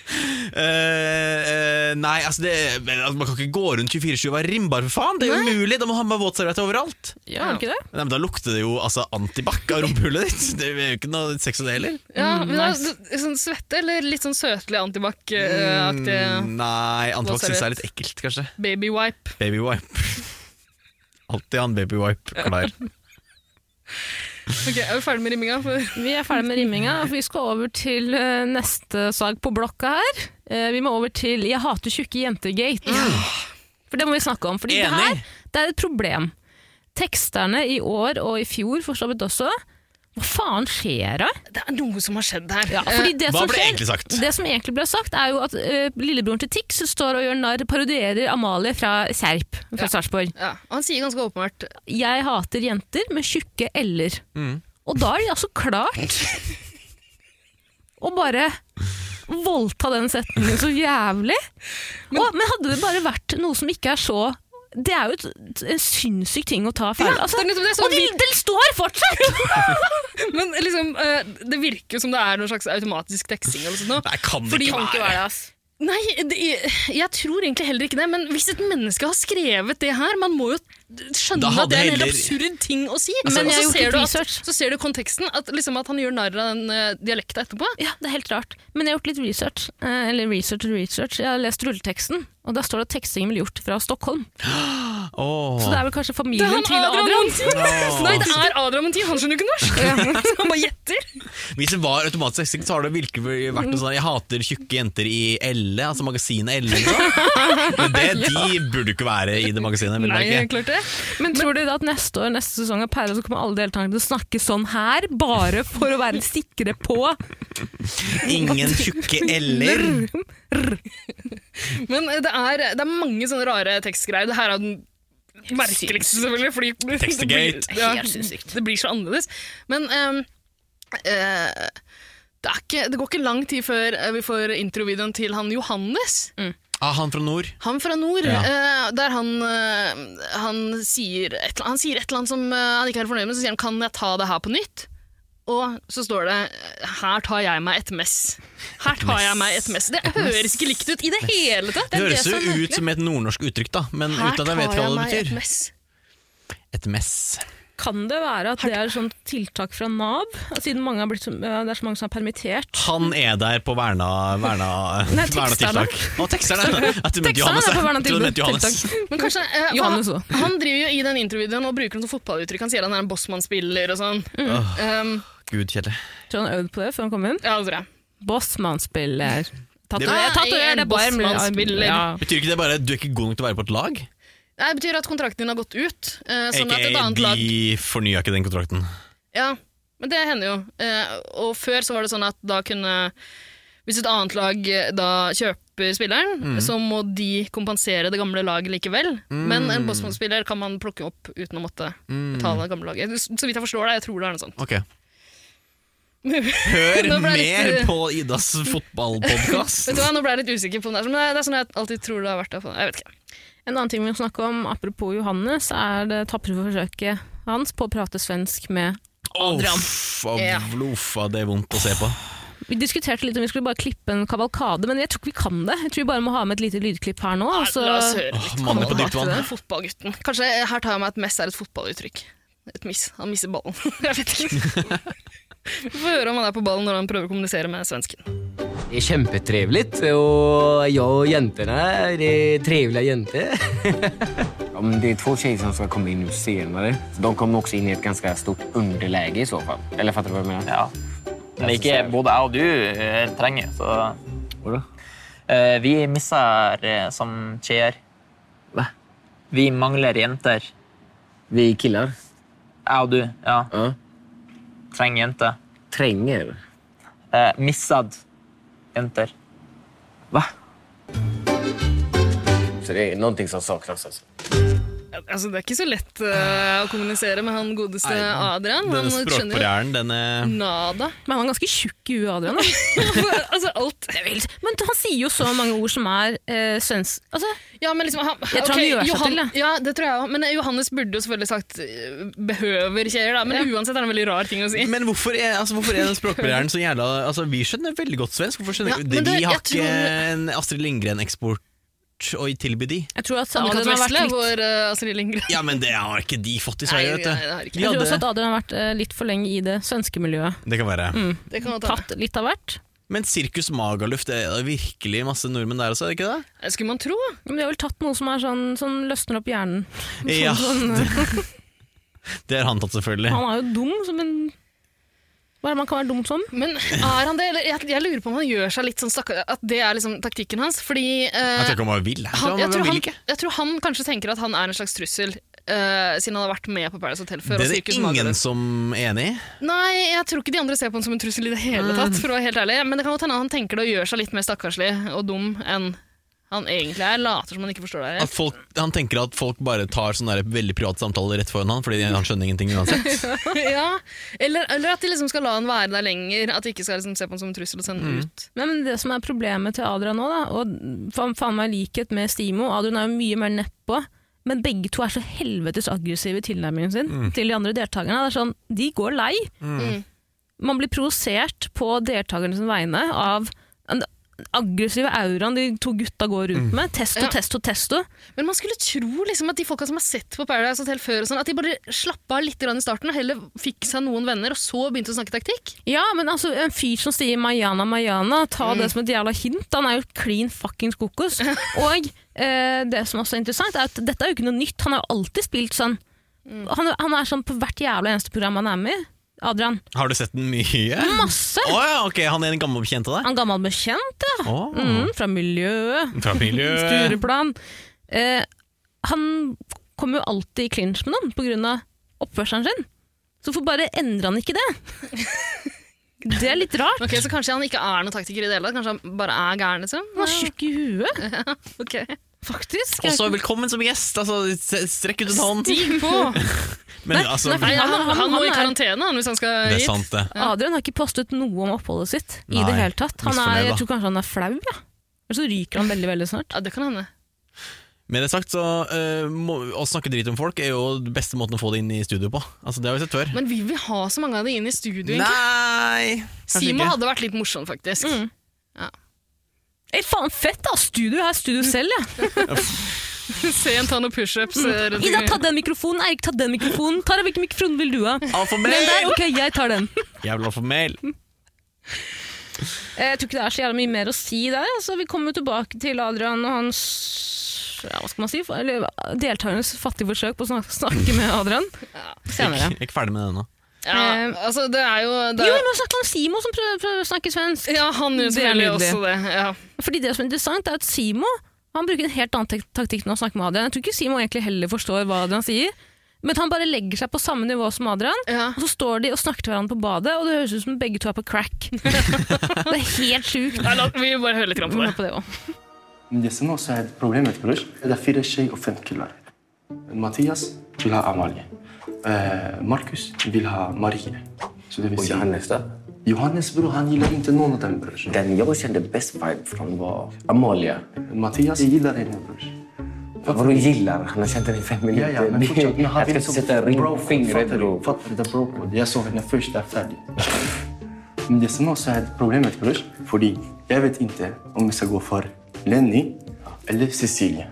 Speaker 2: Eh, eh, nei, altså, det, men, altså man kan ikke gå rundt 24-7 og være rimbar, for faen! Det er jo umulig! Da må han ha med våtserviett overalt.
Speaker 1: Ja, er det ikke det?
Speaker 2: Nei, men Da lukter det jo altså, antibac av rumpehullet ditt! Det er jo ikke noe sex og det heller.
Speaker 3: Ja,
Speaker 1: Mm,
Speaker 3: men da,
Speaker 1: nice.
Speaker 3: d- sånn svette eller litt sånn søtlig
Speaker 2: Mm.
Speaker 3: antibac-aktig
Speaker 2: Nei, antibac syns jeg er
Speaker 3: våtserviett.
Speaker 2: litt ekkelt, kanskje.
Speaker 3: baby wipe.
Speaker 2: Baby wipe. Alltid han baby wipe klar.
Speaker 3: Ok, Er vi ferdig med rimminga? For
Speaker 1: Vi er ferdig med rimminga. for Vi skal over til eh, neste sag på blokka her. Eh, vi må over til Jeg hater tjukke jenter-gate. For det må vi snakke om. Fordi det her
Speaker 2: Enig.
Speaker 1: det er et problem. Teksterne i år og i fjor for så vidt også. Hva faen skjer da?
Speaker 3: det er noe som har skjedd her.
Speaker 1: Ja, fordi det
Speaker 2: Hva
Speaker 1: som
Speaker 2: ble
Speaker 1: skjer-
Speaker 2: egentlig sagt?
Speaker 1: Det som egentlig ble sagt, er jo at eh, lillebroren til Tix står og gjør narr, parodierer Amalie fra Serp fra Sarpsborg.
Speaker 3: Eh, ja, og han sier ganske åpenbart
Speaker 1: Jeg hater jenter med tjukke l-er. Og da er de altså klart å bare voldta den setningen så jævlig. Men, og, men hadde det bare vært noe som ikke er så det er jo et, en sinnssyk ting å ta feil
Speaker 3: Ja,
Speaker 1: altså,
Speaker 3: det er nettopp det, så
Speaker 1: Og de,
Speaker 3: vi-
Speaker 1: den står fortsatt!
Speaker 3: Men liksom, eh, det virker jo som det er noen slags automatisk teksting. Eller sånt, nå.
Speaker 2: Nei, kan det
Speaker 3: Fordi-
Speaker 2: ikke
Speaker 1: det,
Speaker 2: være.
Speaker 1: ass.
Speaker 3: Nei, det, jeg tror egentlig heller ikke det. Men hvis et menneske har skrevet det her, man må jo skjønne
Speaker 2: Da
Speaker 3: at
Speaker 2: hadde
Speaker 3: det er en helt
Speaker 2: heller-
Speaker 3: absurd ting å si.
Speaker 1: Altså,
Speaker 3: men
Speaker 1: jeg har
Speaker 3: så
Speaker 1: gjort
Speaker 3: ser,
Speaker 1: litt
Speaker 3: du at,
Speaker 1: research.
Speaker 3: så ser du konteksten, at, liksom at han gjør narr av den eh, dialekta etterpå.
Speaker 1: Ja, det er helt rart. Men jeg har gjort litt research. eh, Eller research og research. Jeg har lest rulleteksten, og der står det at tekstingen ble gjort fra Stockholm.
Speaker 2: Åh.
Speaker 1: Så det er vel kanskje familien til Adrian.
Speaker 3: Montin! Nei, det er Adrian Montin, han skjønner jo ikke norsk! Så [laughs] han bare gjetter.
Speaker 2: Hvis det var automatisk teksting, så har det virkelig vært noe sånn Jeg hater tjukke jenter i Elle, altså magasinet Elle. liksom. Men det, de burde jo ikke være i det magasinet. vil
Speaker 3: Nei,
Speaker 2: jeg ikke.
Speaker 3: klart det.
Speaker 1: Men tror dere da at neste år, neste sesong av Perla, så kommer alle deltakerne til å snakke sånn her, bare for å være sikre på
Speaker 2: Ingen tjukke L-er.
Speaker 3: Men eh, det er, det er mange sånne rare tekstgreier. Det her er den merkeligste, selvfølgelig. Fordi [laughs] det
Speaker 2: Tekstegate.
Speaker 3: blir- Ja, det blir så annerledes. Men ehm, eh, det, er ikke, det går ikke lang tid før eh, vi får introvideoen til han Johannes.
Speaker 2: Ah, han fra nord.
Speaker 3: Han fra nord.
Speaker 2: Ja.
Speaker 3: eh, der han, eh, han, sier et, eller- han sier et eller annet som eh, han ikke er fornøyd med, så sier han 'kan jeg ta det her på nytt'? Og så står det 'her tar jeg meg et mess'. Her tar jeg meg et mess. Det høres ikke likt ut i det hele tatt.
Speaker 2: Det
Speaker 3: er
Speaker 2: høres
Speaker 3: som
Speaker 2: jo
Speaker 3: er merkelig.
Speaker 2: ut som et nordnorsk uttrykk, da, men uten at jeg vet hva det betyr.
Speaker 3: mess.
Speaker 2: Et mess.
Speaker 1: Kan det være at det er et sånt tiltak fra Nav, siden mange har blitt, så- eh, det er så mange som er permittert?
Speaker 2: Han er der på verna, verna,
Speaker 1: Nei,
Speaker 2: verna
Speaker 1: teksterne.
Speaker 2: tiltak. Å, teksterne! At du mente
Speaker 1: Teksterne
Speaker 2: Johannes.
Speaker 1: er på
Speaker 2: ja.
Speaker 1: Verna
Speaker 2: Jeg trodde du mente
Speaker 1: tiltak.
Speaker 2: Johannes.
Speaker 3: Men kanskje, eh, for
Speaker 1: [laughs] Johannes
Speaker 3: han,
Speaker 1: også.
Speaker 3: han driver jo i den introvideoen og bruker noen fotballuttrykk. Han sier han er en bossmannsspiller og sånn.
Speaker 2: Mm.
Speaker 3: Um,
Speaker 2: Gud, Kjelle.
Speaker 1: Tror han øvde på det før han kom inn?
Speaker 3: ja, det tror jeg.
Speaker 1: Bossmann-spiller. Tatover,
Speaker 3: Det-
Speaker 1: tatover, det er bare-
Speaker 3: Bossmann-spiller.
Speaker 1: Ja.
Speaker 2: Betyr ikke det bare at du er ikke god nok til å være på et lag?
Speaker 3: Nei, Det betyr at kontrakten din har gått ut. eh, sånn at et
Speaker 2: Ikke
Speaker 3: annet lag
Speaker 2: de fornya ikke den kontrakten.
Speaker 3: Ja, men det hender jo. Eh, og før så var det sånn at da kunne Hvis et annet lag eh, da kjøper spilleren,
Speaker 2: Mm.
Speaker 3: så må de kompensere det gamle laget likevel. Men
Speaker 2: Mm.
Speaker 3: en Bosman-spiller kan man plukke opp uten å måtte betale det gamle laget. Så vidt jeg forstår det, jeg tror det er noe sånt.
Speaker 2: Ok. Hør
Speaker 3: Nå ble jeg
Speaker 2: mer
Speaker 3: litt-
Speaker 2: på Idas fotballpodkast.
Speaker 3: [laughs] Vet du hva, Nå ble jeg litt usikker på det, men det er sånn jeg alltid tror det har vært. derfor. Jeg vet ikke.
Speaker 1: En annen ting vi må snakke om, apropos Johannes, er det tapre forsøket hans på å prate svensk med Adrian.
Speaker 2: Uff, av- loffa, det er vondt å se på.
Speaker 1: Vi diskuterte litt om vi skulle bare klippe en kavalkade, men jeg tror ikke vi kan det. Jeg tror vi bare må ha med et lite lydklipp her nå. og så-
Speaker 3: La oss høre
Speaker 2: Åh,
Speaker 3: litt
Speaker 2: mannen på dypt vann.
Speaker 3: den fotballgutten. Kanskje eh, her tar jeg meg et mess er et fotballuttrykk. Et miss. Han misser ballen. [laughs] jeg vet ikke. Vi får høre om han er på ballen når han prøver å kommunisere med svensken.
Speaker 5: Det är kämpetrevligt och jag och jäntorna det är trevliga jäntor.
Speaker 6: Ja, men det är två tjejer som ska komma in nu senare. De kommer också in i ett ganska stort underläge i så fall. Eller fattar du vad jag menar?
Speaker 7: Ja. Men ikke både jeg og du eh, trenger, så Eh, Vi misser eh, som skjer.
Speaker 6: Hva?
Speaker 7: Vi mangler jenter.
Speaker 6: Vi killar
Speaker 7: Jeg og du, ja.
Speaker 6: Ja.
Speaker 7: Trenger jenter.
Speaker 6: tränger.
Speaker 7: Eh, missad jenter.
Speaker 6: Så det är någonting som saknas. Alltså.
Speaker 3: Altså, det er ikke så lett eh, å kommunisere med han godeste Adrian.
Speaker 2: Denne
Speaker 3: Han skjønner jo Mm.
Speaker 2: språkbarrieren, den er
Speaker 3: nada. [laughs]
Speaker 1: Men han er ganske tjukk i huet, Adrian. da.
Speaker 3: altså, alt.
Speaker 1: Det er vilt. [laughs] Men han sier jo så mange ord som er eh, svensk... Altså,
Speaker 3: Ja, men liksom, han,
Speaker 1: Jeg tror han
Speaker 3: ok,
Speaker 1: gjør seg til det.
Speaker 3: Ja, det tror jeg også. Men eh, Johannes burde jo selvfølgelig sagt eh, 'behøver kjeier', da. Men uansett er det en veldig rar ting å si.
Speaker 2: Men hvorfor er, altså, hvorfor er den språkbarrieren så jævla altså, Vi skjønner veldig godt svensk. Hvorfor skjønner
Speaker 3: Ja,
Speaker 2: vi-
Speaker 3: men det-
Speaker 2: Vi har
Speaker 3: jeg tror-
Speaker 2: ikke en Astrid Lindgren-eksport å tilby de.
Speaker 1: jeg tror at
Speaker 3: Anne-Kat.
Speaker 1: Adrian har vært
Speaker 3: Vesle,
Speaker 1: litt
Speaker 3: hvor eh, Astrid Lindgren
Speaker 2: Ja, men det har ikke de fått i
Speaker 3: Nei,
Speaker 2: Sverige,
Speaker 3: nei, det har
Speaker 2: vet
Speaker 3: ikke
Speaker 2: du.
Speaker 3: de.
Speaker 2: Vi
Speaker 1: Jeg tror også
Speaker 2: hadde,
Speaker 1: at Adrian har vært eh, litt for lenge i det svenske miljøet.
Speaker 2: det kan være.
Speaker 3: Det kan godt hende.
Speaker 1: Tatt litt av hvert.
Speaker 2: Men Sirkus Magaluf, det er virkelig masse nordmenn der også, er det ikke det?
Speaker 3: Det skulle man tro.
Speaker 1: Men de har vel tatt noe som, er sånn, som løsner opp hjernen.
Speaker 2: Ja, [laughs] det, det har han tatt, selvfølgelig.
Speaker 1: Han er jo dum som en Hva er det man kan være dum som?
Speaker 3: Men er han det? Eller jeg, jeg lurer på om han gjør seg litt sånn stakkar At det er liksom taktikken hans. Fordi eh,
Speaker 2: Jeg tror ikke han bare vil. Jeg tror han,
Speaker 3: han, jeg,
Speaker 2: bare
Speaker 3: tror han,
Speaker 2: vil ikke.
Speaker 3: jeg tror han kanskje tenker at han er en slags trussel. eh, siden han har vært med på Paradise Hotel før.
Speaker 2: Det er
Speaker 3: og
Speaker 2: det
Speaker 3: Sirkus
Speaker 2: ingen
Speaker 3: Magaluf.
Speaker 2: som er enig i.
Speaker 3: Nei, jeg tror ikke de andre ser på han som en trussel i det hele tatt, for å være helt ærlig. Men det kan godt hende han tenker det og gjør seg litt mer stakkarslig og dum enn han egentlig er. Later som han ikke forstår det her.
Speaker 2: At folk, han tenker at folk bare tar sånne der veldig private samtaler rett foran han, fordi han skjønner ingenting uansett.
Speaker 3: [laughs] ja. eller, eller at de liksom skal la han være der lenger. At de ikke skal liksom se på han som en trussel og sende
Speaker 2: Mm.
Speaker 3: han ut.
Speaker 1: Nei, men det som er problemet til Adrian nå, da, og faen, faen meg likhet med Stimo Adrian er jo mye mer nedpå, men begge to er så helvetes aggressive i tilnærmingen sin til de andre deltakerne. Det er sånn, De går lei. Man blir provosert på deltakernes vegne av den aggressive auraen de to gutta går rundt med. Testo,
Speaker 3: Ja.
Speaker 1: testo, testo.
Speaker 3: Men man skulle tro liksom at de folka som har sett på Paradise Hotel før, og sånn, at de bare slappa av litt grann i starten og heller fikk seg noen venner, og så begynte å snakke taktikk.
Speaker 1: Ja, men altså, en fyr som sier Mayana, Mayana, ta det som et jævla hint. Han er jo clean fuckings kokos. Og eh, det som også er interessant, er at dette er jo ikke noe nytt. Han har jo alltid spilt sånn. Han, han er sånn på hvert jævla eneste program han er med i. Adrian.
Speaker 2: Har du sett den mye? Å
Speaker 1: Masse!
Speaker 2: ja, ok, han er en gammel bekjent av deg?
Speaker 1: Han gammel bekjent, ja.
Speaker 2: Å,
Speaker 1: Mm, fra miljøet.
Speaker 2: Fra miljøet.
Speaker 1: Stureplan. Eh, han kommer jo alltid i clinch med noen pga. oppførselen sin. Så hvorfor bare endrer han ikke det? Det er litt rart.
Speaker 3: Ok, Så kanskje han ikke er noen taktiker i det hele tatt? Kanskje han bare er gæren, liksom?
Speaker 1: Han er tjukk i huet,
Speaker 3: Ok.
Speaker 1: faktisk.
Speaker 2: Også velkommen som gjest, altså, s- strekk ut en hånd.
Speaker 3: Stig på!
Speaker 2: Men
Speaker 1: Nei,
Speaker 2: altså,
Speaker 1: nei, for-
Speaker 3: Nei, han, han,
Speaker 1: han
Speaker 3: må i
Speaker 1: er-
Speaker 3: karantene han, hvis han skal
Speaker 2: det er
Speaker 3: hit.
Speaker 2: sant det.
Speaker 1: Adrian har ikke postet noe om oppholdet sitt i
Speaker 2: Nei,
Speaker 1: det hele tatt. Han er,
Speaker 2: misfornøyd, da.
Speaker 1: jeg tror kanskje han er flau, ja. Eller så ryker han veldig veldig snart.
Speaker 3: Ja, det kan hende.
Speaker 2: Med det sagt, så eh, må, å snakke drit om folk er jo den beste måten å få det inn i studio på. Altså, det har vi sett før.
Speaker 3: Men vil vi ha så mange av de inn i studio? egentlig?
Speaker 2: Nei! kanskje
Speaker 3: Simo
Speaker 2: ikke.
Speaker 3: hadde vært litt morsom, faktisk.
Speaker 1: Mm. Ei, faen fett, da! Studio her, studio selv, ja.
Speaker 3: [laughs] Se en ta noen pushups. eh,
Speaker 1: Mm.
Speaker 3: rundt
Speaker 1: Ida,
Speaker 3: omkring.
Speaker 1: ta den mikrofonen! Eirik, ta den mikrofonen! Tara, hvilken mikrofon vil du ha? Den der?
Speaker 2: Alfamail!
Speaker 1: Ok, jeg tar den.
Speaker 2: Jævla alfamail.
Speaker 1: Eh, Jeg tror ikke det er så jævla mye mer å si der. Altså, vi kommer jo tilbake til Adrian og hans ja, hva skal man si? Eller deltakernes fattige forsøk på å snak- snakke med Adrian senere.
Speaker 2: Jeg er ikke ferdig med det ennå.
Speaker 3: Ja, altså, det er jo det
Speaker 1: Jo,
Speaker 3: er,
Speaker 1: vi må snakke om Simo som prøver, prøver å snakke svensk.
Speaker 3: Ja, han gjør
Speaker 1: Det er
Speaker 3: selvfølgelig
Speaker 1: nydelig.
Speaker 3: også det. Ja.
Speaker 1: Fordi det som er interessant er at Simo han bruker en helt annen tek- taktikk når han snakker med Adrian. Jeg tror ikke Simo egentlig heller forstår hva Adrian sier, men han bare legger seg på samme nivå som Adrian,
Speaker 3: Ja.
Speaker 1: og så står de og snakker til hverandre på badet, og det høres ut som begge to er på [laughs] crack. det er helt sjukt.
Speaker 3: Nei, la, vi bare hører litt
Speaker 1: Vi
Speaker 3: grann på
Speaker 1: må
Speaker 3: det.
Speaker 1: på det også.
Speaker 8: Det som også er problemet, bror, det er fire tjej og fem kuller. Mathias vil ha Amalie. Eh, Markus vil ha Marie. Så det vil
Speaker 6: Och
Speaker 8: si...
Speaker 6: Johannes då?
Speaker 8: Johannes, bror, han gillar inte någon av dem, bror.
Speaker 6: Den jag kände bäst vibe från var Amalia.
Speaker 8: Mathias gillar henne, bror.
Speaker 6: Vadå gillar? Han har känt henne i fem
Speaker 8: Ja,
Speaker 6: minuter.
Speaker 8: ja, men fortsätt. Nu har
Speaker 6: jag [laughs]
Speaker 8: vi liksom sånn
Speaker 6: ska inte sätta ring på fingret
Speaker 8: Fattar
Speaker 6: bror.
Speaker 8: du? Fattar du? Det är bro code. Jag såg henne först där färdig. [laughs] Men det som också är problemet, bror, för jag vet inte om vi ska gå för Lenny eller Cecilia.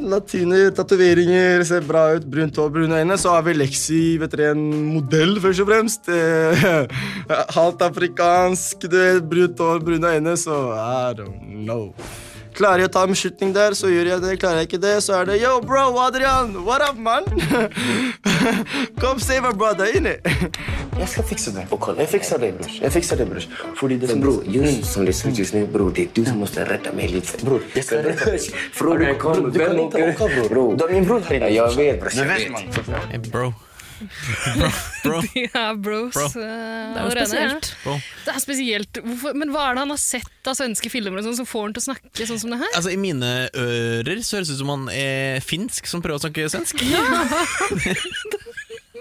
Speaker 9: Latiner, tatoveringer, ser bra ut, brunt hår, brune øyne. Så har vi Lexi, vet dere, en modell, først og fremst. [laughs] Eh, Halvt afrikansk, du vet, brunt hår, brune øyne, så I don't know. Klarer jeg å ta en beslutning der, så gjør jeg det. Klarer jeg ikke det, så er det Yo, bro, Adrian, what up, man? [laughs] Come save our brother, inni.
Speaker 8: Jag ska fixa det.
Speaker 6: Och kolla,
Speaker 8: Jag fixar det, bror. Jag fixar det, bror. För det som...
Speaker 6: Bror, just som det ser ut just nu bror, det är du som måste rädda mig lite. Bror,
Speaker 8: jag ska rädda dig.
Speaker 6: [laughs] Bror, du,
Speaker 8: Du kan inte åka, bror.
Speaker 6: bror.
Speaker 8: Du är min bror här inne.
Speaker 6: Jag vet bror, jag
Speaker 8: vet
Speaker 6: vet.
Speaker 8: man.
Speaker 2: Hey, bro. Bro.
Speaker 3: De er bros.
Speaker 2: Bro.
Speaker 3: eh,
Speaker 1: Det er jo
Speaker 3: allerede,
Speaker 1: spesielt.
Speaker 2: Bro.
Speaker 3: Ja. Det er spesielt. Hvorfor, men hva er det han har sett av svenske filmer og sånn, som får han til å snakke sånn som
Speaker 1: [laughs]
Speaker 3: det her?
Speaker 2: Altså, I mine ører så høres det ut som han er finsk som prøver å snakke
Speaker 3: [laughs]
Speaker 2: svensk.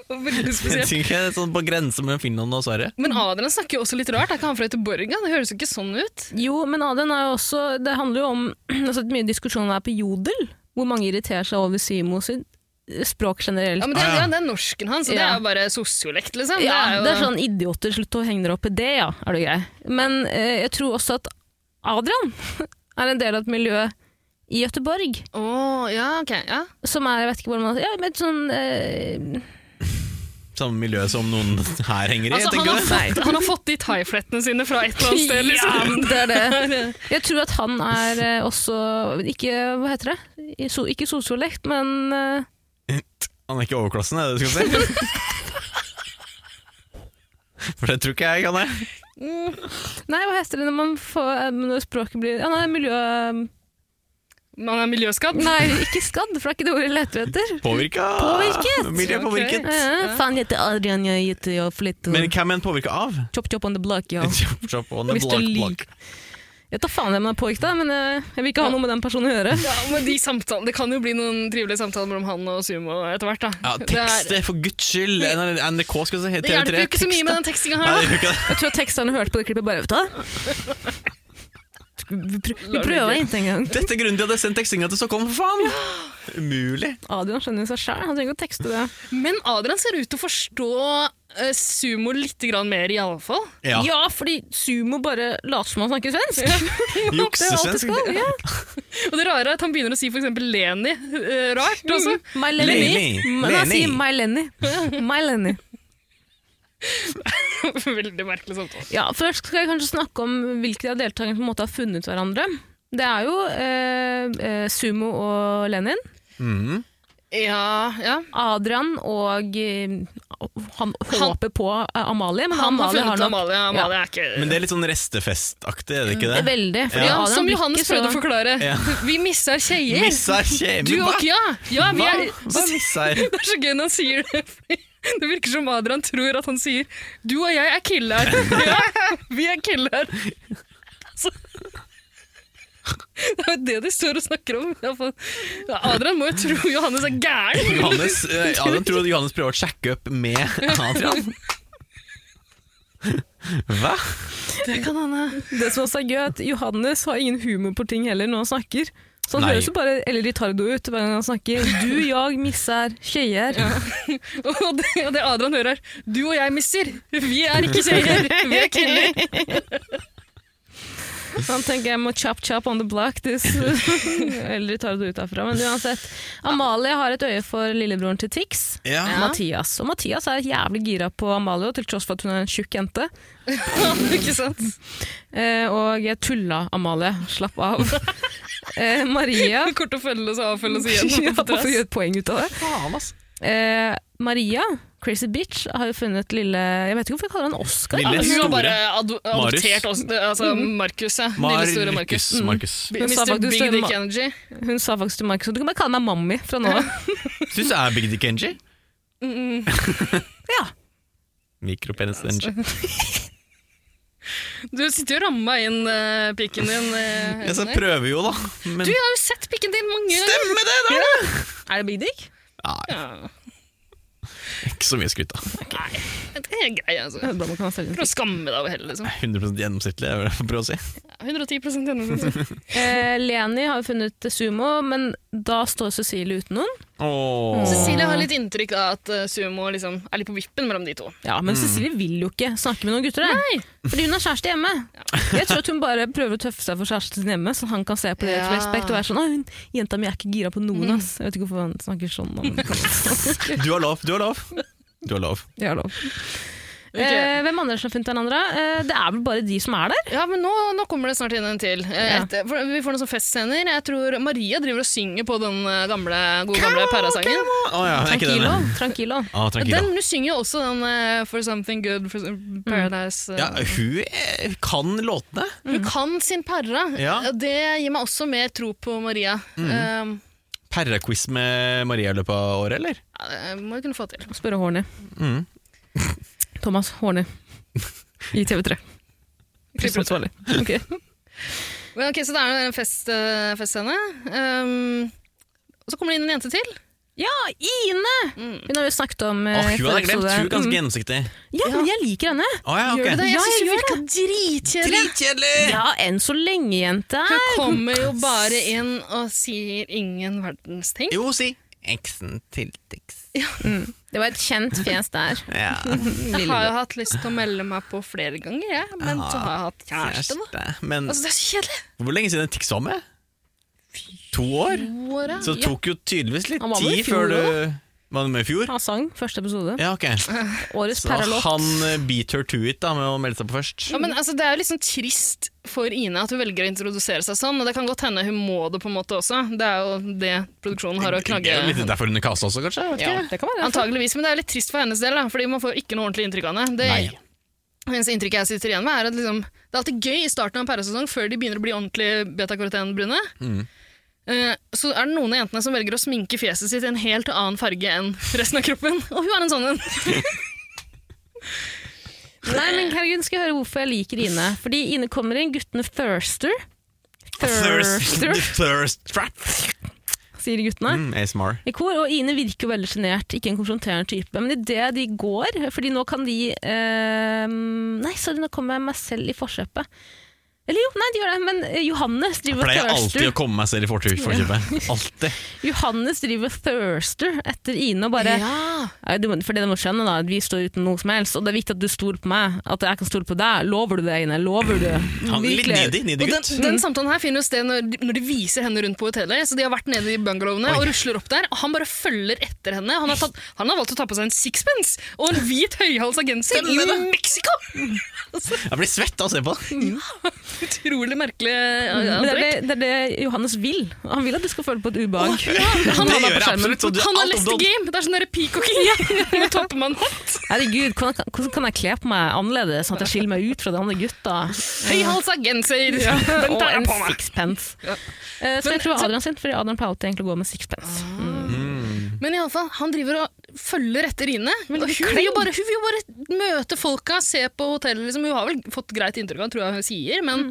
Speaker 3: Veldig
Speaker 2: Jeg
Speaker 3: spesielt.
Speaker 2: tenker ikke det er sånn På grense mellom Finland og Sverige.
Speaker 3: Men Adrian snakker jo også litt rart. Er ikke han fra Göteborg? ja? Det høres jo ikke sånn ut.
Speaker 1: Jo, men Adrian er jo også Det handler jo om [clears throat] altså, Mye diskusjon er på Jodel, hvor mange irriterer seg over Simo sitt språk generelt.
Speaker 3: Ja, men det,
Speaker 2: Ah,
Speaker 3: er-
Speaker 2: ja.
Speaker 3: ja, det er norsken hans, og det
Speaker 1: Ja.
Speaker 3: er jo bare sosiolekt, liksom.
Speaker 1: Ja,
Speaker 3: jo,
Speaker 1: det er sånn idioter, slutt å henge dere opp i det, ja, er du grei. Men eh, jeg tror også at Adrian [laughs] er en del av et miljø i Gøteborg,
Speaker 3: Å, ja, ok. Ja.
Speaker 1: som er, jeg vet ikke hvordan man ja, men et sånn eh,
Speaker 2: Samme miljø som noen her henger i.
Speaker 3: Altså, han,
Speaker 2: tenker
Speaker 3: har
Speaker 2: jeg.
Speaker 3: fått, han har fått de thaiflettene sine fra et eller annet
Speaker 1: [laughs]
Speaker 3: sted,
Speaker 1: Ja,
Speaker 3: liksom.
Speaker 1: men det er det. Jeg tror at han er eh, også Ikke, hva heter det? I So, ikke sosiolekt, men eh,
Speaker 2: Han er ikke overklassen, er det det du skal si? [laughs] For det tror ikke jeg kan det.
Speaker 1: Nei, hva heter det når man får eh, Når språket blir Ja, nei, miljø...
Speaker 3: [laughs]
Speaker 1: eh,
Speaker 3: Man er miljøskadd.
Speaker 1: Nei, ikke skadd, for det er ikke det ordet jeg leter etter.
Speaker 2: Påvirka!
Speaker 1: Påvirket.
Speaker 2: Miljø påvirket.
Speaker 3: Ok.
Speaker 1: Eh, faen, jeg heter Adrian, jeg heter jeg flytter
Speaker 2: Men hvem er han påvirka av?
Speaker 1: Chop chop on the block, ja.
Speaker 2: Chop, chop on the
Speaker 1: Hvis du
Speaker 2: block,
Speaker 1: liker-
Speaker 2: block.
Speaker 1: Jeg tar faen hvem han er påvirket av, men eh, jeg vil ikke ha noe med den personen å gjøre.
Speaker 3: Ja, men de samtalene, Det kan jo bli noen trivelige samtaler mellom han og Sumo etter hvert. da.
Speaker 2: Ja, eh,
Speaker 3: Det er-
Speaker 2: tekstet, for guds skyld! NRK skal si
Speaker 3: Det hjelper jo ikke så mye med den tekstinga her. da.
Speaker 1: Jeg tror teksterne hørte på det klippet bare, vet du. hva? Vi, prø vi prøver ikke engang.
Speaker 2: Dette er grunnen til at jeg sendte tekstinga til Stockholm, for faen! Umulig.
Speaker 1: Adrian skjønner jo seg sjæl, han trenger ikke å tekste det.
Speaker 3: Men Adrian ser ut til å forstå eh, Sumo litt grann mer, iallfall.
Speaker 2: Ja.
Speaker 1: Ja, fordi Sumo bare later som han snakker [laughs] svensk. Det er alt det
Speaker 2: Juksesvensk.
Speaker 1: skal. Ja.
Speaker 3: Og det rare er at han begynner å si f.eks. Leni eh, rart. Altså.
Speaker 1: My
Speaker 2: Lenny.
Speaker 1: Lenny. Men han
Speaker 2: Lenny.
Speaker 1: sier My Lenny. My Lenny. Mm.
Speaker 3: [laughs] Veldig merkelig samtale.
Speaker 1: Ja, først skal jeg kanskje snakke om hvilke av deltakerne som på en måte har funnet hverandre. Det er jo eh, eh, Sumo og Lenin.
Speaker 2: Mhm.
Speaker 3: Ja, ja.
Speaker 1: Adrian og eh, Han håper på eh, Amalie, men
Speaker 3: Han har
Speaker 1: Amalie
Speaker 3: funnet
Speaker 1: har nok
Speaker 3: Amalie. Amalie er ikke
Speaker 2: Men det er litt sånn restefestaktig, er det ikke
Speaker 1: Det er
Speaker 2: det?
Speaker 1: Veldig. fordi
Speaker 3: ja,
Speaker 1: Adrian
Speaker 3: Som
Speaker 1: blir
Speaker 3: Johannes
Speaker 1: ikke så-
Speaker 3: prøvde å forklare.
Speaker 2: Ja.
Speaker 3: [laughs] Vi misser tjejer.
Speaker 2: Missa kjemi...
Speaker 3: Du og ja! ja vi
Speaker 2: Hva?
Speaker 3: er,
Speaker 2: Hva missa jeg?
Speaker 3: Det er så gøy når han sier det. fordi Det virker som Adrian tror at han sier 'du og jeg er killer'. [laughs] Ja, vi er killer. Så. Det er jo det de står og snakker om. i hvert fall. Ja, Adrian må jo tro Johannes er gæren.
Speaker 2: Johannes,
Speaker 3: [laughs]
Speaker 2: eh, Adrian tror at Johannes prøver å sjekke opp med
Speaker 3: [laughs]
Speaker 2: Adrian. Hva?
Speaker 3: Det kan hende.
Speaker 1: Det som også er gøy, er at Johannes har ingen humor på ting heller når han snakker. Så han
Speaker 2: Nei.
Speaker 1: høres jo bare eller retardo ut hver gang han snakker. Du, jeg, misser, skeier.
Speaker 3: Og det, og det Adrian hører, er 'du og jeg mister'. Vi er ikke kjeller, vi er killer.
Speaker 1: Han tenker jeg må chop chop on the block this. [laughs] eller retardo ut herfra. Men uansett. Amalie har et øye for lillebroren til Tix.
Speaker 2: Ja.
Speaker 1: Mathias. Og Mathias er jævlig gira på Amalie, og til tross for at hun er en tjukk jente.
Speaker 3: ikke sant?
Speaker 1: Eh, og jeg tulla, Amalie. Slapp [laughs] av. eh, Maria
Speaker 3: Det er kort å følge oss og avfølge oss igjen.
Speaker 1: [laughs] Ja, bare for å gjøre et poeng ut av det. Eh, Maria, crazy bitch, har jo funnet lille Jeg vet ikke hvorfor jeg kaller han Oscar.
Speaker 2: Lille.
Speaker 1: Ja,
Speaker 3: Hun har
Speaker 2: store.
Speaker 3: bare ad- adoptert oss, altså Markus, ja. Lille store Mm. Markus.
Speaker 2: Markus. Markus.
Speaker 1: Hun sa
Speaker 3: Mr.
Speaker 1: faktisk
Speaker 3: Big
Speaker 1: det-
Speaker 3: Dick Energy.
Speaker 1: Hun sa faktisk til Markus at du kan bare kalle meg Mammi fra nå av.
Speaker 2: Syns jeg er Big Dick Engie.
Speaker 3: Mm,
Speaker 2: [laughs]
Speaker 1: Ja.
Speaker 2: Mikropenis Engie.
Speaker 3: Altså, Du sitter jo og rammer inn eh, pikken din. eh,
Speaker 2: Ja, så [laughs]
Speaker 3: Henrik.
Speaker 2: jeg prøver jo, da. Men
Speaker 3: du jeg har jo sett pikken din mange ganger!
Speaker 2: stemmer det, da!
Speaker 1: Er det Big Dick?
Speaker 2: Nei,
Speaker 3: Ja,
Speaker 2: ikke så mye skryt, da.
Speaker 3: det er grei, altså.
Speaker 1: [laughs] Da må man kalle
Speaker 3: Prøv å skamme deg over heller, liksom.
Speaker 2: 100 gjennomsnittlig, er det jeg prøver å si.
Speaker 3: 110 gjennomsnitt.
Speaker 1: eh, Leni har jo funnet Sumo, men da står Cecilie uten noen.
Speaker 2: Åh.
Speaker 3: Cecilie har litt inntrykk av at eh, Sumo liksom er litt på vippen mellom de to.
Speaker 1: Ja,
Speaker 2: Mm.
Speaker 1: Men Cecilie vil jo ikke snakke med noen gutter der. Fordi hun har kjæreste hjemme. Jeg tror at hun bare prøver å tøffe seg for kjæresten sin hjemme, så han kan se på det
Speaker 3: Ja.
Speaker 1: med respekt og være sånn «Å, hun, 'Jenta mi er ikke gira på noen, ass'. Jeg vet ikke hvorfor han snakker sånn om
Speaker 3: Mm.
Speaker 2: Du har lov, du har lov. Du har lov.
Speaker 1: Ja, lov. Eh, hvem andre som har funnet hverandre? Eh, det er vel bare de som er der.
Speaker 3: Ja, men nå, nå kommer det snart inn en til. Eh,
Speaker 1: Ja.
Speaker 3: Etter, for vi får noen sånne festscener. Jeg tror Maria driver og synger på den eh, gamle, gode gamle Pæra-sangen.
Speaker 2: Å ja, er ikke det
Speaker 1: Tranquilo.
Speaker 2: det?
Speaker 1: Tranquilo.
Speaker 2: Ah, tranquilo.
Speaker 3: Den, du synger jo også den eh, For Something Good, For Some- Paradise eh.
Speaker 2: Mm. Ja, hun eh, kan låtene.
Speaker 3: Hun kan sin perra.
Speaker 2: Ja. Mm.
Speaker 3: Det gir meg også mer tro på Maria. Um,
Speaker 2: Perrequiz med Maria i løpet av året, eller?
Speaker 3: Ja, det må vi kunne få til.
Speaker 1: Og spørre Horny.
Speaker 2: Mm.
Speaker 1: [laughs] Thomas Horny i TV3. Prisansvarlig. Ok.
Speaker 3: Men ok, Så det er jo en fest, eh, festscene. Ehm, og så kommer det inn en jente til.
Speaker 1: Ja, Ine! Hun har vi snakket om eh,
Speaker 2: Åh, hun
Speaker 1: forrige
Speaker 2: hadde jeg glemt.
Speaker 1: episode.
Speaker 2: Hun er ganske
Speaker 1: Mm.
Speaker 2: gjennomsiktig.
Speaker 1: Ja, men jeg liker henne.
Speaker 2: Å ja,
Speaker 3: Gjør du
Speaker 2: ok.
Speaker 3: det? Jeg
Speaker 1: Ja, jeg
Speaker 3: synes hun
Speaker 1: gjør
Speaker 3: virka dritkjedelig.
Speaker 2: Dritkjedelig!
Speaker 1: Ja, enn så lenge, jente.
Speaker 3: Hun kommer jo bare inn og sier ingen verdens ting.
Speaker 2: Jo, si eksen til Tix.
Speaker 1: Det var et kjent fjes der.
Speaker 2: Ja.
Speaker 3: Jeg har jo hatt lyst til å melde meg på flere ganger, jeg, men så har jeg hatt kjæreste. da.
Speaker 2: Ah, Kjæreste. Men
Speaker 3: Altså, Det er så kjedelig.
Speaker 2: hvor lenge siden Tix var med? To år?
Speaker 3: Åra.
Speaker 2: Så det tok jo tydeligvis litt
Speaker 1: Han var med i
Speaker 2: tid
Speaker 1: fjor
Speaker 2: før du Var du med i
Speaker 1: [laughs]
Speaker 2: fjor?
Speaker 1: Han sang første episode.
Speaker 2: Ja, ok.
Speaker 1: Årets
Speaker 2: Så
Speaker 1: peralott.
Speaker 2: han eh, beat her to it da, med å melde seg på først.
Speaker 3: Ja, men altså, Det er jo litt sånn trist for Ine at hun velger å introdusere seg sånn. Og det kan godt hende hun må det på en måte også. Det er jo det produksjonen har å
Speaker 2: Det
Speaker 3: knagge
Speaker 2: er jo litt derfor hun er kasta også, kanskje? Jeg vet
Speaker 3: Ja,
Speaker 1: Det kan være.
Speaker 3: Antageligvis, men det er litt trist for hennes del, da, fordi man får ikke noe ordentlig inntrykk av henne. Det
Speaker 2: Nei.
Speaker 3: eneste inntrykket jeg sitter igjen med, er at liksom, det er alltid gøy i starten av en pæresesong, før de begynner å bli ordentlig beta-karoten-brune.
Speaker 2: Mm.
Speaker 3: Eh, Så er det noen av jentene som velger å sminke fjeset sitt i en helt annen farge enn resten av kroppen. Og hun er en sånn en.
Speaker 1: Nei, men herregud, skal jeg høre hvorfor jeg liker Ine. Fordi Ine kommer inn, guttene thirster.
Speaker 2: ikke. Thirst,
Speaker 1: Thirster,
Speaker 2: [laughs] thirst trap.
Speaker 1: [laughs] sier guttene.
Speaker 2: Mm, ASMR.
Speaker 1: I kor, og Ine virker jo veldig sjenert, ikke en konfronterende type. Men idet de går Fordi nå kan de eh, Nei, sorry, nå kommer jeg meg selv i forkjøpet. Eller jo, nei, de gjør det, men eh, Johannes
Speaker 2: Jeg
Speaker 1: driver og
Speaker 2: pleier alltid å
Speaker 1: thirster.
Speaker 2: komme meg selv i fortur-
Speaker 3: [laughs]
Speaker 2: forkjøpet. Alltid.
Speaker 1: Johannes driver og thirster etter Ine og bare Nei, du må- For det du må skjønne, da, at vi står uten noe som helst, og det er viktig at du stoler på meg. At jeg kan stole på deg. Lover du det, Ine? Lover du?
Speaker 2: Han er litt
Speaker 1: Virkelig.
Speaker 2: needy, needy
Speaker 3: Og den,
Speaker 2: gutt.
Speaker 3: den samtalen her finner jo sted når de, når de viser henne rundt på hotellet. Så De har vært nede i bungalowene og rusler opp der, og han bare følger etter henne. Han har, tatt, han har valgt å ta på seg en sixpence og en hvit høyhalsa genser i Mexico!
Speaker 2: Jeg blir svett av å se på det.
Speaker 3: Utrolig merkelig eh,
Speaker 1: Men det, er
Speaker 3: antrekk.
Speaker 1: det, det er det Johannes vil. Han vil at du skal føle på et ubehag.
Speaker 2: Det
Speaker 1: har meg på
Speaker 2: gjør jeg
Speaker 1: skjermen.
Speaker 2: absolutt. Så du,
Speaker 3: Han
Speaker 2: alt
Speaker 3: har
Speaker 2: om
Speaker 3: lest the
Speaker 2: det-
Speaker 3: game! Det er sånn derre peacocking
Speaker 2: [laughs]
Speaker 3: med toppemann-hatt.
Speaker 1: Herregud, hvordan kan- hvordan kan jeg kle på meg annerledes, sånn at jeg skiller meg ut fra de andre gutta?
Speaker 3: Høyhalsa genser! Den
Speaker 1: Og
Speaker 3: tar
Speaker 1: en
Speaker 3: jeg på meg.
Speaker 1: sixpence. Eh, Så jeg tror Adrian sin, fordi Adrian pleier alltid egentlig å gå med sixpence. Mm.
Speaker 3: Men i alle fall, han driver og følger etter Ine. Og hun
Speaker 1: Veldig
Speaker 3: vil, jo bare, hun vil jo bare møte folka, se på hotellet. Liksom. Hun har vel fått greit inntrykk av det, tror jeg hun sier, men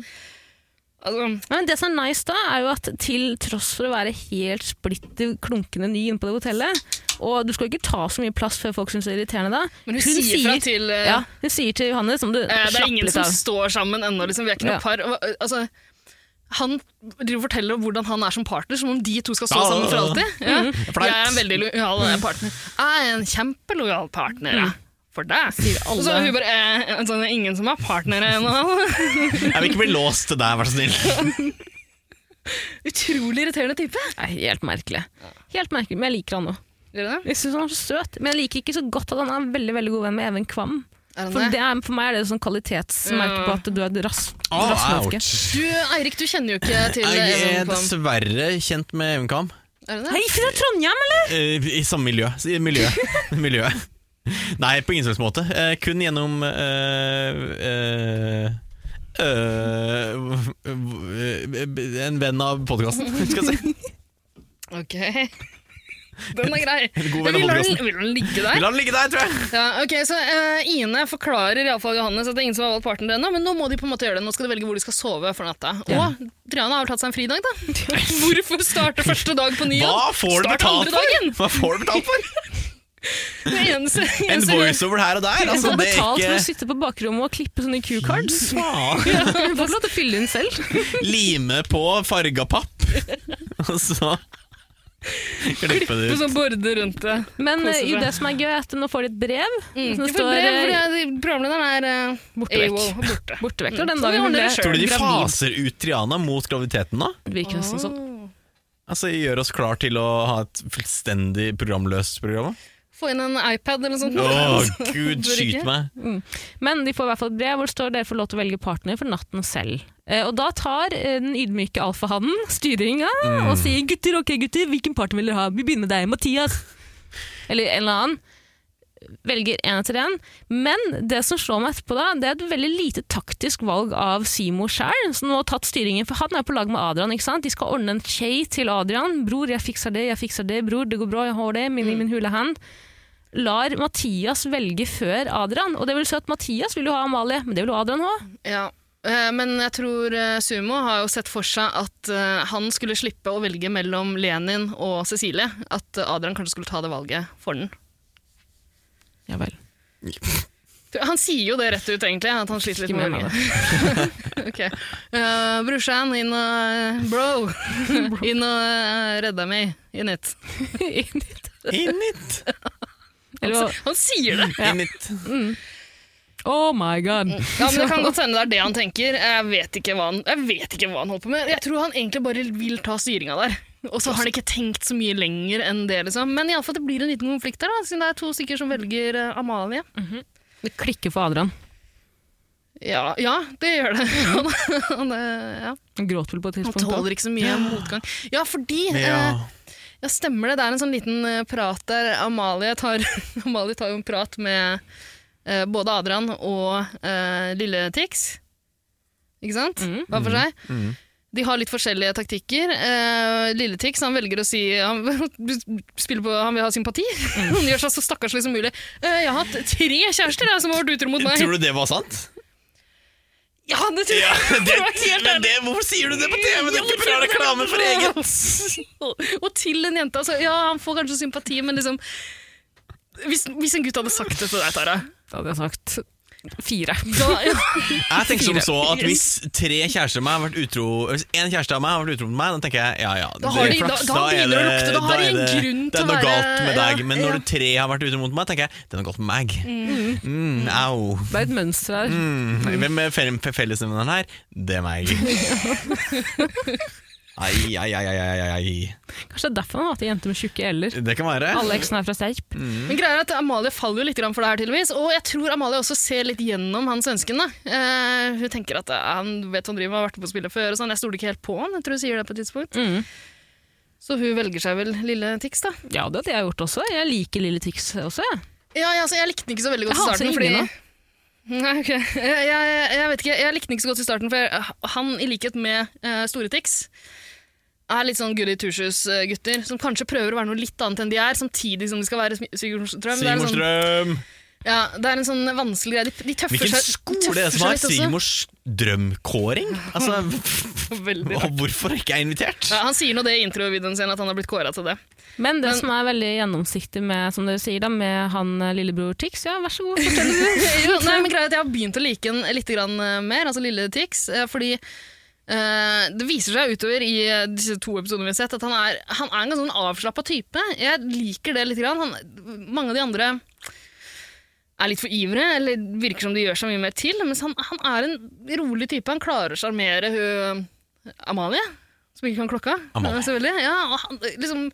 Speaker 3: altså,
Speaker 1: Nei, Men det som er nice da, er jo at til tross for å være helt splitter klunkende ny inne på det hotellet, og du skal jo ikke ta så mye plass før folk syns det er irriterende da.
Speaker 3: Men hun, sier fra til eh,
Speaker 1: ja, hun sier til Johannes om du
Speaker 3: eh, Det
Speaker 1: slapper
Speaker 3: er ingen
Speaker 1: litt
Speaker 3: som
Speaker 1: av.
Speaker 3: står sammen ennå, liksom. vi er ikke noe
Speaker 1: Ja.
Speaker 3: par. Og, eh, altså, han driver og forteller om hvordan han er som partner, som om de to skal stå
Speaker 2: Ah,
Speaker 3: sammen for alltid. Ja.
Speaker 2: Flaut.
Speaker 3: Jeg er en veldig lojal partner. Jeg er en kjempelojal partner. jeg. For deg. Og så er hun bare eh, altså, det er ingen som er partnere ennå.
Speaker 2: Jeg vil ikke bli låst til deg, vær så snill.
Speaker 3: [laughs] Utrolig irriterende type.
Speaker 1: Nei, helt merkelig. Helt merkelig, men jeg liker han også.
Speaker 3: Gjør det?
Speaker 1: Jeg synes han er så søt, men jeg liker ikke så godt at han er en veldig, veldig god venn med Even Kvam.
Speaker 3: Er
Speaker 1: For, det er, for meg er det et sånn kvalitetsmerke på at du er et rass,
Speaker 2: Åh,
Speaker 1: rassmenneske.
Speaker 2: Ah, ouch.
Speaker 3: Du, Eirik, du kjenner jo ikke til
Speaker 2: Jeg er
Speaker 3: Even Kvam.
Speaker 2: dessverre kjent med Even Kam.
Speaker 3: Er du det?
Speaker 1: Hei, fra Trondheim, eller?
Speaker 2: Eh, I samme miljø. I
Speaker 3: [laughs]
Speaker 2: miljø. miljø. Nei, på ingen slags måte. Eh, kun gjennom eh, eh, eh, En venn av podkasten, skal jeg si.
Speaker 3: Ok. [laughs] Den er
Speaker 2: [laughs]
Speaker 3: grei.
Speaker 2: God
Speaker 3: Ja,
Speaker 2: venn
Speaker 3: Vi
Speaker 2: av
Speaker 3: lar den,
Speaker 2: podkasten.
Speaker 3: vi lar den ligge
Speaker 2: Vi
Speaker 3: der.
Speaker 2: lar den ligge der, tror jeg.
Speaker 3: Ja, ok, så eh, Ine forklarer i alle fall Johannes at det er ingen som har valgt partner ennå, men nå må de på en måte gjøre det. Nå skal de velge hvor de skal sove for natta. Og Triana har vel tatt seg en
Speaker 2: [laughs]
Speaker 3: fridag, da. [laughs] Hvorfor starte første dag på ny jobb?
Speaker 2: Hva får du
Speaker 3: Start
Speaker 2: betalt
Speaker 3: andre
Speaker 2: for?
Speaker 3: dagen! [laughs]
Speaker 2: Hva får du betalt for?
Speaker 3: Det eneste,
Speaker 2: En
Speaker 3: eneste-
Speaker 2: voiceover her og der?
Speaker 1: Hun
Speaker 2: Altså,
Speaker 1: får
Speaker 2: det er
Speaker 1: betalt for å
Speaker 2: ikke
Speaker 1: sitte på bakrommet og klippe sånne Q-cards. [laughs]
Speaker 2: Faen.
Speaker 1: Hun får ikke lov til å fylle inn selv.
Speaker 2: Lime på farga
Speaker 3: [laughs]
Speaker 2: papp, og så klippe det
Speaker 3: Med
Speaker 2: ut.
Speaker 3: sånn borde rundt det.
Speaker 1: Men
Speaker 3: Kose
Speaker 1: eh, jo,
Speaker 3: seg.
Speaker 1: det som er gøy, er at nå får de et brev
Speaker 3: Mm.
Speaker 1: som
Speaker 3: Jeg får
Speaker 1: står
Speaker 3: brev,
Speaker 1: eh,
Speaker 3: fordi jeg- Programlederen er uh,
Speaker 1: Borte vekk.
Speaker 3: AWOL, borte.
Speaker 1: borte vekk.
Speaker 3: Mm.
Speaker 1: Og den
Speaker 3: Så vi
Speaker 1: dagen hun
Speaker 3: ordner
Speaker 1: ble
Speaker 3: det selv.
Speaker 2: Tror du de
Speaker 1: gravid,
Speaker 2: faser ut Triana mot graviditeten nå?
Speaker 1: virker nesten sånn.
Speaker 2: Altså, Gjør oss klar til å ha et fullstendig programløst program?
Speaker 3: Få inn en iPad eller noe sånt.
Speaker 2: Å,
Speaker 3: [laughs]
Speaker 2: gud,
Speaker 3: Bør ikke.
Speaker 2: skyt meg!
Speaker 1: Men de får i hvert fall et brev hvor det står dere får lov til å velge partner for natten selv. Eh, og da tar eh, den ydmyke alfahannen styringa og sier gutter, ok gutter, hvilken partner vil dere ha? Vi begynner med deg, Mathias. Eller en eller annen. velger én etter én. Men det som slår meg etterpå, da, det er et veldig lite taktisk valg av Simo sjøl, som nå har tatt styringen. For han er på lag med Adrian. ikke sant? De skal ordne en skje til Adrian. 'Bror, jeg fikser det, jeg fikser det. Bror, det går bra, jeg har det. Min, Mm. min hule hand.' Lar Mathias velge før Adrian. Og det vil si at Mathias vil jo ha Amalie, men det vil jo Adrian ha.
Speaker 3: Ja. Eh, Men jeg tror eh, Sumo har jo sett for seg at eh, han skulle slippe å velge mellom Lenin og Cecilie. At eh, Adrian kanskje skulle ta det valget for den.
Speaker 1: Ja vel.
Speaker 3: Han sier jo det rett ut, egentlig. At han sliter litt
Speaker 1: Ikke
Speaker 3: med
Speaker 1: mer med
Speaker 3: [laughs]
Speaker 1: [laughs]
Speaker 3: det. okay. Eh, brorsan, inn og eh,
Speaker 1: [laughs]
Speaker 3: Bro! inn og eh, redd deg meg. In it.
Speaker 2: In it!
Speaker 1: Eller,
Speaker 3: Han sier det!
Speaker 2: In it.
Speaker 1: oh my god.
Speaker 3: Ja, men Det kan godt hende det er det han tenker. Jeg vet ikke hva han, jeg vet ikke hva han holder på med. Jeg tror han egentlig bare vil ta styringa der. Og så har han ikke tenkt så mye lenger enn det. liksom. Men i alle fall, det blir en liten konflikt der, da, siden det er to stykker som velger eh, Amalie.
Speaker 1: Det klikker for Adrian.
Speaker 3: Ja, ja det gjør det. [laughs] Han, han, eh, ja.
Speaker 1: Han gråt vel på et
Speaker 3: han
Speaker 1: tidspunkt. da.
Speaker 3: tåler ikke så mye motgang. Ja, fordi eh,
Speaker 2: Ja.
Speaker 3: Ja, stemmer det. Det er en sånn liten eh, prat der. Amalie tar, [laughs] Amalie tar jo en prat med eh, både Adrian og eh, lille Tix. Ikke sant? Hver for seg.
Speaker 2: Mm.
Speaker 3: De har litt forskjellige taktikker. Eh, lille Tix han velger å si Han, [laughs] spiller på, han vil ha sympati. han gjør seg så stakkarslig som mulig. Eh, 'Jeg har hatt tre kjærester jeg, som har vært utro mot meg.'
Speaker 2: Tror du det var
Speaker 3: [laughs]
Speaker 2: sant?
Speaker 3: Ja, det tror
Speaker 2: Ja, [laughs]
Speaker 3: jeg!
Speaker 2: det,
Speaker 3: var helt
Speaker 2: men
Speaker 3: ærlig.
Speaker 2: det, hvorfor sier du det på TV? Det er ikke bra reklame for eget!
Speaker 3: og, [laughs] og til en jente. Altså, ja, han får kanskje sympati, men liksom hvis, hvis en gutt hadde sagt det til deg, Tara
Speaker 1: Da hadde jeg sagt fire.
Speaker 3: da, ja.
Speaker 2: Jeg tenker som så at Hvis tre kjærester av meg har vært utro Hvis én kjæreste av meg har vært utro mot meg, da tenker jeg ja ja.
Speaker 3: Da
Speaker 2: det
Speaker 3: har
Speaker 2: er
Speaker 3: de- da-
Speaker 2: flaks,
Speaker 3: da begynner det å lukte, da har de
Speaker 2: er
Speaker 3: en
Speaker 2: det-
Speaker 3: grunn
Speaker 2: Det
Speaker 3: til å
Speaker 2: er noe
Speaker 3: være-
Speaker 2: galt med deg.
Speaker 3: ja,
Speaker 2: Men
Speaker 3: ja.
Speaker 2: når tre har vært utro mot meg, tenker jeg det er noe galt med meg. Mm, au.
Speaker 1: Det er et mønster her.
Speaker 2: Mm, Hvem er fell- fellesnevneren her? Det er meg.
Speaker 3: [laughs]
Speaker 2: Ai, ai, ai, ai, ai, ai.
Speaker 1: Kanskje det er derfor han har hatt ei jente med tjukke eller.
Speaker 2: Det kan være.
Speaker 1: Alle eksene er fra Serp.
Speaker 3: [laughs] Men greia er at Amalie faller jo litt grann for det her, tydeligvis. Og jeg tror Amalie også ser litt gjennom han svensken. da. Eh, hun tenker at eh, han vet han driver med, har vært på spillet før. og sånn. Jeg stoler ikke helt på han. Jeg tror hun sier det på et tidspunkt.
Speaker 2: Mm.
Speaker 1: Mhm.
Speaker 3: Så hun velger seg vel lille Tix, da.
Speaker 1: Ja, det hadde jeg gjort også. Jeg liker Lille Tix også. jeg.
Speaker 3: Ja, ja, altså, jeg likte den ikke så veldig godt
Speaker 1: Jeg
Speaker 3: i
Speaker 1: hater
Speaker 3: starten. Fordi...
Speaker 1: ingen, da.
Speaker 3: [laughs] Nei, ok. Jeg, jeg, jeg vet ikke, jeg likte den ikke så godt i starten, for jeg, han, i likhet med eh, Store Tix, er litt sånn goody two-shoes-gutter, som kanskje prøver å være noe litt annet enn de er, samtidig som de skal være smi- Sigurdstrøm. Det er en sånn-
Speaker 2: Sigmorstrøm!
Speaker 3: Ja, det er en sånn vanskelig greie. De, de tøffer
Speaker 2: Hvilken
Speaker 3: seg
Speaker 2: skole er det som har Sigmors drømkåring? Altså,
Speaker 3: [laughs] Sigurd?
Speaker 2: og hvorfor er ikke jeg invitert?
Speaker 3: Ja, han sier nå det i introvideoen sin, at han har blitt kåra til det. [laughs]
Speaker 1: Men det som er veldig gjennomsiktig med som dere sier da, med han eh, lillebror Tix, ja, vær så god, fortell det.
Speaker 3: jo, nei, men greia er at Jeg har begynt å like den litt grann eh, mer, altså Lille Tix. eh, Fordi eh, det viser seg utover i eh, disse to episodene vi har sett, at han er, han er en ganske sånn avslappa type. Jeg liker det litt. Grann. Han, mange av de andre er litt for ivrige, eller virker som de gjør seg mye mer til. Mens han, han er en rolig type. Han klarer å sjarmere hun Amalie, som ikke kan klokka.
Speaker 2: Amalie.
Speaker 3: eh, Selvfølgelig. Ja, og han, liksom...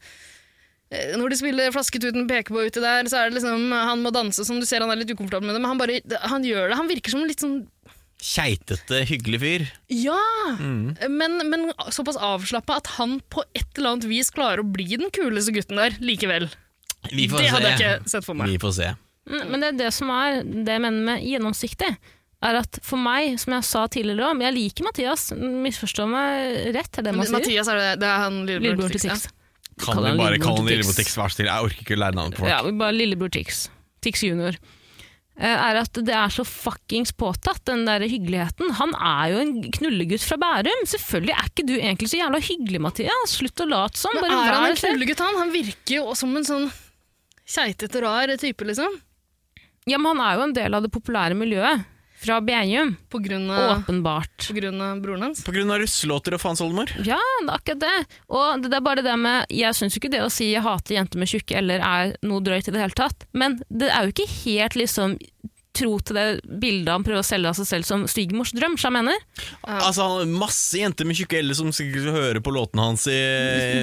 Speaker 3: Eh, Når de spiller flasket uten pekebå uti der, så er det liksom Han må danse, som du ser, han er litt ukomfortabel med det, men han bare Han gjør det. Han virker som en litt sånn
Speaker 2: Keitete, hyggelig fyr.
Speaker 3: Ja!
Speaker 2: Mm.
Speaker 3: Men, men såpass avslappa at han på et eller annet vis klarer å bli den kuleste gutten der likevel.
Speaker 2: Vi får se.
Speaker 3: Det hadde jeg ikke sett for meg.
Speaker 2: Vi får se.
Speaker 1: Mm, Men det er det som er det jeg mener med gjennomsiktig. Er at for meg, som jeg sa tidligere om, jeg liker Mathias, misforstå meg rett, er det man sier.
Speaker 3: Mathias er det, det er han
Speaker 1: Lillebror
Speaker 3: lillebroren
Speaker 1: til Tix.
Speaker 2: Kan
Speaker 1: Kall
Speaker 2: vi
Speaker 1: han
Speaker 2: bare
Speaker 1: Lillebror
Speaker 2: kalle han
Speaker 1: til
Speaker 2: Lillebror
Speaker 1: Tix.
Speaker 2: Tix, vær så snill? Jeg orker ikke lære navnet på folk.
Speaker 1: Ja, vi bare lillebror Tix. Tix junior. Eh, Er at det er så fuckings påtatt, den der hyggeligheten. Han er jo en knullegutt fra Bærum. Selvfølgelig er ikke du egentlig så jævla hyggelig, Mathias. Slutt å late som.
Speaker 3: Men
Speaker 1: Bare
Speaker 3: er han
Speaker 1: vær
Speaker 3: en
Speaker 1: selv.
Speaker 3: knulegutt, han? Han virker jo som en sånn keitete, rar type, liksom.
Speaker 1: Ja, men han er jo en del av det populære miljøet. Fra Beinum,
Speaker 3: På grunn av,
Speaker 1: åpenbart.
Speaker 3: på grunn av broren hans.
Speaker 2: På grunn av russelåter og faens oldemor.
Speaker 1: Ja, det er akkurat det. Og det det er bare det der med Jeg syns jo ikke det å si jeg hater jenter med tjukke eller er noe drøyt i det hele tatt, men det er jo ikke helt liksom tro til det bildet han prøver å selge av seg selv som svigermors drøm, som jeg mener.
Speaker 2: Altså, han- masse jenter med tjukke eller som sikkert hører på låtene hans i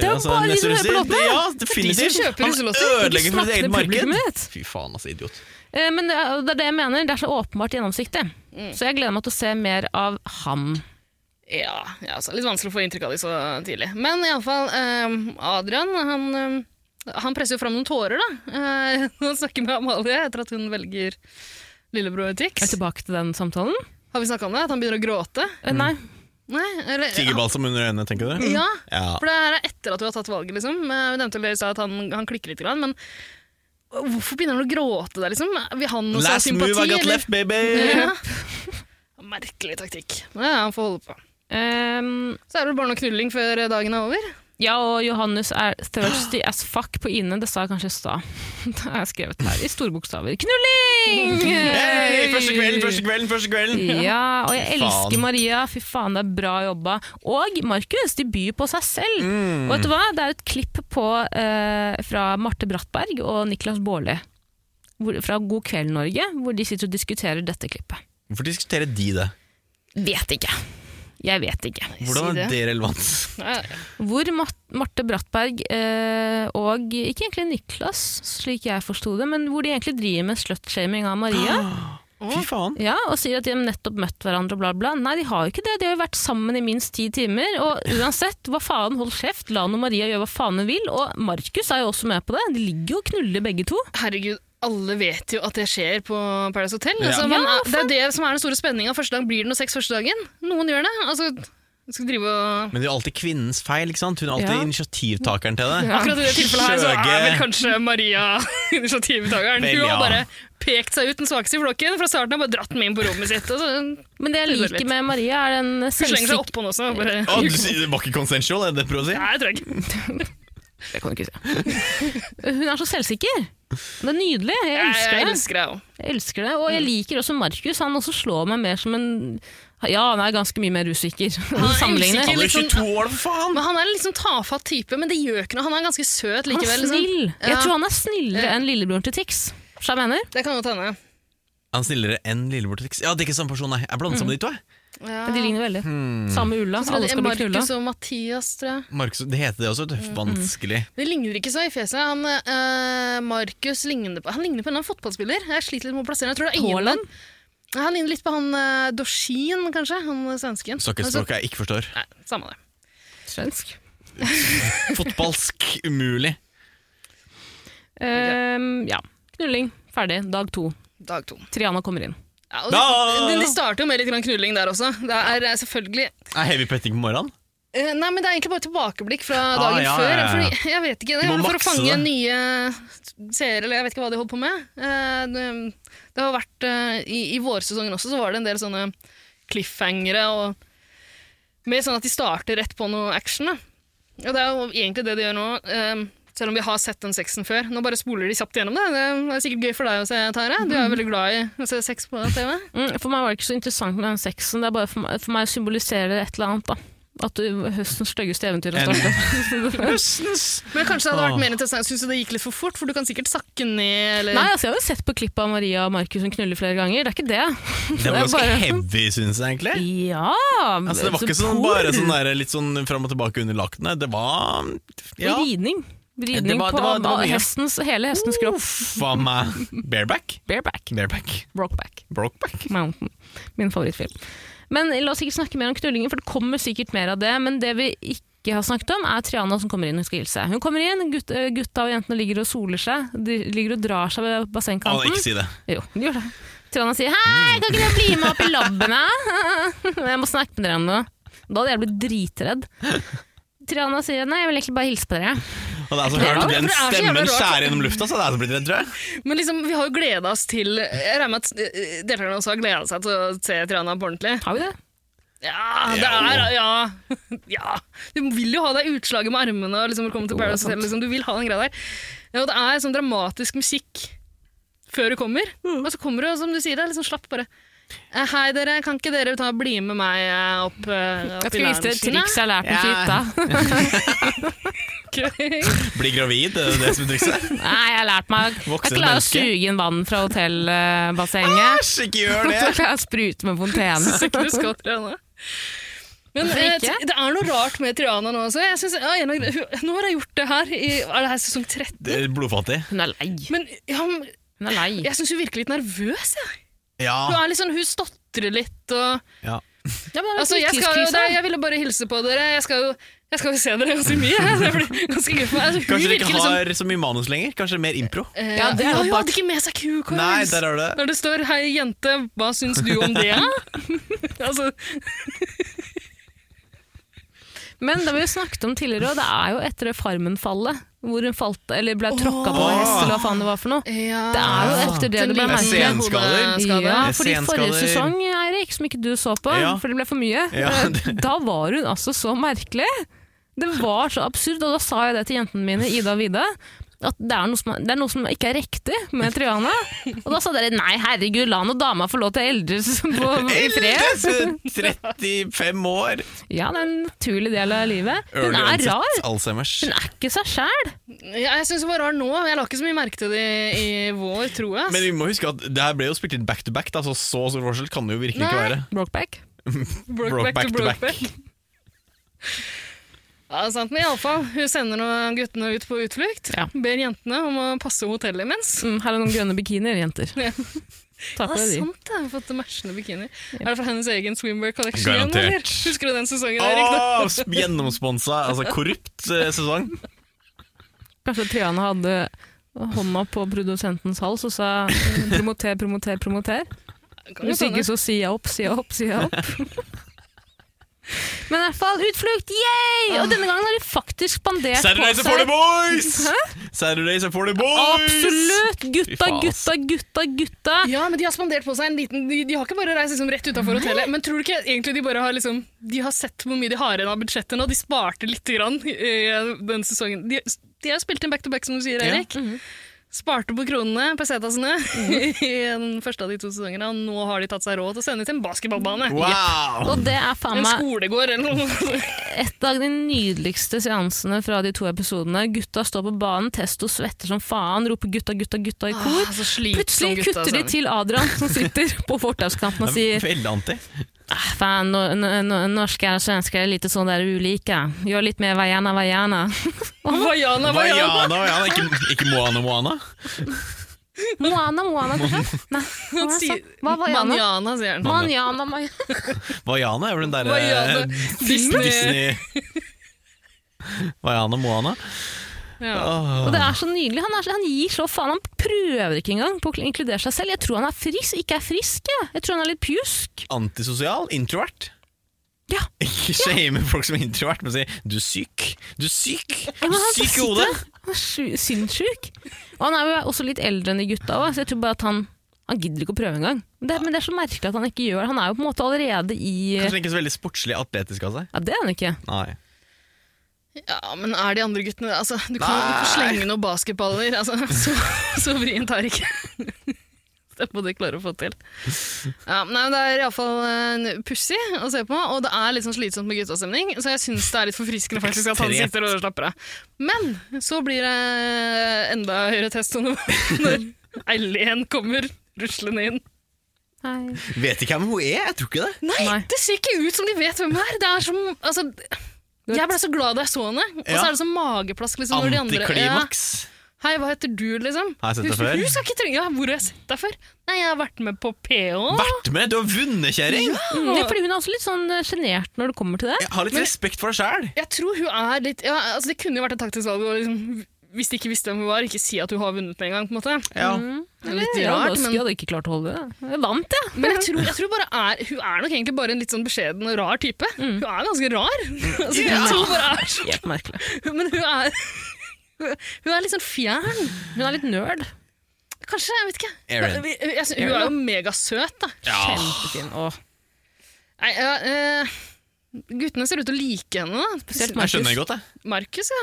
Speaker 2: altså,
Speaker 1: Det er jo bare de som hører på låtene!
Speaker 2: Ja,
Speaker 1: Det er
Speaker 2: definitivt!
Speaker 1: de som kjøper
Speaker 2: Han
Speaker 1: russelåter, ikke
Speaker 2: ødelegger for sitt
Speaker 1: snakker
Speaker 2: eget
Speaker 1: med publikummet
Speaker 2: marked.
Speaker 1: ditt.
Speaker 2: Fy faen, altså, idiot.
Speaker 1: Eh, Men det er det er det jeg mener, det er så åpenbart gjennomsiktig. Så jeg gleder meg til å se mer av ham.
Speaker 3: Ja, ja altså, litt vanskelig å få inntrykk av de så tidlig. Men iallfall, eh, Adrian han eh, Han presser jo fram noen tårer, da. Eh, [laughs] Når han snakker med Amalie etter at hun velger lillebror
Speaker 1: Er
Speaker 3: Tix.
Speaker 1: vi tilbake til den samtalen?
Speaker 3: Har vi snakka om det? At han begynner å gråte?
Speaker 1: Eh, Nei.
Speaker 3: Nei, eller
Speaker 2: Tigerbalsam under øynene, tenker du?
Speaker 3: Ja,
Speaker 2: Ja.
Speaker 3: for det her er etter at du har tatt valget, liksom. Eh, Vi nevnte vel i stad at han, han klikker litt, grann, men hvorfor begynner han å gråte der, liksom? Vil han også ha
Speaker 2: Last
Speaker 3: sympati?
Speaker 2: move I got
Speaker 3: eller?
Speaker 2: left, baby!
Speaker 3: Ja. Merkelig taktikk. Men ja, han får holde på.
Speaker 1: Ehm,
Speaker 3: Så er det vel bare noe knulling før dagen er over.
Speaker 1: ja, og Johannes er thirsty as fuck på Ine. Det sa jeg kanskje i stad. [laughs] Det har jeg skrevet her i store bokstaver. Knulling! [laughs]
Speaker 2: Hei, første kvelden, første kvelden, første kvelden!
Speaker 1: Ja, og jeg
Speaker 2: Fy faen.
Speaker 1: elsker Maria. Fy faen, det er bra jobba. Og Markus, de byr på seg selv.
Speaker 2: Mm.
Speaker 1: Og vet du hva? Det er et klipp på, eh, fra Marte Brattberg og Niklas Baarli hvor, fra God kveld Norge, hvor de sitter og diskuterer dette klippet.
Speaker 2: Hvorfor diskuterer de det?
Speaker 1: Vet ikke. Jeg vet ikke.
Speaker 2: Hvordan
Speaker 3: Si
Speaker 2: er
Speaker 3: det.
Speaker 2: det relevant?
Speaker 3: Nei,
Speaker 1: Hvor Mar- Marte Brattberg eh, og ikke egentlig Niklas, slik jeg forsto det, men hvor de egentlig driver med slutshaming av Maria.
Speaker 2: Ah. Fy faen.
Speaker 1: Ja, Og sier at de har nettopp møtt hverandre og bla, bla. Nei, de har jo ikke det. De har jo vært sammen i minst ti timer. Og uansett, hva faen, hold kjeft. La nå Maria gjøre hva faen hun vil. Og Markus er jo også med på det. De ligger jo og knuller begge to.
Speaker 3: Herregud, alle vet jo at det skjer på Paradise Hotel. Altså,
Speaker 2: Ja,
Speaker 3: man,
Speaker 1: for-
Speaker 3: det er det som er den store spenninga. Første dag blir det noe sex første dagen. Noen gjør det. Altså, du skal drive og
Speaker 2: Men det er jo alltid kvinnens feil, ikke sant? Hun er alltid
Speaker 1: Ja.
Speaker 2: initiativtakeren til det.
Speaker 3: Akkurat i det tilfellet her så er vel
Speaker 2: Skjøge.
Speaker 3: kanskje Maria [laughs] initiativtakeren.
Speaker 2: Vel,
Speaker 3: Hun
Speaker 2: ja.
Speaker 3: har bare pekt seg ut den svakeste i flokken fra starten av, bare dratt den med inn på rommet sitt. Og så,
Speaker 1: Men det jeg
Speaker 3: Det går
Speaker 1: liker
Speaker 3: litt.
Speaker 1: med Maria, er den
Speaker 3: hun slenger seg
Speaker 1: selvsikker...
Speaker 3: oppå den også. og Bare,
Speaker 2: Å, du sier det var ikke consensual, er det det du prøver å si?
Speaker 3: Nei, jeg tror ikke.
Speaker 1: Det kan du ikke si. [laughs] Hun er så selvsikker. Det er nydelig. Jeg
Speaker 3: Jeg,
Speaker 1: elsker det.
Speaker 3: jeg elsker deg òg.
Speaker 1: Jeg elsker det, og jeg liker også Markus. Han også slår meg mer som en Ja, han er ganske mye mer usikker.
Speaker 3: er
Speaker 1: Sammenlignet.
Speaker 3: usikker.
Speaker 2: Han er
Speaker 3: liksom-
Speaker 2: 22 år, for faen!
Speaker 3: Men han er en litt sånn tafatt type, men det gjør ikke noe. Han er ganske søt
Speaker 1: Han
Speaker 3: likevel.
Speaker 1: er
Speaker 3: liksom.
Speaker 1: snill. Jeg
Speaker 3: Ja.
Speaker 1: tror han er snillere enn lillebroren til Tix. Skjønner du hva jeg mener?
Speaker 3: Det kan godt hende.
Speaker 2: Han er snillere enn lillebror til Tix. Ja, det er ikke samme person, nei. Jeg
Speaker 1: Mm.
Speaker 2: blander sammen de to, jeg.
Speaker 3: Ja.
Speaker 1: De ligner veldig.
Speaker 2: Hmm.
Speaker 1: Samme ulla, alle
Speaker 3: Alle
Speaker 1: skal bli knulla.
Speaker 3: Markus og Mathias, tror jeg.
Speaker 2: Markus, det heter det også, vet
Speaker 1: Mm.
Speaker 2: du. Vanskelig.
Speaker 3: De ligner ikke så i fjeset. Han, eh, Markus ligner på, han ligner på en eller annen fotballspiller. Jeg sliter litt med å plassere ham. Jeg tror det er øynene.
Speaker 1: Haaland?
Speaker 3: Ja, Han ligner litt på han eh, Dorsin, kanskje. Han eh, svensken.
Speaker 2: Snakker
Speaker 3: Men så-
Speaker 1: Altså-
Speaker 2: språket jeg ikke forstår.
Speaker 3: Nei, samme det.
Speaker 1: Svensk.
Speaker 2: Fotballsk umulig.
Speaker 1: Ehm, ja. Knulling. Ferdig. Dag to.
Speaker 3: Dag to.
Speaker 1: Triana kommer inn.
Speaker 3: Ja, og
Speaker 2: Da-
Speaker 3: de, de starter jo med litt grann knulling der også. Det er eh, selvfølgelig
Speaker 2: Er heavy petting på morgenen?
Speaker 3: Eh, Nei, men Det er egentlig bare tilbakeblikk fra
Speaker 2: Ah,
Speaker 3: dagen
Speaker 2: ja,
Speaker 3: før.
Speaker 2: ja, ja.
Speaker 3: Fordi, [laughs] jeg vet ikke, det
Speaker 2: må
Speaker 3: er For å
Speaker 2: makse
Speaker 3: fange
Speaker 2: det.
Speaker 3: nye seere, eller jeg vet ikke hva de holdt på med. Eh, Det, det har vært, eh, i, I vårsesongen også så var det en del sånne cliffhangere. Og, med sånn at de starter rett på noe action. Da. Og det er jo egentlig det de gjør nå. eh, Selv om vi har sett den sexen før. Nå bare spoler de kjapt gjennom det. Det er sikkert gøy for deg å se, Tare. Du er jo veldig glad i å se sex på TV.
Speaker 1: Mm, for meg var det ikke så interessant med den sexen. Det er bare for meg, for meg symboliserer det et eller annet. da. At du, høstens styggeste eventyr har
Speaker 2: En-
Speaker 1: startet.
Speaker 2: Høstens!
Speaker 3: Men kanskje det hadde
Speaker 2: Åh.
Speaker 3: vært mer interessant. Syns du det gikk litt for fort? For du kan sikkert sakke ned, eller
Speaker 1: Nei, altså, jeg har jo sett på klippet av Maria og Markus som knuller flere ganger. Det er ikke det.
Speaker 2: Det var
Speaker 1: er
Speaker 2: ganske
Speaker 1: bare-
Speaker 2: heavy, synes jeg, egentlig.
Speaker 1: Ja!
Speaker 2: Altså, det var ikke sånn, bare sånn der, litt sånn fram og tilbake under lakenet. Det var Ja,
Speaker 1: Ridning. Ridning
Speaker 2: Det var-
Speaker 1: på
Speaker 2: det var- det var mye.
Speaker 1: hestens, hele hestens kropp.
Speaker 2: faen meg. Bareback?
Speaker 1: Bareback.
Speaker 2: Bareback.
Speaker 1: Brokeback.
Speaker 2: Brokeback.
Speaker 1: Mountain. Min favorittfilm. Men la oss ikke snakke mer om knullingen, for det kommer sikkert mer av det. Men det vi ikke har snakket om, er Triana som kommer inn og skal hilse. Hun kommer inn, gut eh, gutta og jentene ligger og soler seg. De ligger og drar seg ved
Speaker 2: Å,
Speaker 1: bassengkanten.
Speaker 2: ikke si det.
Speaker 1: Jo, de gjør det. Triana sier 'hei, kan ikke dere bli med opp i labben', da?» [laughs] Jeg må snakke med dere om noe. Da hadde jeg blitt dritredd. Triana sier 'nei, jeg vil egentlig bare hilse på dere'.
Speaker 2: Og det er så hørt
Speaker 3: Ja,
Speaker 2: den
Speaker 3: for det er så jævla
Speaker 2: stemmen
Speaker 3: rart.
Speaker 2: skjære gjennom lufta, så det er så blitt redd, tror jeg.
Speaker 3: Men liksom, vi har jo gleda oss til Jeg regner med at eh, deltakerne også har gleda seg til å se Triana på ordentlig.
Speaker 1: Har vi det?
Speaker 3: Ja, det er Ja! [laughs] ja. Du vil jo ha det utslaget med armene og liksom velkommen til
Speaker 1: Jo, det er
Speaker 3: Paradise Hotel.
Speaker 1: sant.
Speaker 3: Liksom, du vil ha den greia der. Ja, og det er sånn dramatisk musikk før du kommer.
Speaker 1: Mm.
Speaker 3: Og så kommer du, og som du sier, det er liksom slapp bare. Eh, Hei, dere. Kan ikke dere ta bli med meg eh, opp, eh,
Speaker 1: Jeg
Speaker 3: opp
Speaker 1: skal vise dere et
Speaker 3: loungen,
Speaker 1: triks jeg har lært meg på hytta.
Speaker 3: [laughs] da?»
Speaker 2: Bli gravid, det er det som er trikset.
Speaker 1: [laughs] Nei, jeg har lært meg Jeg
Speaker 2: Voksen
Speaker 1: klarer å
Speaker 2: menneske.
Speaker 1: suge inn vann fra hotellbassenget.
Speaker 2: Æsj, ikke gjør det!
Speaker 1: Så kan jeg sprute med [laughs]
Speaker 3: [laughs] Så ikke du
Speaker 1: fontene.
Speaker 3: skal trene. Men
Speaker 1: Hvorfor
Speaker 3: eh,
Speaker 1: ikke?
Speaker 3: det er noe rart med Triana nå også. Jeg synes, ja, en av gre- hun- nå har jeg gjort det her i er det her sesong 13.
Speaker 2: Det er blodfattig.
Speaker 1: Hun er lei.
Speaker 3: Men ja, men
Speaker 1: Hun er lei.
Speaker 3: jeg syns hun virker litt nervøs. Jeg. Hun,
Speaker 2: Ja.
Speaker 3: er litt sånn, hun stotrer litt og
Speaker 2: ja.
Speaker 1: Ja, men
Speaker 3: Altså, jeg, skal jo,
Speaker 1: livstidskrisa.
Speaker 3: det, jeg ville bare hilse på dere. Jeg skal jo, jeg skal jo se dere ganske mye. [laughs] jeg. Det blir ganske gøy for meg. Altså, hun
Speaker 2: Kanskje dere
Speaker 3: virker
Speaker 2: ikke
Speaker 3: liksom-
Speaker 2: har så mye manus lenger? Kanskje mer impro?
Speaker 3: Eh,
Speaker 1: Ja, det er
Speaker 3: hun
Speaker 1: jo
Speaker 3: hadde ikke med seg kukorps!
Speaker 2: Nei, der er det.
Speaker 3: Når det står 'hei, jente, hva syns du om
Speaker 1: [laughs]
Speaker 3: det'? altså,
Speaker 1: Men det har vi jo snakket om tidligere, og det er jo etter det Farmen-fallet, hvor hun falt, eller ble tråkka på av hest, eller hva faen det var for noe.
Speaker 3: ja,
Speaker 1: Det er jo etter det det ble merket. Ja,
Speaker 2: Jeg
Speaker 1: fordi
Speaker 2: ser en
Speaker 1: forrige
Speaker 2: skader.
Speaker 1: sesong, Eirik, som ikke du så på,
Speaker 2: Ja.
Speaker 1: for det ble for mye,
Speaker 2: Ja,
Speaker 1: eh,
Speaker 2: [laughs] det-
Speaker 1: [laughs] da var hun altså så merkelig. Det var så absurd, og da sa jeg det til jentene mine, Ida og Vida, at det er, noe som, det er noe som ikke er riktig med Triana. Og da sa dere nei, herregud, la nå dama få lov til å eldes på,
Speaker 2: [laughs]
Speaker 1: i fred.
Speaker 2: Eldes! 35 år!
Speaker 1: [laughs] Ja, det er en naturlig del av livet. Hun
Speaker 2: Early
Speaker 1: er
Speaker 2: onset
Speaker 1: rar.
Speaker 2: Alzheimers.
Speaker 1: Hun er ikke seg sjæl.
Speaker 3: ja, jeg syns hun var rar nå. Jeg la ikke så mye merke til det i, i vår, tror jeg.
Speaker 2: Men vi må huske at det her ble jo spilt inn back to back, da, så så stor forskjell kan det jo virkelig ikke
Speaker 3: Nei.
Speaker 2: være.
Speaker 1: Brokeback.
Speaker 2: Brokeback to Brokeback.
Speaker 3: Ja, det er sant, men iallfall. Hun sender nå guttene ut på utflukt.
Speaker 1: Ja.
Speaker 3: Ber jentene om å passe hotellet imens.
Speaker 1: Mm, her er noen grønne bikinier, jenter.
Speaker 3: Ja. sånn.
Speaker 1: Ta på
Speaker 3: det er
Speaker 1: deg de.
Speaker 3: sant, da. Hun har fått matchende bikinier. Er det fra hennes egen swimwear collection?
Speaker 2: Garantert.
Speaker 3: igjen, eller? Husker du den sesongen? Erik, da?
Speaker 2: Åh, sp- gjennomsponsa, altså korrupt eh, sesong.
Speaker 1: Kanskje Triana hadde hånda på produsentens hals og sa promoter, promoter, promoter.
Speaker 3: Kan jo
Speaker 1: Hvis
Speaker 3: sånne.
Speaker 1: ikke så sier jeg opp, sier jeg opp, sier jeg opp. [laughs] Men i hvert fall utflukt, yay! Og denne gangen har de faktisk spandert på
Speaker 2: Saturdays are for the
Speaker 1: seg.
Speaker 2: boys! Saturdays are for the boys!
Speaker 1: Absolutt! Gutta,
Speaker 2: faen, ass.
Speaker 1: gutta, gutta, gutta.
Speaker 3: Ja, men De har spandert på seg en liten De, de har ikke bare reist liksom rett utafor hotellet. Men tror du ikke egentlig de bare har liksom De har sett hvor mye de har igjen av budsjettet nå. De sparte litt grann eh, den sesongen. De, de har spilt inn back to back, som du sier,
Speaker 2: Ja.
Speaker 3: Erik. Sparte på kronene, pesetasene, [laughs] i den første av de to sesongene. Og nå har de tatt seg råd til å sende til en basketballbane.
Speaker 2: Wow!
Speaker 1: Og det er faen
Speaker 3: En
Speaker 1: meg
Speaker 3: skolegård eller noe.
Speaker 1: et av de nydeligste seansene fra de to episodene. Gutta står på banen, Testo svetter som faen, roper 'gutta, gutta, gutta' i kor.
Speaker 3: Ah, så slitsom
Speaker 1: Plutselig
Speaker 3: gutta,
Speaker 1: kutter de
Speaker 3: altså.
Speaker 1: til Adrian, som sitter på fortauskanten og sier
Speaker 2: Veldig anti.
Speaker 1: «Ah, Fan, no, no, no, norske og svensker er litt sånn der ulike. Gjør litt mer vajana, vajana.
Speaker 3: Vaiana, Vaiana.
Speaker 2: Vaiana, Vaiana, ikke, ikke Moana Moana.
Speaker 1: Moana,
Speaker 2: [laughs]
Speaker 1: Moana, kanskje? Nei, hva
Speaker 3: Han
Speaker 1: sa-
Speaker 3: sier-
Speaker 1: hva var Jana?
Speaker 3: Manjana, sier han.
Speaker 1: Manjana, Manjana.
Speaker 2: Vaiana er vel den derre
Speaker 3: Vaiana. Eh, Disney.
Speaker 2: Disney Vaiana Moana.
Speaker 3: Ja.
Speaker 1: Og det er så nydelig. Han, er, så- han gir så faen. Han prøver ikke engang på å inkludere seg selv. Jeg tror han er frisk, ikke er frisk. Jeg, jeg tror han er litt pjusk.
Speaker 2: Antisosial. Introvert.
Speaker 1: Ja.
Speaker 2: Ikke shame folk som er introvert, men si 'du er syk'. Du er syk!
Speaker 1: Ja,
Speaker 2: Du
Speaker 1: men
Speaker 2: er
Speaker 1: han
Speaker 2: syk i
Speaker 1: sitter-
Speaker 2: hodet!
Speaker 1: Han er sju- sinnssyk. Og han er jo også litt eldre enn de gutta òg, så jeg tror bare at han han gidder ikke å prøve engang. Det, men det er så merkelig at han ikke gjør det. Han er jo på en måte allerede i
Speaker 2: Kanskje han ikke er så veldig sportslig atletisk av seg.
Speaker 1: Ja, det er han ikke.
Speaker 2: Nei.
Speaker 3: ja, men er de andre guttene altså, Du kan jo ikke slenge noen basketballer. Altså, [laughs] så, så vrient har ikke [laughs] Det må de klare å få til. Ja, men nei, men det er iallfall pussig å se på, og det er litt sånn slitsomt med guttastemning, så jeg syns det er litt forfriskende faktisk at han
Speaker 2: Ekstremt.
Speaker 3: sitter og slapper av. Men så blir det enda høyere testonivå når [laughs] Eileen kommer ruslende inn.
Speaker 1: Nei.
Speaker 2: Vet ikke hvem hun er, jeg tror ikke det.
Speaker 3: Nei,
Speaker 1: Nei.
Speaker 3: det ser ikke ut som de vet hvem det er. Det er som, altså, jeg ble så glad da jeg så henne, og så
Speaker 2: Ja.
Speaker 3: er det sånn mageplask. Liksom, når de andre,
Speaker 2: Antiklimaks.
Speaker 3: Ja. Hei, hva heter du, liksom?
Speaker 2: Har jeg sett deg
Speaker 3: Hun-
Speaker 2: før?
Speaker 3: Hun skal ikke trenge, ja, hvor har jeg sett deg før? Nei, jeg har vært med på PH.
Speaker 2: Vært med! Du har vunnet, kjerring!
Speaker 1: Mm, ja, fordi hun er også litt sånn sjenert når det kommer til det.
Speaker 2: Jeg har litt respekt for deg sjæl.
Speaker 3: Jeg tror hun er litt, ja, altså det kunne jo vært et taktisk valg, å liksom, hvis de ikke visste hvem hun var, ikke si at hun har vunnet med en gang, på en måte.
Speaker 2: Ja.
Speaker 1: Mm.
Speaker 3: Det er litt
Speaker 1: Jeg hadde
Speaker 3: rart,
Speaker 1: også-
Speaker 3: men...
Speaker 1: jeg hadde ikke klart å holde det. Jeg vant, jeg.
Speaker 3: Men jeg tror, jeg tror bare er, hun er nok egentlig bare en litt sånn beskjeden og rar type. Hun er ganske rar.
Speaker 2: Mm.
Speaker 3: [laughs] Altså, jeg tror hun bare er så...
Speaker 1: Helt merkelig.
Speaker 3: Men hun er, [laughs] hun er litt sånn fjern.
Speaker 1: Hun er litt nerd.
Speaker 3: Kanskje, jeg vet ikke.
Speaker 2: Erin.
Speaker 3: Jeg, jeg, synes- hun er jo megasøt, da.
Speaker 1: Kjempefin. Åh.
Speaker 3: Nei, ja, eh, guttene ser ut til å like henne, da.
Speaker 1: Spesielt
Speaker 2: Jeg
Speaker 1: Markus.
Speaker 2: skjønner det godt, jeg.
Speaker 3: Markus, ja.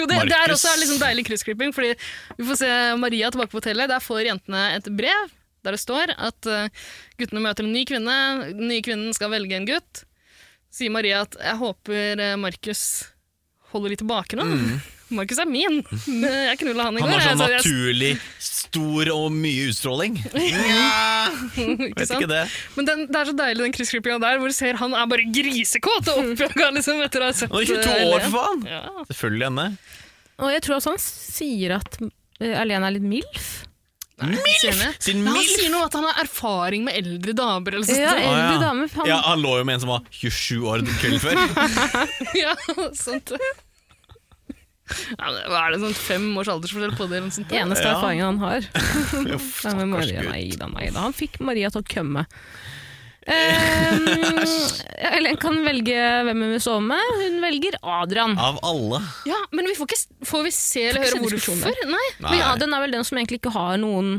Speaker 3: Jo, det, det er
Speaker 2: Markus.
Speaker 3: også liksom deilig kryssklipping, fordi vi får se Maria tilbake på hotellet. Der får jentene et brev der det står at eh, guttene møter en ny kvinne, den nye kvinnen skal velge en gutt. Sier Maria at jeg håper eh, Markus holder litt tilbake nå. [laughs] Markus er min. Jeg knulla han i
Speaker 2: Mm. Han
Speaker 3: går.
Speaker 2: har sånn
Speaker 3: jeg, så
Speaker 2: naturlig stor og mye
Speaker 3: [laughs]
Speaker 2: utstråling.
Speaker 3: jeg, [laughs] ikke
Speaker 2: Vet
Speaker 3: sant?
Speaker 2: ikke det.
Speaker 3: Men den, det er så deilig den kryssklippinga der, hvor du ser han er bare grisekåt og oppjaga [laughs] liksom, etter å ha sett
Speaker 2: Han er 22 år, for faen!
Speaker 3: Ja.
Speaker 2: Selvfølgelig henne.
Speaker 1: Og jeg tror også han sier at eh, Alene er litt MILF.
Speaker 3: Sier han det?
Speaker 2: Sin
Speaker 3: Ja, han
Speaker 2: milf?
Speaker 3: sier noe at han har erfaring med eldre damer. Eller
Speaker 1: Ja,
Speaker 3: sånt.
Speaker 2: Å,
Speaker 1: eldre
Speaker 2: ja.
Speaker 1: dame. Han,
Speaker 2: Ja, han lå jo med en som var 27 år kvelden før.
Speaker 3: [laughs] Ja,
Speaker 1: [laughs]
Speaker 3: sånt. Ja, men hva er det, sånn fem års aldersforskjell på det? Eller noe sånt, da?
Speaker 1: Eneste
Speaker 2: Ja.
Speaker 1: erfaringen han har.
Speaker 2: Uff,
Speaker 1: Nei, men
Speaker 2: stakkars
Speaker 1: Maria,
Speaker 2: gutt.
Speaker 1: nei da, nei da. Han fikk Maria til å kømme. Um, Ellen kan velge hvem hun vil sove med. Hun velger Adrian.
Speaker 2: Av alle.
Speaker 3: Ja, men vi får, ikke, s- får vi se eller
Speaker 1: Får ikke
Speaker 3: høre
Speaker 1: se diskusjonen
Speaker 3: hvorfor? Nei.
Speaker 1: Men Adrian er vel den som egentlig ikke har noen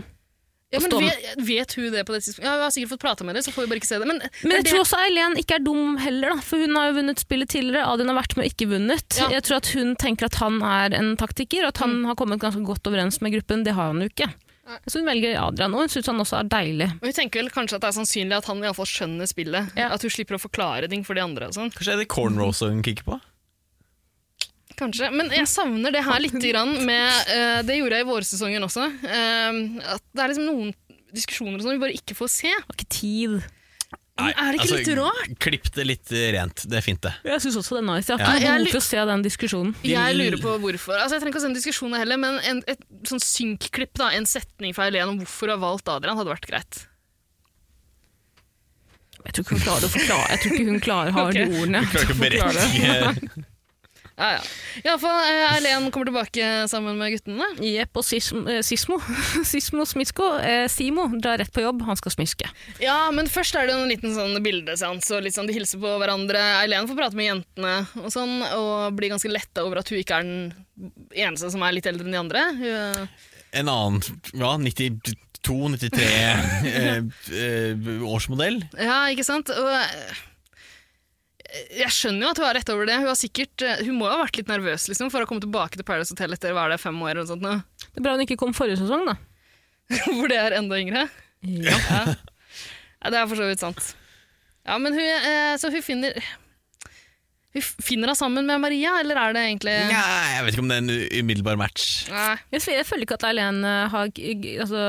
Speaker 3: Ja, men
Speaker 1: Stående.
Speaker 3: vet, vet hun det på det tidspunktet? Ja, Hun har sikkert fått prata med det, så får vi bare ikke se det. Men,
Speaker 1: Men
Speaker 3: er
Speaker 1: jeg
Speaker 3: det,
Speaker 1: tror også Eileen ikke er dum heller, da, for hun har jo vunnet spillet tidligere. Adrian har vært med og ikke vunnet.
Speaker 3: Ja. Mm.
Speaker 1: Jeg tror at hun tenker at han er en taktiker, og at han har kommet ganske godt overens med gruppen. Det har han jo ikke. Så hun velger Adrian, og hun syns han også er deilig.
Speaker 3: Og hun tenker vel kanskje at det er sannsynlig at han i alle fall skjønner spillet.
Speaker 1: Ja.
Speaker 3: At hun slipper å forklare ting for de andre. og sånn.
Speaker 2: Kanskje er det cornrows hun kikker på?
Speaker 3: Kanskje. Men jeg
Speaker 1: Mm. [laughs]
Speaker 3: savner det her litt grann med eh, Det gjorde jeg i vårsesongen også. eh, at det er liksom noen diskusjoner og sånn vi bare ikke får se.
Speaker 1: Har ikke tid.
Speaker 2: Nei, altså,
Speaker 3: er det ikke litt rart?
Speaker 2: Klipp det litt eh, rent. Det er fint, det.
Speaker 1: Jeg syns også det er nice. Jeg
Speaker 3: Ja.
Speaker 1: har ikke
Speaker 3: Jeg
Speaker 1: noe
Speaker 3: er
Speaker 1: behov for å se den diskusjonen.
Speaker 3: Jeg lurer på hvorfor. Altså, jeg trenger ikke å se en diskusjon heller, men en, et sånn synkklipp, da, en setning fra Helen om hvorfor hun har valgt Adrian, hadde vært greit.
Speaker 1: Jeg tror ikke hun klarer å forklare Jeg tror ikke hun klarer har de
Speaker 3: Ok.
Speaker 1: ordene.
Speaker 2: Klarer ikke å berettige
Speaker 3: Ja, ja. Iallfall Eileen kommer tilbake sammen med guttene.
Speaker 1: Jepp, og Sism- eh, Sismo [laughs] Sismo Smitsko, eh, Simo drar rett på jobb, han skal smiske.
Speaker 3: Ja, men først er det jo en liten sånn bildeseanse, og litt sånn de hilser på hverandre. Eileen får prate med jentene og sånn, og blir ganske letta over at hun ikke er den eneste som er litt eldre enn de andre. Hun-
Speaker 2: en annen ja, 92-93 eh, eh, årsmodell.
Speaker 3: Ja, ikke sant? Og eh, jeg skjønner jo at hun har rett over det. Hun, har sikkert, eh, hun må jo ha vært litt nervøs liksom, for å komme tilbake til Paradise Hotel etter hva er det, fem år eller noe sånt, nå, [laughs]
Speaker 1: Det er bra hun ikke kom forrige sesong, da.
Speaker 3: hvor det er enda yngre.
Speaker 1: Ja.
Speaker 3: [laughs] Ja. ja, det er for så vidt sant. Ja, men hun, eh, så hun finner Hun finner henne sammen med Maria, eller er det egentlig
Speaker 2: Nja, jeg vet ikke om det er en umiddelbar match.
Speaker 3: Nei.
Speaker 1: Jeg, føler- jeg føler ikke at Eileen eh, har g- g- altså,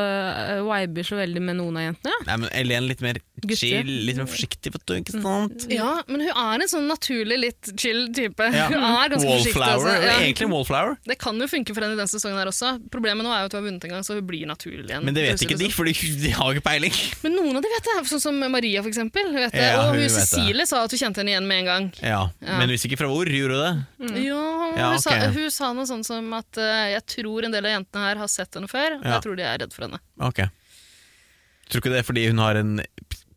Speaker 1: eh, viber så veldig med noen av jentene.
Speaker 2: Nei, men Elen litt mer
Speaker 1: Gutte.
Speaker 2: chill, litt mer forsiktig, vet du, ikke
Speaker 3: Mm. [laughs]
Speaker 2: sant?
Speaker 3: Ja, men hun er en sånn naturlig litt chill type.
Speaker 2: Ja.
Speaker 3: Hun er ganske forsiktig.
Speaker 2: Wallflower.
Speaker 3: Altså.
Speaker 2: eller
Speaker 3: Ja.
Speaker 2: Egentlig wallflower,
Speaker 3: Det kan jo funke for henne i den sesongen her også. Problemet nå er jo at hun har vunnet en gang, så hun blir naturlig igjen.
Speaker 2: men det vet ikke de, for [laughs] de har jo ikke peiling.
Speaker 3: Men noen av de vet det, sånn som Maria for eksempel. hun Vet det.
Speaker 2: Ja,
Speaker 3: og
Speaker 2: hun
Speaker 3: hun
Speaker 2: vet det.
Speaker 3: Cecilie sa at hun kjente henne igjen med en gang.
Speaker 2: Ja, Men hvis ikke fra hvor, gjorde du det?
Speaker 3: Ja,
Speaker 2: Ja,
Speaker 3: hun, sa,
Speaker 2: ok.
Speaker 3: hun sa noe sånn som at eh, jeg tror en del av jentene her har sett henne før, og
Speaker 2: Ja.
Speaker 3: jeg tror de er redd for henne.
Speaker 2: Ok. Tror ikke det er fordi hun har en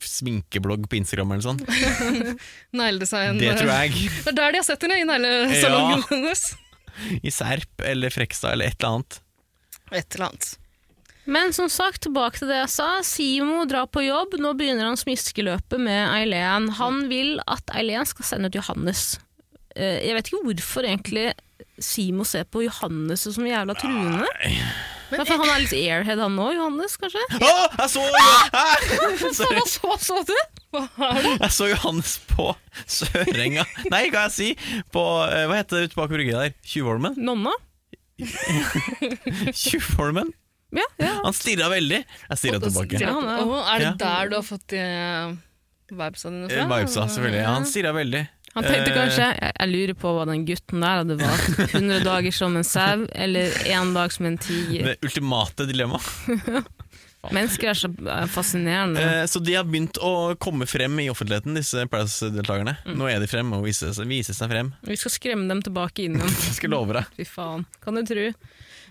Speaker 2: sminkeblogg på Instagram eller
Speaker 3: [laughs]
Speaker 2: sånn?
Speaker 3: Negledesign.
Speaker 2: Det tror jeg.
Speaker 3: [laughs] Det er der de har sett henne, i neglesalongen hennes.
Speaker 2: [laughs] I Serp eller Frekstad eller et eller
Speaker 3: [laughs]
Speaker 2: annet.
Speaker 3: Et eller annet.
Speaker 1: Men som sagt, tilbake til det jeg sa. Simo drar på jobb. Nå begynner han smiskeløpet med Eileen. Han vil at Eileen skal sende ut Johannes. Eh, Jeg vet ikke hvorfor egentlig Simo ser på Johannes som en jævla truende. Men for han er litt airhead han nå, Johannes, kanskje? [laughs]
Speaker 2: Å, jeg så Hæ? [laughs] Sorry.
Speaker 1: Hva så, så du?
Speaker 3: Hva er det?
Speaker 2: Jeg så Johannes på Sørenga Nei, hva jeg si? På, eh, hva heter det ute bak brygga der?
Speaker 3: [laughs]
Speaker 2: Tjuvholmen?
Speaker 1: Nonna?
Speaker 2: Tjuvholmen?
Speaker 1: Ja, ja.
Speaker 2: Han stirra veldig. Jeg stirra tilbake.
Speaker 1: Ja, han er-
Speaker 3: Åh, er det
Speaker 2: Ja.
Speaker 3: der du har fått de vibesa dine
Speaker 2: Eh,
Speaker 3: fra?
Speaker 2: Vibesa, selvfølgelig. Han stirra veldig.
Speaker 1: Han tenkte
Speaker 2: Eh,
Speaker 1: kanskje jeg, jeg lurer på hva den gutten der hadde valgt. 100 dager som en sau, eller én dag som en tiger.
Speaker 2: Det ultimate dilemmaet.
Speaker 1: Mennesker er så eh, fascinerende.
Speaker 2: Eh, Så de har begynt å komme frem i offentligheten, disse Paradise-deltakerne.
Speaker 1: Mm.
Speaker 2: Nå er de frem og viser seg, viser seg frem.
Speaker 1: [laughs] Vi skal skremme dem tilbake inn igjen.
Speaker 2: Jeg skal love deg.
Speaker 1: Fy faen, kan du tro.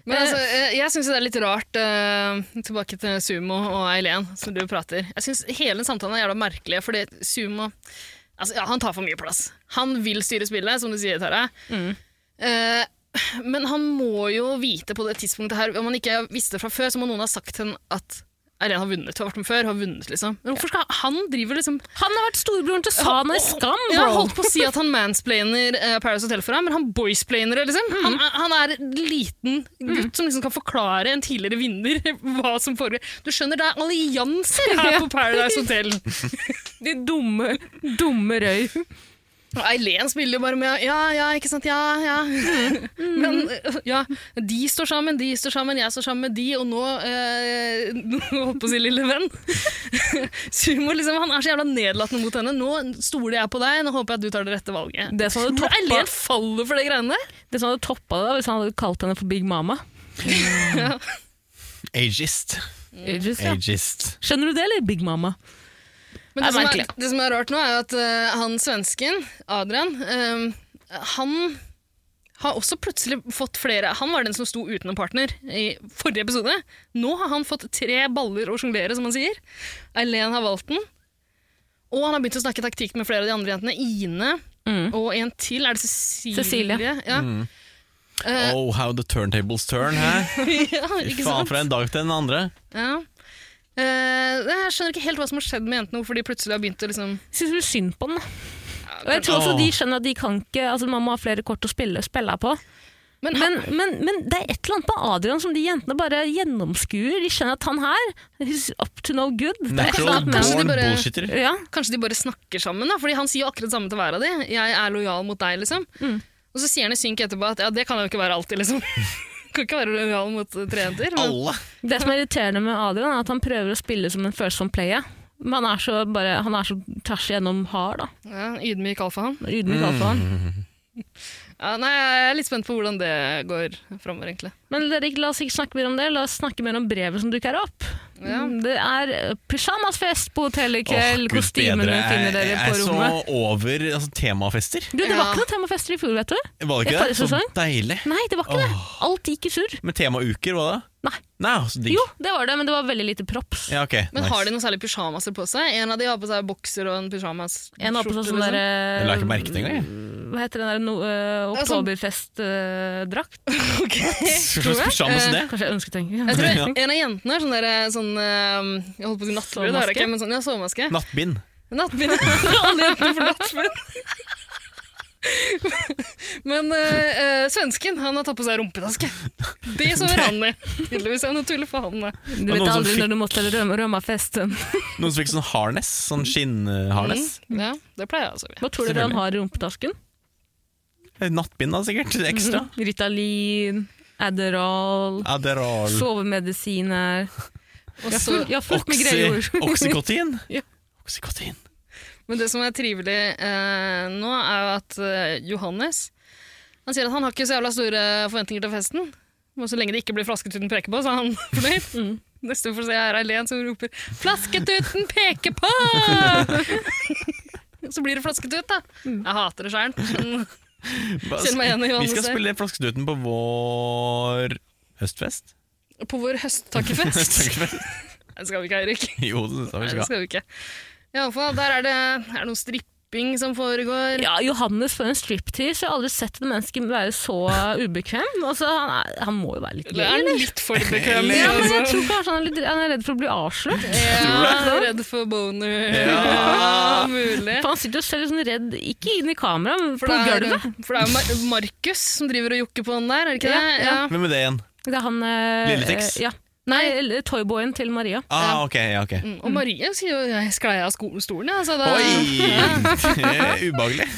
Speaker 3: Men altså, eh, jeg syns det er litt rart, eh, tilbake til Sumo og Eileen, som du prater. Jeg synes Hele den samtalen er jævla merkelig, fordi Sumo altså, ja, Han tar for mye plass. Han vil styre spillet, som du sier, Tara. Eh, men han må jo vite på det tidspunktet her Om han ikke visste det fra før, så må noen ha sagt til ham at Eileen har vunnet. Hun har vært med før, har vunnet, liksom. Men hvorfor skal han drive liksom
Speaker 1: Han har vært storebroren til Sana i Skam,
Speaker 3: Ja, jeg
Speaker 1: bro!
Speaker 3: holdt på å si at han mansplainer eh, Paris Hotel for deg, men han boysplainer det,
Speaker 1: Mhm.
Speaker 3: liksom. Han, er- han er en liten gutt som liksom kan forklare en tidligere vinner [laughs] hva som foregår. Du skjønner, det er allianser
Speaker 1: [laughs]
Speaker 3: her
Speaker 1: Ja.
Speaker 3: på Paradise Hotel.
Speaker 1: De dumme, dumme røy.
Speaker 3: Og Eileen spiller jo bare med ja, ja, ikke sant, ja, ja.
Speaker 1: Mm.
Speaker 3: Men eh, ja, de står sammen, de står sammen, jeg står sammen med de, og nå [laughs] eh, Holdt på å si lille venn. [laughs] Sumo, liksom, han er så jævla nedlatende mot henne. Nå stoler jeg på deg, nå håper jeg at du tar det rette valget.
Speaker 1: Det som hadde
Speaker 3: Tror du Eileen
Speaker 1: toppa
Speaker 3: faller for de greiene der?
Speaker 1: det, som hadde toppa det da, hvis han hadde kalt henne for Big Mama.
Speaker 2: Ageist.
Speaker 3: Mm.
Speaker 1: Aegis, ja.
Speaker 2: Ageist.
Speaker 1: Skjønner du det, eller Big Mama?
Speaker 3: Men
Speaker 1: Ja,
Speaker 3: det, som er,
Speaker 1: merkelig.
Speaker 3: det som er rart nå, er jo at eh, han svensken, Adrian, eh, han har også plutselig fått flere Han var den som sto uten en partner i forrige episode. Nå har han fått tre baller å sjonglere, som han sier. Eileen har valgt den. Og han har begynt å snakke taktikk med flere av de andre jentene. Ine og en til. Er det Cecilie?
Speaker 1: Mm. Cecilie.
Speaker 3: Ja.
Speaker 2: Mm.
Speaker 3: Eh,
Speaker 2: Oh, how the turntables turn,
Speaker 1: [laughs]
Speaker 2: hæ?
Speaker 3: [laughs] ja,
Speaker 2: Fy
Speaker 3: ikke
Speaker 2: faen,
Speaker 3: sant?
Speaker 2: fra en dag til den andre.
Speaker 3: Ja. Eh, jeg skjønner ikke helt hva som har skjedd med jentene, hvorfor de plutselig har begynt å liksom
Speaker 1: Syns du synd på den? Og jeg tror også
Speaker 2: Åh.
Speaker 1: de skjønner at de kan ikke Altså Man må ha flere kort å spille, spille på.
Speaker 3: Men,
Speaker 1: Men, men, men det er et eller annet med Adrian som de jentene bare gjennomskuer. De skjønner at han her He's up to no good. Det er et eller
Speaker 2: Natural
Speaker 1: annet med han.
Speaker 3: Kanskje de
Speaker 2: born
Speaker 3: bare-
Speaker 2: bullshitter.
Speaker 1: Ja,
Speaker 3: Kanskje de bare snakker sammen, da, fordi han sier jo akkurat det samme til hver av de. 'Jeg er lojal mot deg', liksom. Og så sier han i synk etterpå at 'ja, det kan jeg jo ikke være alltid', liksom. kan ikke være lojal mot eh, tre jenter. Men,
Speaker 2: Alle!
Speaker 1: Det som er irriterende med Adrian, er at han prøver å spille som en følsom player. Men han er så, bare, han er så tvers igjennom hard, da.
Speaker 3: ja, ydmyk alfahann.
Speaker 1: Ydmyk
Speaker 2: Mm.
Speaker 1: alfa. han.
Speaker 3: Ja, nei, jeg er litt spent på hvordan det går framover, egentlig.
Speaker 1: Men Erik, la oss ikke snakke mer om det. La oss snakke mer om brevet som dukker opp.
Speaker 3: Ja.
Speaker 1: Det er eh, pysjamasfest på hotellet i
Speaker 2: Åh,
Speaker 1: kveld.
Speaker 2: Gud bedre.
Speaker 1: Kostymene
Speaker 2: Jeg-
Speaker 1: finner dere
Speaker 2: Jeg
Speaker 1: på
Speaker 2: er
Speaker 1: rommet.
Speaker 2: så over altså, temafester.
Speaker 1: Du, det var
Speaker 3: Ja.
Speaker 1: ikke noe temafester i fjor, vet du.
Speaker 2: Var det
Speaker 1: I
Speaker 2: ikke det?
Speaker 1: forrige
Speaker 2: Så
Speaker 1: sesong?
Speaker 2: deilig.
Speaker 1: Nei, det var ikke det. Alt gikk i surr.
Speaker 2: Men temauker, var det?
Speaker 1: Nei.
Speaker 2: Nei, så digg.
Speaker 1: Jo, det var det, men det var veldig lite props.
Speaker 2: Ja, ok.
Speaker 3: Men har
Speaker 2: nice.
Speaker 3: de noe særlig pysjamaser på seg? En av de har på seg bokser og en pysjamas.
Speaker 1: En har på seg sånn
Speaker 3: skjorte, liksom. [laughs]
Speaker 2: Jeg la ikke
Speaker 1: derre
Speaker 2: merke til det engang. jeg.
Speaker 1: Hva heter den der no, eh,
Speaker 3: Ja, sånn-
Speaker 1: Oktoberfest-drakt?
Speaker 2: [laughs] Hva slags
Speaker 3: Eh.
Speaker 2: pyjamas er det?
Speaker 1: Kanskje jeg ønsket tenke. [laughs]
Speaker 3: Jeg tror En av jentene har sånn der, sånn eh, Jeg holdt på å si nattbrød, det har
Speaker 1: Sovemaske?
Speaker 3: jeg ikke, men sånn, ja, sovemaske.
Speaker 2: Nattbind.
Speaker 3: Nattbind. [laughs] Alle jentene får nattbind. Men eh, eh, svensken han har tatt på seg rumpetaske. Det sover han i. Tydeligvis er han tuller for han. da.
Speaker 1: Du vet
Speaker 2: Og noen som
Speaker 1: aldri
Speaker 2: fikk-
Speaker 1: når du måtte rømme, rømme av festen.
Speaker 2: Noen som fikk sånn harness, sånn skinnharness.
Speaker 3: Ja, det pleier jeg å sove i.
Speaker 1: Hva tror dere han har i rumpetasken?
Speaker 2: Eh, Nattbind da, sikkert. [laughs]
Speaker 1: Mm.
Speaker 2: Ekstra.
Speaker 1: Ritalin, Adderall,
Speaker 2: Adderall.
Speaker 1: sovemedisiner
Speaker 3: Og
Speaker 1: Jeg har
Speaker 3: så,
Speaker 1: fulgt- Jeg har fulgt med
Speaker 2: Oxy,
Speaker 1: greier. [laughs]
Speaker 2: oxycotin.
Speaker 1: Ja.
Speaker 2: Oxycotin.
Speaker 3: men det som er trivelig eh, nå, er jo at eh, Johannes Han sier at han har ikke så jævla store forventninger til festen. Men så lenge det ikke blir flasketuten peker på, så er han [laughs] fornøyd.
Speaker 1: Mm.
Speaker 3: Neste får se er Eileen som roper 'Flasketuten peker
Speaker 1: [laughs]
Speaker 3: på!' så blir det flasketut, da.
Speaker 1: Mm.
Speaker 3: Jeg hater det sjæl. Kjenn meg igjen i
Speaker 2: Vi skal
Speaker 3: Johannes her.
Speaker 2: spille Flaskeduten på vår høstfest. [laughs]
Speaker 3: På vår
Speaker 1: [laughs]
Speaker 3: høsttakkefest.
Speaker 2: Høstfest.
Speaker 3: det skal vi ikke, Eirik.
Speaker 2: jo, det sa
Speaker 3: Nei,
Speaker 2: vi
Speaker 3: det
Speaker 2: skal.
Speaker 3: skal vi ikke. I alle fall, der er det, er det noe stripping som foregår.
Speaker 1: Ja, Johannes for en striptease. Jeg har aldri sett et menneske være så ubekvem. Altså, han, er, han må jo være litt
Speaker 3: Eller
Speaker 1: gøy,
Speaker 3: er han
Speaker 1: eller?
Speaker 3: litt
Speaker 1: [laughs]
Speaker 3: for bekvem?
Speaker 1: Ja, men jeg
Speaker 3: altså?
Speaker 1: tror kanskje han er, litt, han er redd for å bli avslørt.
Speaker 3: Ja, redd for boner. Ja, mulig.
Speaker 1: For han sitter jo selv sånn redd, ikke inn i kamera, men
Speaker 3: For
Speaker 1: på
Speaker 3: det er,
Speaker 1: gulvet.
Speaker 3: for det er jo Mar- Markus som driver og jokker på den der, er det ikke
Speaker 1: Ja,
Speaker 3: det?
Speaker 1: ja.
Speaker 2: Hvem er det igjen?
Speaker 1: Det er han eh,
Speaker 2: Lille Tix?
Speaker 1: eh, Ja. Nei, eller toyboyen til Maria.
Speaker 2: Ah, ok, ja, ok.
Speaker 3: Mm, Og Marie sier jo 'jeg sklei av sko- stolen', jeg. Så da, [laughs]
Speaker 2: Oi! [laughs] Det er Ubehagelig.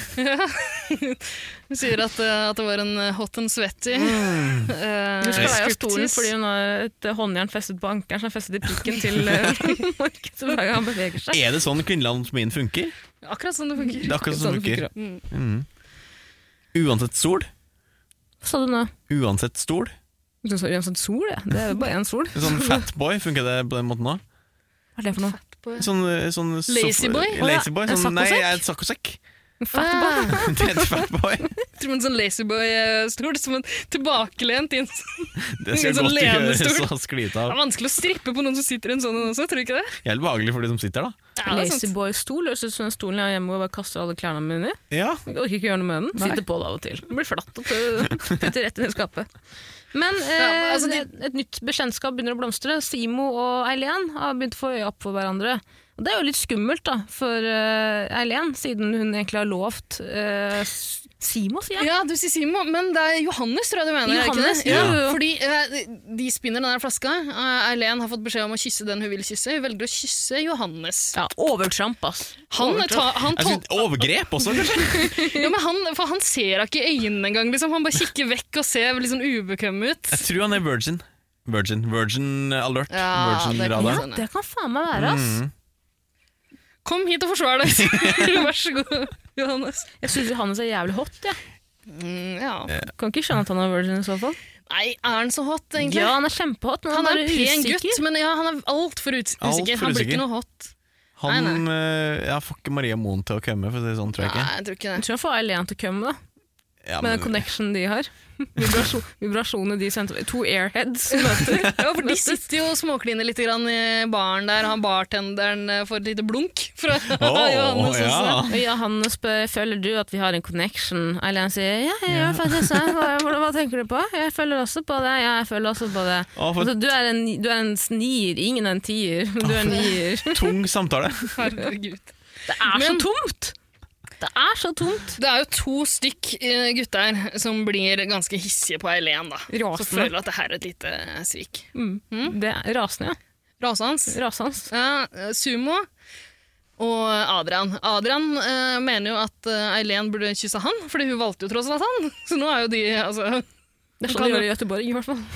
Speaker 3: hun sier at, eh, at det var en eh, hot and sweaty.
Speaker 2: Mm.
Speaker 3: eh,
Speaker 1: Hun sklei av
Speaker 3: striptease.
Speaker 1: stolen fordi hun har et eh, håndjern festet på ankelen, som er festet i pikken til eh, [laughs] Markus hver gang han beveger seg.
Speaker 2: Er det sånn kvinnelig anatomien funker?
Speaker 3: Akkurat sånn det funker.
Speaker 2: Det er akkurat sånn det funker.
Speaker 1: funker
Speaker 2: Mm. Uansett sol.
Speaker 1: Hva sa du nå?
Speaker 2: Uansett stol.
Speaker 1: Du sa uansett sol, ja. Det er jo bare én sol.
Speaker 2: En Sånn fatboy, funker det på den måten òg?
Speaker 1: Hva er det for noe?
Speaker 2: Sånn, sånn sofa-
Speaker 3: Lazyboy?
Speaker 1: Å,
Speaker 2: Lazyboy?
Speaker 1: ja, en
Speaker 2: Sånn, nei,
Speaker 1: saccosekk?
Speaker 2: jeg er et saccosekk. [laughs]
Speaker 3: Ah,
Speaker 1: Fatboy?
Speaker 2: Det heter fatboy.
Speaker 3: Tror man sånn lazyboy-stol som liksom en tilbakelent inn
Speaker 2: Det skal
Speaker 3: Sånn
Speaker 2: godt gjøre
Speaker 3: lenestol.
Speaker 2: så skli ut
Speaker 3: Det
Speaker 2: av.
Speaker 3: er vanskelig å strippe på noen som sitter i en sånn en også, tror du ikke det?
Speaker 2: Helt behagelig for de som sitter, da.
Speaker 3: Ja, det er sant.
Speaker 1: Lazyboy-stol høres ut som den stolen jeg har hjemme hvor jeg bare kaster alle klærne mine i.
Speaker 2: Ja.
Speaker 1: Jeg orker ikke gjøre noe med den. Sitter på det av og til. Den blir flatt og
Speaker 3: [laughs]
Speaker 1: putter rett inn i skapet. Men eh,
Speaker 3: Ja, altså, de-
Speaker 1: et, et nytt bekjentskap begynner å blomstre. Simo og Eileen har begynt å få øye opp for hverandre. Og Det er jo litt skummelt da, for eh, Eileen, siden hun egentlig har lovt eh, S- Simo, sier jeg.
Speaker 3: Ja, du sier Simo, men det er Johannes, tror jeg du mener. er det
Speaker 1: Johannes,
Speaker 3: ikke det?
Speaker 1: jo, jo.
Speaker 3: Fordi eh, de spinner den der flaska. Eh, Eileen har fått beskjed om å kysse den hun vil kysse. Hun velger å kysse Johannes.
Speaker 1: Ja, Overtramp, ass.
Speaker 3: Han, ta, han,
Speaker 2: Jeg
Speaker 3: tol
Speaker 2: synes, overgrep også, kanskje?
Speaker 3: ja, men han, for han ser henne ikke i øynene engang. Liksom. Han bare kikker vekk og ser litt sånn ubekvem ut.
Speaker 2: Jeg tror han er virgin. Virgin virgin alert.
Speaker 3: Ja, Mm. det
Speaker 2: virgin
Speaker 3: kan
Speaker 2: radar.
Speaker 1: Ja, det kan faen meg være, ass.
Speaker 3: Kom hit og forsvar deg! [laughs] Vær så god, Johannes.
Speaker 1: Jeg syns Johannes er jævlig hot, jeg.
Speaker 3: Mm, ja.
Speaker 1: Kan ikke skjønne at han er virgin i så fall.
Speaker 3: Nei, er han så hot, egentlig?
Speaker 1: Ja, han er kjempehot, men
Speaker 3: han er en
Speaker 1: bare
Speaker 3: pen
Speaker 1: usikker.
Speaker 3: gutt, men ja, han er altfor ut
Speaker 2: Alt
Speaker 3: usikker.
Speaker 2: for
Speaker 3: Han blir
Speaker 2: usikker.
Speaker 3: ikke noe hot.
Speaker 2: Han
Speaker 3: Nei,
Speaker 2: eh, Jeg får ikke Maria Moen til å komme, for å si det sånn, tror jeg
Speaker 3: Nei,
Speaker 2: ikke.
Speaker 3: jeg tror ikke
Speaker 1: Jeg
Speaker 3: det.
Speaker 1: tror jeg får Eileen til å komme, da.
Speaker 2: Ja,
Speaker 1: Med den connectionen de [laughs] har. Vibrasjon, vibrasjonene de sendte To [laughs] airheads som møter.
Speaker 3: Ja, for De sitter jo og småkliner litt grann i baren der. Han bartenderen eh, får et lite blunk fra
Speaker 2: Åh,
Speaker 3: [laughs] Johannes.
Speaker 2: ja.
Speaker 3: også.
Speaker 1: Ja, han spør føler du at vi har en connection. Eileen sier ja, jeg gjør faktisk det. Hva, [laughs] hvordan- hva tenker du på? Jeg føler også på det. Ja, jeg føler også på det.
Speaker 2: Å, for-
Speaker 1: altså, du, er en, du er en nier, ingen er en tier. men Du er en nier.
Speaker 2: Tung samtale.
Speaker 3: Herregud.
Speaker 1: [laughs] Det er
Speaker 3: Men-
Speaker 1: så tomt! Det er så tomt.
Speaker 3: Det er jo to stykk eh, gutter som blir ganske hissige på Eileen, da. Så
Speaker 1: Rasende.
Speaker 3: føler at det her er et lite eh, svik.
Speaker 1: Det er rasende, ja.
Speaker 3: Rasans.
Speaker 1: Rasans.
Speaker 3: Ja, eh, Sumo og Adrian. Adrian eh, mener jo at eh, Eileen burde kysse han, fordi hun valgte jo tross alt han. [laughs] Så nå er jo de altså,
Speaker 1: Det er
Speaker 3: Kan
Speaker 1: sånn de
Speaker 3: du-
Speaker 1: gjør i Göteborg, i hvert fall.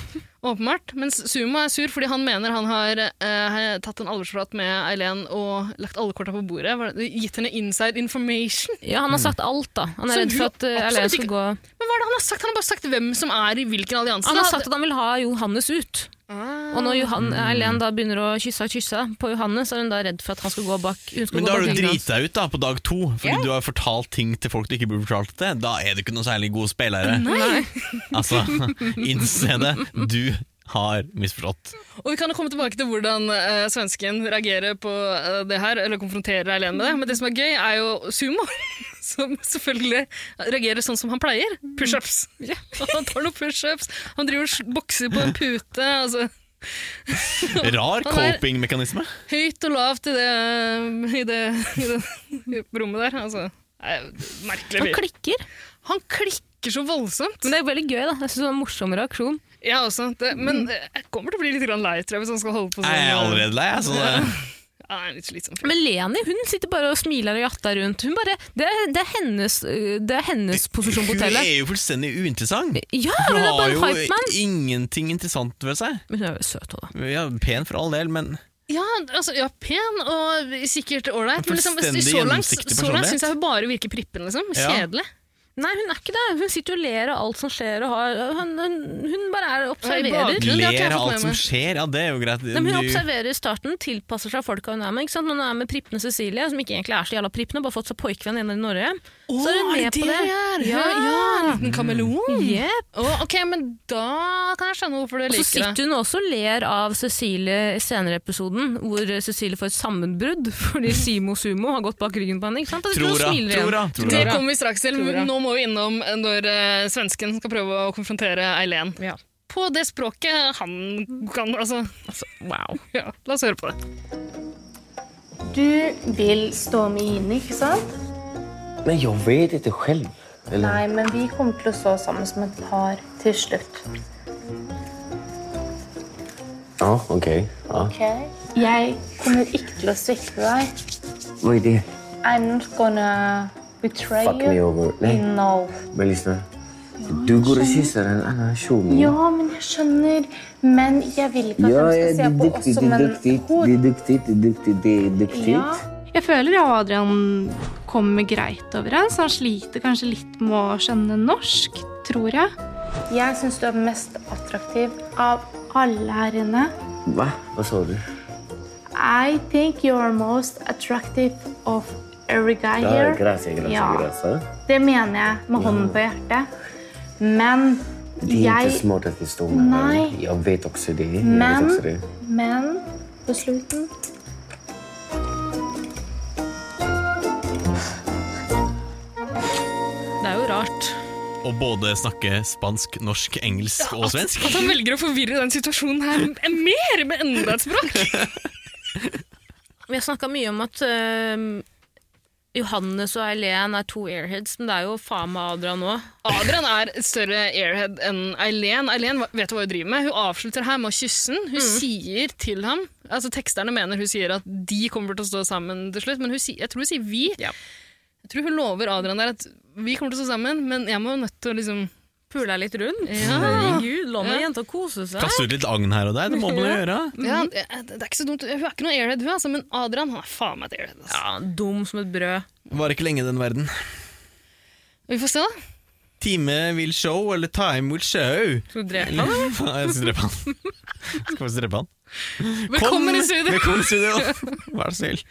Speaker 3: åpenbart. Mens Sumo er sur fordi han mener han har eh, tatt en alvorsprat med Eileen og lagt alle korta på bordet. Var det- Gitt henne inside information.
Speaker 1: Ja, han har sagt alt, da. Han
Speaker 3: Så
Speaker 1: er redd
Speaker 3: du
Speaker 1: for at eh,
Speaker 3: absolutt
Speaker 1: Eileen
Speaker 3: ikke-
Speaker 1: skal gå
Speaker 3: Men hva er det han har sagt? Han har bare sagt hvem som er i hvilken allianse.
Speaker 1: Han Ah. har
Speaker 3: da.
Speaker 1: sagt at han vil ha Johannes ut. Og når Johan, Eileen da begynner å kysse og kysse på Johannes, er hun da redd for at han skal gå bak hun skal
Speaker 2: Men
Speaker 1: gå
Speaker 2: da har
Speaker 1: bak
Speaker 2: du
Speaker 1: ryggen hans.
Speaker 2: driti deg ut da på dag to, fordi du har fortalt ting til folk du ikke burde fortalt til. Da er du ikke noe særlig god spillere.
Speaker 1: Nei.
Speaker 2: [laughs] Altså, innse det. Du har misforstått.
Speaker 3: Og vi kan jo komme tilbake til hvordan eh, svensken reagerer på eh, det her, eller konfronterer Eileen med det. Men det som er gøy, er jo Sumo, [laughs] som selvfølgelig reagerer sånn som han pleier. Pushups.
Speaker 1: Ja.
Speaker 3: [laughs] Han tar noen pushups, han driver og sl- bokser på en pute. altså
Speaker 2: Rar
Speaker 3: Han er-
Speaker 2: coping-mekanisme.
Speaker 3: Høyt og lavt i det, i det, i det rommet der. altså. Nei, Merkelig
Speaker 1: Han
Speaker 3: fyr.
Speaker 1: klikker.
Speaker 3: Han klikker så voldsomt.
Speaker 1: Men det er veldig gøy, da. Jeg synes det var en morsom reaksjon.
Speaker 3: Jeg også, det, men eh, jeg kommer til å bli litt grann lei, tror jeg, hvis han skal holde på sånn.
Speaker 2: Jeg er allerede lei, jeg. Så det,
Speaker 3: Ja, det er litt slitsomt.
Speaker 1: Men Leni hun sitter bare og smiler og jatter rundt. Hun bare, det, er, det, er hennes, øh, det er hennes posisjon på
Speaker 2: hun
Speaker 1: hotellet.
Speaker 2: er jo fullstendig uinteressant.
Speaker 1: Ja,
Speaker 2: Hun
Speaker 1: hun er
Speaker 2: har
Speaker 1: bare en
Speaker 2: jo
Speaker 1: hype man.
Speaker 2: ingenting interessant ved seg.
Speaker 1: Men hun er jo søt òg, da.
Speaker 2: Ja, pen for all del, men
Speaker 3: Ja, altså, ja, pen og sikkert ålreit, men liksom,
Speaker 2: Fullstendig
Speaker 3: så langt,
Speaker 2: gjennomsiktig
Speaker 3: så langt
Speaker 2: personlighet.
Speaker 3: syns jeg hun bare virker prippen. liksom.
Speaker 2: Ja.
Speaker 3: Kjedelig.
Speaker 1: Nei, hun er ikke det. Hun sitter og ler av alt som skjer, og har, hun, hun, hun bare er og
Speaker 3: Hun er i
Speaker 1: observerer.
Speaker 3: bakgrunnen. det har ikke jeg
Speaker 2: ler av
Speaker 3: fått
Speaker 2: alt
Speaker 3: med
Speaker 2: som
Speaker 3: meg.
Speaker 2: skjer. Ja, det er jo greit.
Speaker 1: Nei, men hun
Speaker 2: Du-
Speaker 1: observerer i starten, tilpasser seg folka hun er med. Ikke sant? Når hun er med prippende Cecilie, som ikke egentlig er så jævla prippende, bare fått seg pojkvenn igjen i Norge. så er hun med på det.
Speaker 3: Ja,
Speaker 1: Ja.
Speaker 3: ja, en liten kameleon.
Speaker 1: Yep.
Speaker 3: Å, ok, men da kan jeg skjønne hvorfor du
Speaker 1: Og så
Speaker 3: liker det.
Speaker 1: sitter hun også og ler av Cecilie i senere i episoden, hvor Cecilie får et sammenbrudd [laughs] fordi Simo Sumo har gått bak ryggen på henne. Ikke sant? Og så
Speaker 2: Tror
Speaker 1: hun
Speaker 2: da,
Speaker 1: smiler
Speaker 2: tror da,
Speaker 1: igjen.
Speaker 2: tror da.
Speaker 3: Det kommer vi straks til,
Speaker 1: Tror jeg.
Speaker 3: men nå må vi innom når eh, svensken skal prøve å konfrontere Eileen.
Speaker 1: Ja.
Speaker 3: På det språket han kan, altså.
Speaker 1: Wow.
Speaker 3: [laughs] Ja, la oss høre på det.
Speaker 10: Du vil stå med Ine, ikke sant?
Speaker 6: Men jag vet inte själv. Eller?
Speaker 10: Nei, men vi kommer til å stå sammen som et par til slutt.
Speaker 6: Ja, okej. Ja.
Speaker 10: Ok? Jeg kommer ikke til å svikte deg.
Speaker 6: Vad är det?
Speaker 10: I'm not gonna betray
Speaker 6: Fuck me
Speaker 10: you.
Speaker 6: over. Nej,
Speaker 10: No.
Speaker 6: men lyssna. Du går och kysser en annan tjomme.
Speaker 10: Ja, men jeg skjønner. Men jeg vil ikke at
Speaker 6: Ja,
Speaker 10: de
Speaker 6: ja,
Speaker 10: skal
Speaker 6: det
Speaker 10: se
Speaker 6: är
Speaker 10: på oss
Speaker 6: duktigt, det
Speaker 10: som
Speaker 6: är
Speaker 10: en
Speaker 6: duktigt, det är
Speaker 10: hor.
Speaker 6: duktigt, det är duktigt, det är duktigt.
Speaker 10: Ja. Jeg føler jeg og Adrian kommer greit overens. Han sliter kanskje litt med å skjønne norsk, tror jeg. Jeg syns du er mest attraktiv av alle her inne.
Speaker 6: Va? Vad sa du?
Speaker 10: I think you're most attractive of every guy
Speaker 6: Ja,
Speaker 10: here.
Speaker 6: grazie, grazie,
Speaker 10: Ja.
Speaker 6: grazie.
Speaker 10: Det mener jeg med hånden på hjertet. Men
Speaker 6: Det är
Speaker 10: jeg
Speaker 6: inte smart att vi står med varandra.
Speaker 10: Nej.
Speaker 6: Jag vet också det. Jag
Speaker 10: Men-
Speaker 6: vet också det.
Speaker 10: Men på slutten
Speaker 1: Det er jo rart.
Speaker 2: Og både snakke spansk, norsk, engelsk og svensk.
Speaker 3: At han velger å forvirre den situasjonen her mer med enda et språk.
Speaker 1: Vi har snakka mye om at øhm, Johannes og Eileen er to airheads, men det er jo faen meg Adrian òg.
Speaker 3: Adrian er et større airhead enn Eileen. Eileen vet hva hun driver med. Hun avslutter her med å kysse den. Hun sier til ham altså Teksterne mener hun sier at de kommer til å stå sammen til slutt, men hun, sier- jeg tror hun sier vi. Jeg tror hun lover Adrian der at vi kommer til å stå sammen, men jeg må jo nødt til å liksom
Speaker 1: Pula litt rundt.
Speaker 3: ja.
Speaker 1: Herregud, la nå jenta kose seg.
Speaker 2: Kaste ut litt agn her og der, det må man jo gjøre.
Speaker 3: Ja, det det er ikke så dumt. Hun er ikke noe airhead, hun, altså, men Adrian han er faen meg et airhead. Altså.
Speaker 1: Ja, dum som et brød.
Speaker 2: Var ikke lenge den verden.
Speaker 3: Vi får se, da.
Speaker 2: Time will show, eller time will show.
Speaker 3: Skal du
Speaker 2: [laughs]
Speaker 3: drepe han, eller?
Speaker 2: Ja, Jeg skal drepe han. Skal vi drepe han?
Speaker 3: Velkommen i studio!
Speaker 2: Velkommen i studio. [laughs] Vær så snill.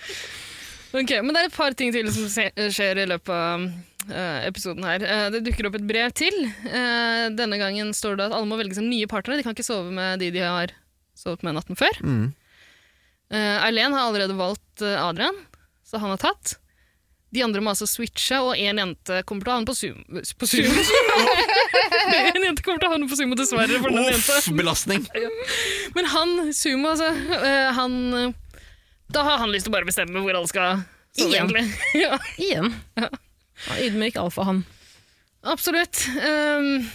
Speaker 3: Ok, men Det er et par ting til som se- skjer i løpet av eh, episoden her. Eh, det dukker opp et brev til. Eh, denne gangen står det at alle må velge seg nye partnere. De kan ikke sove med de de har sovet med natten før.
Speaker 2: Mm.
Speaker 3: Eh, Eileen har allerede valgt eh, Adrian, så han er tatt. De andre må altså switche, og én jente kommer til å havne på Zoom. På Zoom. [laughs] en jente kommer til å havne på Sumo, dessverre. For den jenta.
Speaker 2: Uff, belastning.
Speaker 3: Men han, Sumo, altså eh, Han eh, Da har han lyst til å bare bestemme hvor alle skal sove,
Speaker 1: Igjen.
Speaker 3: egentlig. ja.
Speaker 1: Igjen. Ydmyk alfahann.
Speaker 3: Absolutt. Ehm,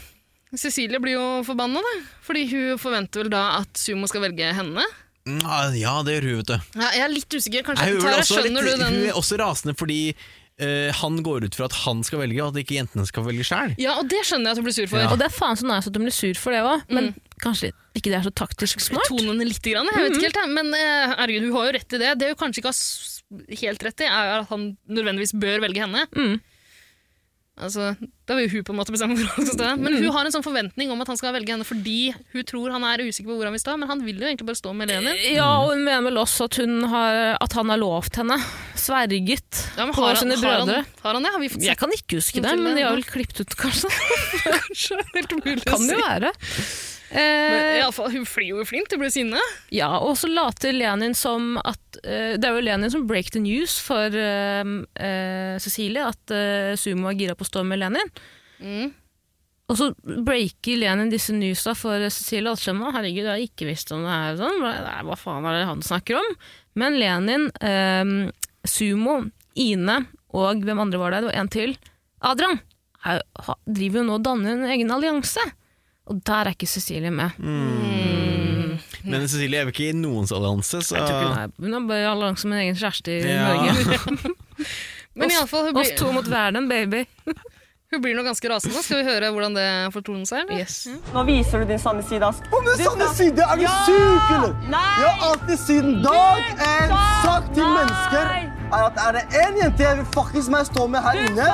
Speaker 3: Cecilie blir jo forbanna, da. Fordi hun forventer vel da at Sumo skal velge henne.
Speaker 2: Mm, Ja, det gjør hun, vet du.
Speaker 3: Ja, jeg er litt usikker.
Speaker 2: Nei,
Speaker 3: Kanskje
Speaker 2: hun, er vel
Speaker 3: Tara,
Speaker 2: også litt,
Speaker 3: skjønner du den?
Speaker 2: hun er også rasende fordi eh, han går ut fra at han skal velge, og at ikke jentene skal velge sjøl.
Speaker 3: Ja, og det skjønner jeg at hun blir sur for.
Speaker 2: Ja.
Speaker 1: Og det er faen så nice at de blir sur for det òg, men
Speaker 3: Mm.
Speaker 1: kanskje ikke det er så taktisk smart?
Speaker 3: Tonene litt, grann, jeg
Speaker 2: Mhm.
Speaker 3: vet ikke helt, jeg. men eh, herregud, hun har jo rett i det. Det hun kanskje ikke har s- helt rett i, er at han nødvendigvis bør velge henne.
Speaker 2: Mm.
Speaker 3: Altså, Da vil jo hun på en måte bestemme hvor han skal stå. Men
Speaker 2: Mm.
Speaker 3: hun har en sånn forventning om at han skal velge henne fordi hun tror han er usikker på hvor han vil stå, men han vil jo egentlig bare stå med Lenin.
Speaker 1: Ja, og hun mener vel også at, hun har, at han har lovt henne, sverget,
Speaker 3: Ja, men
Speaker 1: på
Speaker 3: har, han,
Speaker 1: sine
Speaker 3: har,
Speaker 1: brødre.
Speaker 3: han, har han det? Har vi fått
Speaker 1: Jeg kan ikke huske det, men de har vel klippet ut, kanskje.
Speaker 3: Kanskje. Helt umulig å
Speaker 1: [laughs] Kan
Speaker 3: si.
Speaker 1: det jo være.
Speaker 3: Men,
Speaker 1: Eh,
Speaker 3: i alle fall, hun flyr jo i flint, hun blir sinne.
Speaker 1: ja, og så later Lenin som at eh, Det er jo Lenin som break the news for eh, eh, Cecilie, at eh, Sumo er gira på å stå med Lenin. Og så breaker Lenin disse newsa for eh, Cecilie Altskjemma. Herregud, jeg har ikke visst om det her. og Sånn. Nei, hva faen er det han snakker om? Men Lenin, ehm, Sumo, Ine og hvem andre var det? Det var en til. Adrian er, ha, driver jo nå og danner en egen allianse. Og der er ikke Cecilie med.
Speaker 2: Men Cecilie er jo ikke i noens allianse, så
Speaker 1: Jeg tror ikke hun er- Hun har bare allianse med en egen kjæreste i
Speaker 2: Ja. [laughs]
Speaker 1: Norge.
Speaker 3: Men i alle fall, hun
Speaker 1: Oss to
Speaker 3: blir,
Speaker 1: mot verden, baby.
Speaker 3: hun blir nå ganske rasende. Skal vi høre hvordan det fortoner seg? eller?
Speaker 11: Nå viser du din sanne side, Ask.
Speaker 12: Om den sanne side er du syk, eller? Jeg har alltid siden dag én sagt til mennesker er at er det én jente jeg vil fuckings meg stå med her inne,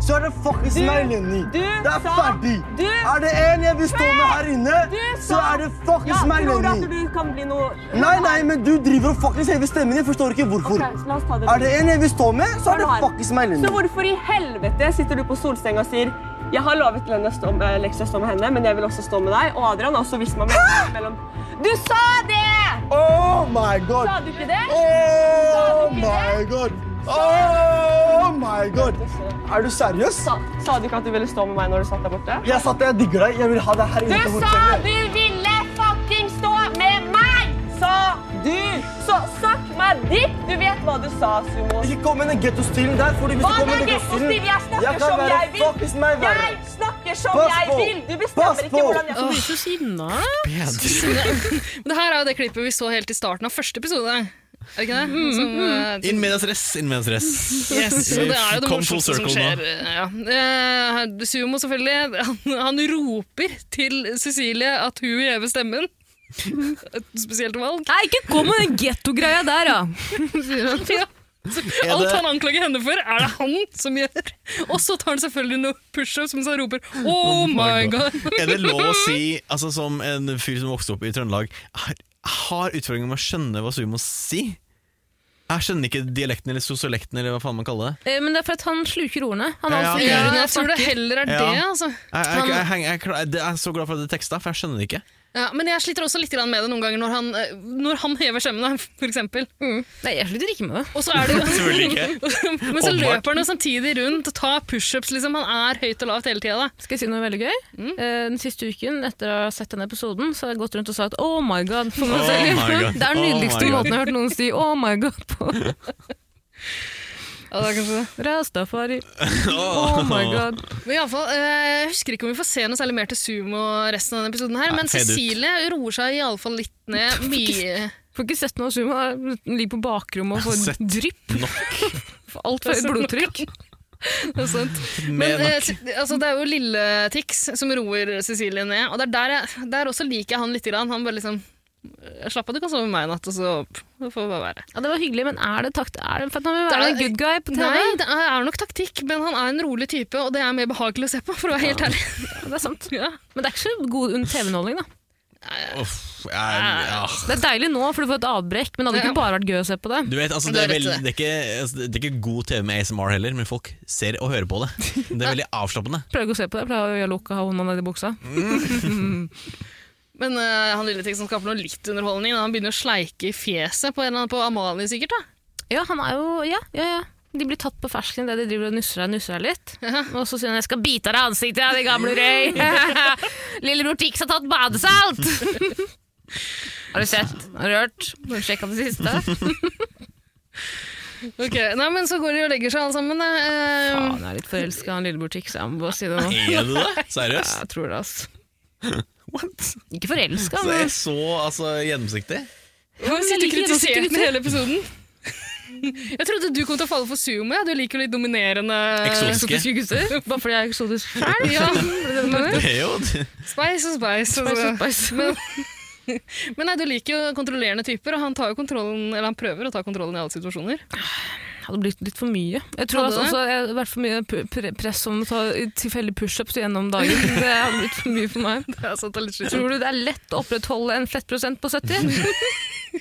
Speaker 12: så er det fuckings
Speaker 11: Du-
Speaker 12: meg, Lenny.
Speaker 11: du
Speaker 12: Det er
Speaker 11: sa-
Speaker 12: ferdig.
Speaker 11: du-
Speaker 12: Er det én jeg vil stå med her inne, så er det fuckings meg,
Speaker 11: Jeg tror at
Speaker 12: Lenny.
Speaker 11: du kan bli noe...
Speaker 12: Nei, nei, men du driver og fuckings hever stemmen din. Forstår ikke hvorfor.
Speaker 11: Ok, så la oss ta det.
Speaker 12: Er det én jeg vil stå med, så er det
Speaker 11: Hva du har.
Speaker 12: fuckings meg,
Speaker 11: Så
Speaker 12: Lenny.
Speaker 11: hvorfor i helvete sitter du på solsenga og sier jeg har lovet Lenny å stå med, Lexi å stå med henne, men jeg vil også stå med deg. Og Adrian har også vist meg mellom- mellom Du sa det!
Speaker 12: Oh my god.
Speaker 11: Sa du ikke det?
Speaker 12: Oh my god. Oh my god. Er du seriøs?
Speaker 11: Sa, sa du ikke at du ville stå med meg når du satt der borte?
Speaker 12: Jeg satt der, jeg digger deg. Jeg vil ha deg her inne. på hotellet.
Speaker 11: du ville fucking stå med meg! Sa du! Så søkk meg ditt! Du vet hva du sa, Sumo.
Speaker 12: Ikke kom med den gettostilen der. fordi hvis
Speaker 11: Hva
Speaker 12: du kommer
Speaker 11: er
Speaker 12: med den
Speaker 11: gettostil?
Speaker 12: gettostilen
Speaker 11: Jeg snakker
Speaker 12: kan
Speaker 11: som
Speaker 12: være
Speaker 11: jeg vil!
Speaker 12: fuckings meg verre.
Speaker 11: Jeg snakker som
Speaker 12: Pass
Speaker 11: jeg
Speaker 12: på.
Speaker 11: vil! Du bestemmer
Speaker 12: Pass
Speaker 11: ikke
Speaker 12: på.
Speaker 11: hvordan jeg
Speaker 1: Hun
Speaker 11: skal
Speaker 1: blir så sinna.
Speaker 3: Men det her er jo det klippet vi så helt i starten av første episode. Er det ikke det?
Speaker 1: Mm-hmm.
Speaker 3: Som, eh,
Speaker 2: Inn med deg stress, inn med deg
Speaker 3: [laughs]
Speaker 2: stress.
Speaker 3: Yes, og det er jo det
Speaker 2: Kom
Speaker 3: morsomste
Speaker 2: full circle
Speaker 3: som skjer.
Speaker 2: nå.
Speaker 3: Ja. Eh, Sumo selvfølgelig, han, han roper til Cecilie at hun vil heve stemmen. Et spesielt valg.
Speaker 1: Nei, ikke kom med den gettogreia der, ja!
Speaker 3: Ja. Så
Speaker 2: Er
Speaker 3: Alt
Speaker 2: det-
Speaker 3: han anklager henne for, er det han som gjør. Og så tar han selvfølgelig noen pushups mens han roper 'oh my god'.
Speaker 2: Er det lov å si, altså som en fyr som vokste opp i Trøndelag, har, har utfordringer med å skjønne hva sumo sier? Jeg skjønner ikke dialekten eller sosiolekten eller hva faen man kaller det.
Speaker 1: Eh, Men det er for at han sluker ordene. Han har
Speaker 2: Ja, ja,
Speaker 1: altså
Speaker 2: ok.
Speaker 1: ingen
Speaker 3: Ja,
Speaker 1: når
Speaker 3: jeg
Speaker 1: han
Speaker 3: tror det
Speaker 1: snakker.
Speaker 3: heller er
Speaker 2: Ja.
Speaker 3: det, altså.
Speaker 2: Jeg, jeg, jeg, jeg, jeg, klar- jeg er så glad for at det er teksta, for jeg skjønner det ikke.
Speaker 3: Ja, men jeg sliter også litt grann med det noen ganger når han, eh, når han hever skjemmene, [laughs] for eksempel.
Speaker 1: Nei, jeg slutter ikke med det.
Speaker 3: Og så er det
Speaker 2: [laughs] Selvfølgelig
Speaker 3: [laughs] Men så
Speaker 2: Åpenbart.
Speaker 3: løper han jo samtidig rundt og tar pushups, liksom. Han er høyt og lavt hele tida.
Speaker 1: Skal jeg si noe veldig gøy? Eh, Den siste uken etter å ha sett denne episoden, så har jeg gått rundt og sagt 'oh my god' for meg
Speaker 2: Oh
Speaker 1: selv.
Speaker 2: my God.
Speaker 1: [laughs] Det er den
Speaker 2: Oh
Speaker 1: nydeligste
Speaker 2: my God.
Speaker 1: måten jeg har hørt noen si 'oh my god' på. [laughs]
Speaker 3: Ja, det er kanskje det.
Speaker 1: Rastafari. Oh my god.
Speaker 3: Men i alle fall, eh, jeg husker ikke om vi får se noe særlig mer til sumo resten av denne episoden, her,
Speaker 2: Nei,
Speaker 3: men
Speaker 2: fade ut.
Speaker 3: Cecilie roer seg iallfall litt
Speaker 2: [laughs]
Speaker 3: ned. Mye
Speaker 1: Får ikke sett noe sumo. Hun ligger på bakrommet og får
Speaker 2: Sett.
Speaker 1: drypp.
Speaker 2: Nok.
Speaker 1: [laughs] Får Altfor høyt blodtrykk.
Speaker 3: og sånt. Men
Speaker 2: Med
Speaker 3: eh,
Speaker 2: nok.
Speaker 3: se- altså, det er jo lille Tix som roer Cecilie ned, og det er der, jeg, der også liker jeg han lite grann. Han bare liksom Slapp av, du kan sove med meg i natt, og så Det får bare være.
Speaker 1: Ja, det var hyggelig, men er det takt... Er det for at han vil være en good guy på TV?
Speaker 3: Nei, det er er nok taktikk, men han er en rolig type, og det er mer behagelig å se på, for å være helt ærlig. [laughs]
Speaker 1: Det er sant. Men det er ikke så god under TV-underholdning, da.
Speaker 2: Uff, jeg, ja.
Speaker 1: Det er deilig nå, for du får et avbrekk, men det hadde ikke bare vært gøy å se på det.
Speaker 2: Du vet, altså, det, er vel, det, er ikke, altså, det er ikke god TV med ASMR heller, men folk ser og hører på det. Det er veldig avslappende.
Speaker 1: Prøver ikke å se på det, pleier å gjøre lukka ha hånda nedi buksa.
Speaker 3: Men eh, han lille ting som skaper noe litt underholdning, han begynner å sleike i fjeset på, en eller annen, på Amalie sikkert, da.
Speaker 1: Ja, han er jo Ja, ja, ja. De blir tatt på fersken idet de driver og nusser deg nusser deg litt. Og så sier han 'jeg skal bite av deg ansiktet, ja, din gamle røy'. Mm. [laughs] 'Lillebror Tix har tatt badesalt'. [laughs] har du sett? Har du hørt? Har du sjekka det siste?
Speaker 3: Ok, Nei, men så går de og legger seg alle sammen. Eh,
Speaker 1: Faen, jeg er litt forelska i han lillebror Tix, jeg må bare si det nå.
Speaker 2: [laughs] Er du det? Seriøst?
Speaker 1: Ja, jeg tror det,
Speaker 3: [laughs]
Speaker 1: altså. Ikke forelska,
Speaker 2: Så det
Speaker 1: men
Speaker 2: er så altså, gjennomsiktig.
Speaker 3: Ja, men sitter du kritisert med hele episoden? [laughs] Jeg trodde du kom til å falle for sumo. Ja. Du liker jo litt dominerende
Speaker 2: Eksotiske.
Speaker 3: gutter.
Speaker 1: Bare fordi jeg er eksotisk
Speaker 3: [laughs]
Speaker 1: sjøl?
Speaker 3: Ja.
Speaker 2: Det er [laughs] jo
Speaker 3: Spice og spice.
Speaker 1: Spice og
Speaker 3: altså. Men, men nei, du liker jo kontrollerende typer, og han, tar jo kontrollen, eller han prøver å ta kontrollen i alle situasjoner. [laughs]
Speaker 1: hadde blitt litt for mye. Jeg tror altså,
Speaker 3: Hadde det?
Speaker 1: også jeg har vært for mye p- pre- press om å ta tilfeldige pushups gjennom dagen. Det hadde blitt for mye for meg.
Speaker 3: Det er sant, det er litt slitsomt.
Speaker 1: Tror du det er lett å opprettholde en flettprosent på 70?
Speaker 3: [laughs]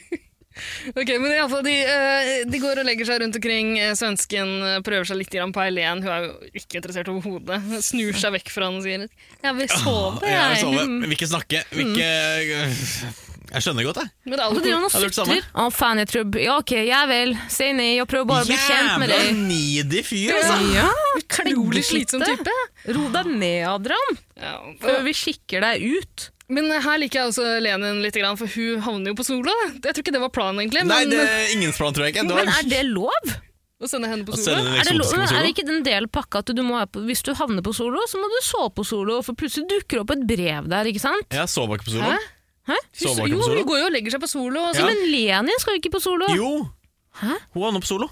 Speaker 3: Ok, men i alle fall, de, eh, de går og legger seg rundt omkring. Eh, Svensken eh, prøver seg litt grann på Eileen. Hun er jo ikke interessert overhodet. Hun Snur seg vekk fra han og sier 'jeg vil sove',
Speaker 2: Ja, vi sover.
Speaker 3: jeg.
Speaker 2: Vi ikke snakke. Vi ikke Jeg skjønner godt, jeg.
Speaker 3: Men det er
Speaker 1: Og så
Speaker 3: alle
Speaker 1: driver han og
Speaker 2: Jeg hadde gjort det
Speaker 1: sutrer. Å, faen, jeg tror Ja, OK, jeg vel. Si nei, jeg prøver bare å bli kjent med
Speaker 2: Jævla
Speaker 1: deg.
Speaker 2: needy fyr, altså!
Speaker 1: Ja,
Speaker 3: Utrolig sånn slitsom
Speaker 1: klippete.
Speaker 3: type.
Speaker 1: Ro deg ned, Adrian, før vi kikker deg ut.
Speaker 3: Men her liker jeg også Lenin litt, grann, for hun havner jo på sola. Jeg tror ikke det var planen, egentlig.
Speaker 2: Nei,
Speaker 3: Men
Speaker 2: det er ingens plan, tror jeg ikke. Det var-
Speaker 1: sånn- Men er det lov?
Speaker 3: å sende henne på
Speaker 2: Å
Speaker 3: sola.
Speaker 2: sende henne
Speaker 1: Er det, lov?
Speaker 2: Eksotisk på
Speaker 1: er
Speaker 2: solo?
Speaker 1: det ikke den delen av pakka at du må være på, hvis du havner på solo, så må du sove på solo, for plutselig dukker det opp et brev der, ikke sant?
Speaker 2: Jeg sov ikke på solo.
Speaker 1: Hæ? Hæ?
Speaker 2: Sov
Speaker 1: Hun-
Speaker 2: ikke
Speaker 1: jo,
Speaker 2: på solo?
Speaker 1: hun går-
Speaker 3: går jo og legger seg på solo.
Speaker 1: Altså,
Speaker 2: Ja.
Speaker 1: Men Lenin skal jo ikke på solo.
Speaker 2: Jo! Hun er nå på solo.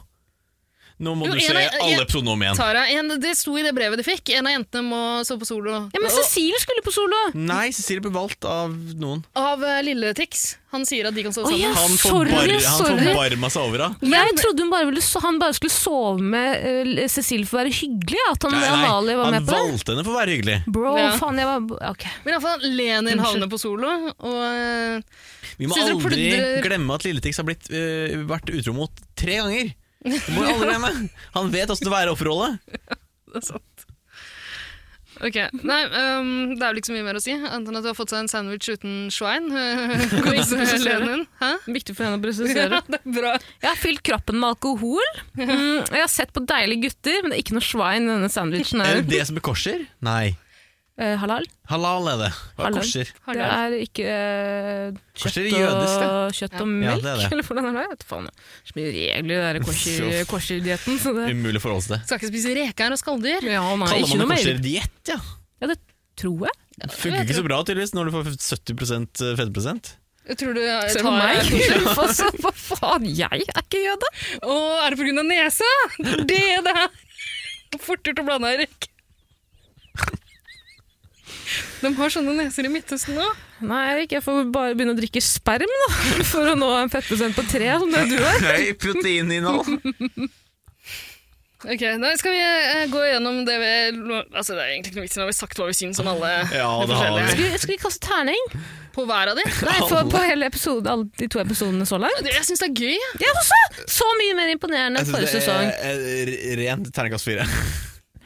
Speaker 2: Nå må
Speaker 3: Jo,
Speaker 2: du
Speaker 3: en
Speaker 2: se
Speaker 3: av- en-
Speaker 2: alle episodene om igjen.
Speaker 3: Tara, en, det sto i det brevet de fikk. En av jentene må sove på solo.
Speaker 1: Ja, men
Speaker 3: Og-
Speaker 1: Cecilie skulle på solo!
Speaker 2: Nei, Cecilie ble valgt av noen.
Speaker 3: Av eh, lille Tix. Han sier at de kan sove
Speaker 1: Å,
Speaker 3: sammen.
Speaker 1: ja,
Speaker 2: Han
Speaker 1: sorry,
Speaker 2: forbar- han
Speaker 1: sorry.
Speaker 2: forbarma seg over henne.
Speaker 1: jeg trodde hun bare ville, so- han bare skulle sove med eh, Cecilie for å være hyggelig, at han Amalie var
Speaker 2: han
Speaker 1: med på det.
Speaker 2: valgte henne for å være hyggelig.
Speaker 1: Bro,
Speaker 3: Ja.
Speaker 1: faen, jeg var Ok.
Speaker 3: Men iallfall Lenin
Speaker 1: Unnskyld.
Speaker 3: havner på solo, og eh,
Speaker 2: Vi må
Speaker 3: sitter og
Speaker 2: aldri
Speaker 3: pludrer-
Speaker 2: glemme at Lilletix har blitt, øh, vært utro mot tre ganger. Det må vi aldri glemme. Han vet åssen det er å være offerrolle.
Speaker 3: Det er sant. Ok, Nei, ehm, det er vel ikke så mye mer å si, annet enn at du har fått seg en sandwich uten [laughs] svein. Kose Lenin. Hæ?
Speaker 1: Viktig for henne å [laughs] presisere.
Speaker 3: Ja, det er bra.
Speaker 1: Jeg har fylt kroppen med [laughs] alkohol. Mm, og jeg har sett på deilige gutter, men det er ikke noe svein i denne sandwichen.
Speaker 2: Er
Speaker 1: her.
Speaker 2: [laughs] det det som er korser? Nei.
Speaker 1: Eh, halal.
Speaker 2: Halal er det. Hva er
Speaker 1: Halal.
Speaker 2: korser?
Speaker 1: Det er ikke eh, kjøtt,
Speaker 2: Korser er jødisk,
Speaker 1: og,
Speaker 2: det.
Speaker 1: kjøtt
Speaker 2: Ja.
Speaker 1: og
Speaker 2: Ja,
Speaker 1: melk,
Speaker 2: det er det.
Speaker 1: eller hvordan er det? Jeg vet faen. Det er så mye regler i den
Speaker 2: [laughs]
Speaker 1: korser- korser-dietten. så det-
Speaker 2: Umulig å forholde seg til.
Speaker 3: Skal ikke spise reker og skalldyr.
Speaker 1: Ja, nei, ikke
Speaker 2: Kaller man
Speaker 1: noe
Speaker 2: det
Speaker 1: mer.
Speaker 2: korser-diett? Ja.
Speaker 1: Ja, det tror jeg.
Speaker 2: Funker ikke så bra tydeligvis når du får eh, 70 fetteprosent.
Speaker 3: Tror du eh, jeg
Speaker 1: Se på
Speaker 3: tar-
Speaker 1: meg! [laughs] Hva så- Hva faen, jeg er ikke jøde!
Speaker 3: Å, er det pga. nesa? Det er det her! Fort gjort å blande, Erik. De har sånne neser i Midtøsten òg.
Speaker 1: Nei, Erik, jeg får bare begynne å drikke sperm da, [laughs] for å nå en fettprosent på tre, som det du er.
Speaker 2: Høy proteininnhold.
Speaker 3: Ok, da skal vi eh, gå gjennom det vi Altså, det er egentlig ikke noe vits i, nå har vi sagt hva vi syns om alle
Speaker 2: Ja, det har
Speaker 3: forskjellige.
Speaker 2: vi.
Speaker 1: Skal vi, skal vi kaste terning?
Speaker 3: På hver av de?
Speaker 1: Nei, for, på hele episode, alle de to episodene så langt?
Speaker 3: Jeg syns det er gøy.
Speaker 1: Ja, så, så mye mer imponerende enn forrige sesong.
Speaker 2: Altså, er rent terningkast fire.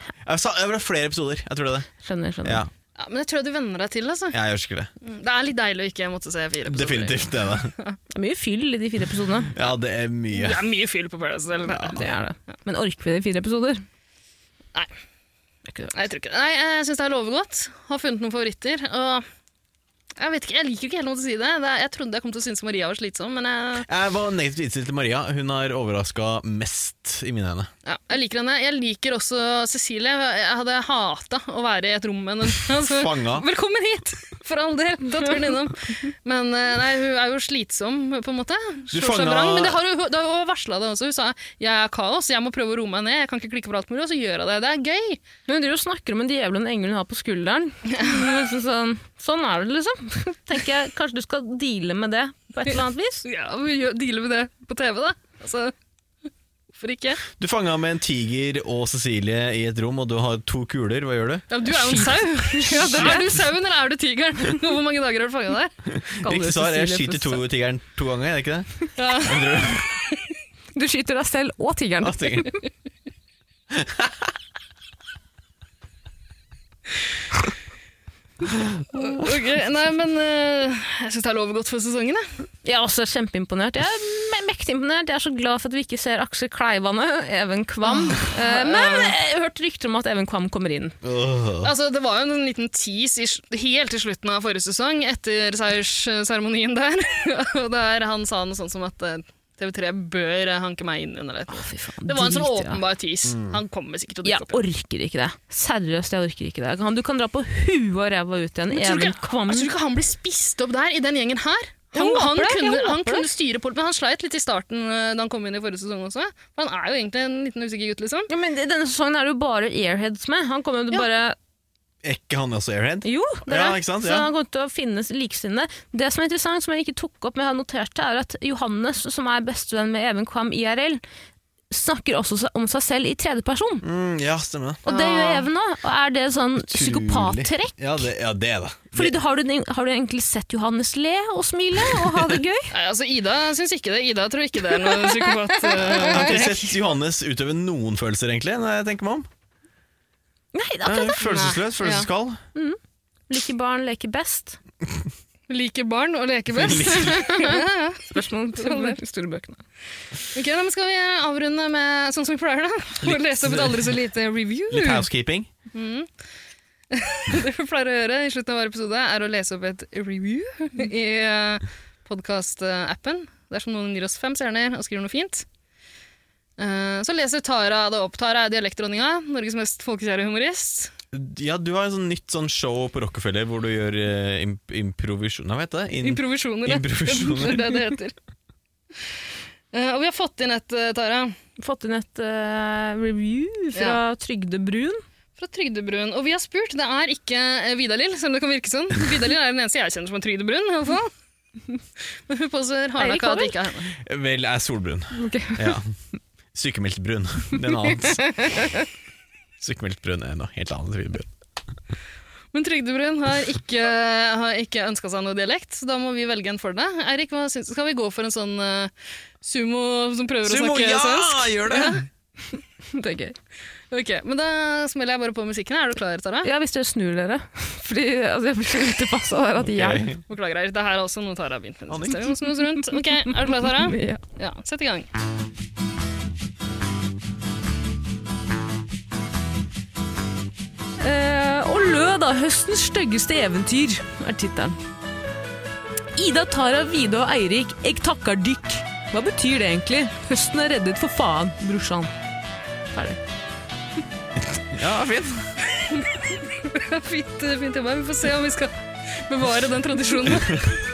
Speaker 2: Jeg sa- Det ble flere episoder, jeg tror det. er det.
Speaker 1: Skjønner, skjønner.
Speaker 2: Ja,
Speaker 3: Ja, men jeg tror du venner deg til, altså.
Speaker 2: jeg gjør sikkert det.
Speaker 3: Det er litt deilig å ikke måtte se fire episoder.
Speaker 2: Definitivt det er det.
Speaker 1: Det er mye fyll i de fire episodene.
Speaker 2: Ja, det er mye.
Speaker 3: Det er mye fyll på Paradise Hotel.
Speaker 1: Det er det. Men orker vi det i fire episoder?
Speaker 3: Nei.
Speaker 1: Det er ikke det.
Speaker 3: Nei, jeg tror ikke det. Nei, jeg syns det er lovegodt. Har funnet noen favoritter. Og jeg vet ikke, jeg liker ikke helt noe til å si det. det er, jeg trodde jeg kom til å synes Maria var slitsom, men jeg,
Speaker 2: Jeg var negativt innstilt til Maria. Hun har overraska mest i mine øyne.
Speaker 3: ja, jeg liker henne. Jeg liker også Cecilie. Jeg hadde hata å være i et rom med henne. Altså,
Speaker 2: Fanga.
Speaker 3: Velkommen hit! For all del, da turen innom. Men eh, nei, hun er jo slitsom, på en måte.
Speaker 2: Du
Speaker 3: Slår seg
Speaker 2: fanga-
Speaker 3: vrang. Men det har hun, det har hun varsla det også. Hun sa jeg er kaos, jeg må prøve å roe meg ned. Jeg kan ikke klikke på alt mulig, og så gjør jeg det. Det er gøy.
Speaker 1: Men hun driver og snakker om en djevel og en engel hun har på skulderen.
Speaker 3: [laughs]
Speaker 1: Liksom sånn, sånn er det, liksom. [laughs] Tenker jeg, Kanskje du skal deale med det på et eller annet vis?
Speaker 3: Ja, vi gjør- dealer med det på TV, da. Altså, hvorfor ikke?
Speaker 2: Du fanga med en tiger og Cecilie i et rom, og du har to kuler. Hva gjør du?
Speaker 3: Ja, men du er jo en sau. [laughs] Ja, det er du sauen, eller er du tigeren? Og Hvor mange dager har du fanga der?
Speaker 2: Riktig svar er skyter to tigeren to ganger, er det ikke det?
Speaker 3: Ja.
Speaker 2: Andre-
Speaker 1: Du skyter deg selv og tigeren.
Speaker 2: Og tigeren.
Speaker 3: Ok, Nei, men eh, jeg syns det er lovet godt for sesongen, jeg.
Speaker 1: Jeg er også kjempeimponert. Jeg er me- mektig imponert. Jeg er så glad for at vi ikke ser Aksel Kleivane, Even Kvam.
Speaker 3: [laughs]
Speaker 1: Eh, Men jeg har hørt rykter om at Even Kvam kommer inn.
Speaker 3: Altså, det var jo en liten tease i, sl- helt til slutten av forrige sesong, etter seiersseremonien der. [laughs] Og der han sa noe sånt som at eh, TV3 bør eh, hanke meg inn under det. det var en sånn
Speaker 1: drit i det.
Speaker 3: åpenbar tease.
Speaker 1: Mm.
Speaker 3: Han kommer sikkert til å
Speaker 1: Jeg
Speaker 3: dukke opp.
Speaker 1: orker ikke det. Seriøst, jeg orker ikke det. Han, du kan dra på huet og ræva ut igjen.
Speaker 3: Men tror du
Speaker 1: Even
Speaker 3: ikke-
Speaker 1: Kvam.
Speaker 3: jeg tror ikke han blir spist opp der, i den gjengen her?
Speaker 1: Jeg
Speaker 3: Han,
Speaker 1: håper
Speaker 3: han,
Speaker 1: det, jeg
Speaker 3: kunne,
Speaker 1: håper
Speaker 3: han
Speaker 1: det.
Speaker 3: kunne styre på det, men han sleit litt i starten eh, da han kom inn i forrige sesong også. For han er jo egentlig en liten usikker gutt, liksom.
Speaker 1: Ja, men i Denne sesongen er det jo bare airheads med. Han kommer jo bare
Speaker 2: Er ikke han også airhead?
Speaker 1: Jo, det er
Speaker 2: ja,
Speaker 1: det.
Speaker 2: ikke sant?
Speaker 1: Så
Speaker 2: Ja.
Speaker 1: han kommer til å finnes likesinnede. Det som er interessant, som jeg ikke tok opp, men jeg har notert det, er at Johannes, som er bestevenn med Even Kvam IRL, snakker også om seg selv i tredjeperson.
Speaker 2: Mm, ja, stemmer det.
Speaker 1: Og det
Speaker 3: Ah.
Speaker 1: gjør Even òg. Og er det sånn psykopattrekk?
Speaker 2: Ja, det, ja, det er det.
Speaker 1: Fordi du, har, du, har du egentlig sett Johannes le og smile og
Speaker 3: [laughs]
Speaker 1: ha det gøy?
Speaker 3: Nei, altså Ida syns ikke det. Ida tror ikke det er noe psykopat.
Speaker 2: Jeg har ikke
Speaker 3: eh,
Speaker 2: sett Johannes utøve noen følelser, egentlig, når jeg tenker meg om.
Speaker 1: Nei, det er
Speaker 2: Eh,
Speaker 1: akkurat det.
Speaker 2: Følelsesløs, følelseskald.
Speaker 1: Mm. Liker barn, leker best.
Speaker 3: Liker barn og leker best. [laughs]
Speaker 1: Spørsmål
Speaker 3: til de
Speaker 1: store bøkene.
Speaker 3: Ok, da men Skal vi avrunde med sånn som vi pleier, da? Og
Speaker 2: Litt-
Speaker 3: lese opp et aldri så lite review?
Speaker 2: Litt housekeeping.
Speaker 3: Mm. [laughs] det vi pleier å gjøre i slutten av hver episode, er å lese opp et review i eh, podkast-appen. Dersom noen gir oss fem stjerner og skriver noe fint. Eh, Så leser Tara det opp. Tara er dialektdronninga, Norges mest folkekjære humorist.
Speaker 2: Ja, du har et sånn nytt sånn show på Rockefeller hvor du gjør eh, imp improvisjon... Hva heter det? In-
Speaker 3: Improvisjoner, ja.
Speaker 2: Improvisjoner.
Speaker 3: [laughs] det er det det heter. Eh, og vi har fått inn et, eh, Tara.
Speaker 1: Fått inn et eh, review fra Trygde Brun.
Speaker 3: Fra Trygdebrun. Og vi har spurt. Det er ikke eh, Vidalil, selv om det kan virke sånn. Vidalil er den eneste jeg kjenner som er Trygdebrun. i alle fall. [laughs] Men hun påstår
Speaker 1: Eirik
Speaker 3: hardnakka
Speaker 1: var
Speaker 3: at det ikke er henne.
Speaker 2: Vel, jeg er solbrun.
Speaker 3: Ok.
Speaker 2: Ja. Sykemeldt brun. Det er noe annet. Sykemeldt brun er noe helt annet. enn brun.
Speaker 3: Men Trygdebrun har ikke, har ikke ønska seg noe dialekt, så da må vi velge en for deg. Eirik, hva syns- skal vi gå for en sånn eh, sumo som prøver
Speaker 2: Sumo,
Speaker 3: å snakke
Speaker 2: ja,
Speaker 3: svensk? [laughs]
Speaker 2: gjør det.
Speaker 3: Ja. det er gøy. Ok, Men da smeller jeg bare på musikken. Er du klar, Tara?
Speaker 1: Ja, hvis dere snur dere. [laughs] Fordi altså, jeg blir så utilpassa der at jeg
Speaker 3: Beklager, Eirik. Det her er også noe Tara har begynt med.
Speaker 1: Aning.
Speaker 3: Vi må snu oss rundt. Ok, Er du klar, Tara?
Speaker 1: [laughs] Ja.
Speaker 3: ja. Sett i gang.
Speaker 1: Eh, og lød av høstens styggeste eventyr, er tittelen. Ida, Tara, Vida og Eirik, eg takkar dykk. Hva betyr det egentlig? Høsten er reddet for faen, brorsan. Ferdig.
Speaker 2: Ja, fint.
Speaker 3: [laughs] fint, fint jobba. Vi får se om vi skal bevare den
Speaker 2: [laughs]
Speaker 3: tradisjonen. [laughs]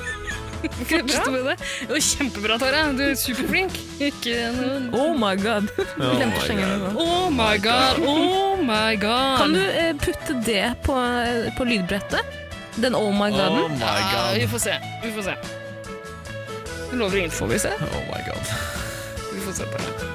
Speaker 3: Ok, beste med det. Det var kjempebra, Tara. Du er superflink. Ikke noe
Speaker 1: Oh my god.
Speaker 3: Oh
Speaker 1: [laughs] Glemte
Speaker 3: my
Speaker 1: slengen nå.
Speaker 3: Oh my god, oh my god.
Speaker 1: Kan du eh, putte det på, eh, på lydbrettet? Den oh my god-en?
Speaker 2: Oh my god.
Speaker 3: Ja, vi får se. Vi får se. Du lover ingenting. Får vi se?
Speaker 2: Oh my god.
Speaker 3: Vi får se på det.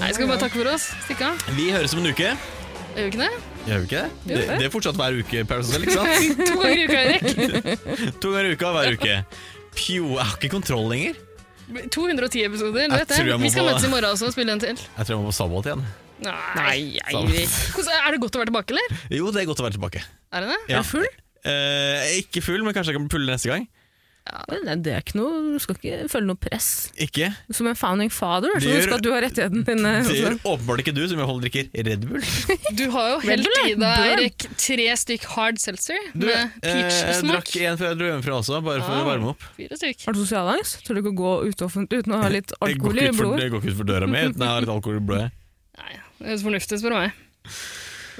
Speaker 3: Nei, skal vi bare takke for oss? Stikke av?
Speaker 2: Vi høres om en uke.
Speaker 3: Gjør vi
Speaker 1: [laughs]
Speaker 3: ikke det?
Speaker 2: Gjør vi ikke det?
Speaker 3: Jo,
Speaker 2: Det,
Speaker 3: det.
Speaker 2: det er fortsatt hver uke, Paris Hotel, ikke sant?
Speaker 3: To ganger i uka, Erik.
Speaker 2: to ganger i uka hver uke. Pjo, jeg har ikke kontroll lenger.
Speaker 3: 210 episoder, du
Speaker 2: Jeg
Speaker 3: vet
Speaker 2: tror
Speaker 3: det.
Speaker 2: jeg må
Speaker 3: Vi
Speaker 2: på-
Speaker 3: skal møtes i morgen også og spille en til.
Speaker 2: Jeg tror jeg må på sabbat igjen.
Speaker 3: Nei,
Speaker 2: Sammen.
Speaker 3: Eirik. Hvordan- Er det godt å være tilbake, eller?
Speaker 2: Jo, det er godt å være tilbake.
Speaker 3: Er det det?
Speaker 2: Ja.
Speaker 3: Er du full?
Speaker 2: Eh, ikke full, men kanskje jeg kan bli full neste gang.
Speaker 1: Nei, det er ikke noe, du skal ikke føle noe press.
Speaker 2: Ikke?
Speaker 1: Som en founding father,
Speaker 2: Det
Speaker 1: så
Speaker 2: gjør-
Speaker 1: husk at du har rettigheten din. eh,
Speaker 2: [laughs] Det gjør
Speaker 1: også.
Speaker 2: åpenbart ikke du, som i hvert fall drikker Red Bull.
Speaker 3: Du har jo
Speaker 1: Red
Speaker 3: helt
Speaker 1: Bull er
Speaker 3: i deg,
Speaker 1: burn.
Speaker 3: Eirik, tre stykk hard seltzer
Speaker 2: Du,
Speaker 3: med
Speaker 2: eh, jeg
Speaker 3: peach-smak.
Speaker 2: drakk en fra Drømfra også, bare for
Speaker 3: Ah.
Speaker 2: å varme opp.
Speaker 3: Fire stykk.
Speaker 1: Har du sosialangst? Tør du ikke å gå ut offentlig uten å ha litt
Speaker 2: Jeg går
Speaker 1: alkohol i
Speaker 2: ikke ut for,
Speaker 1: blodet?
Speaker 2: jeg går ikke ut for døra mi uten jeg har litt alkohol i blodet.
Speaker 3: Det er så fornuftig, spør du meg.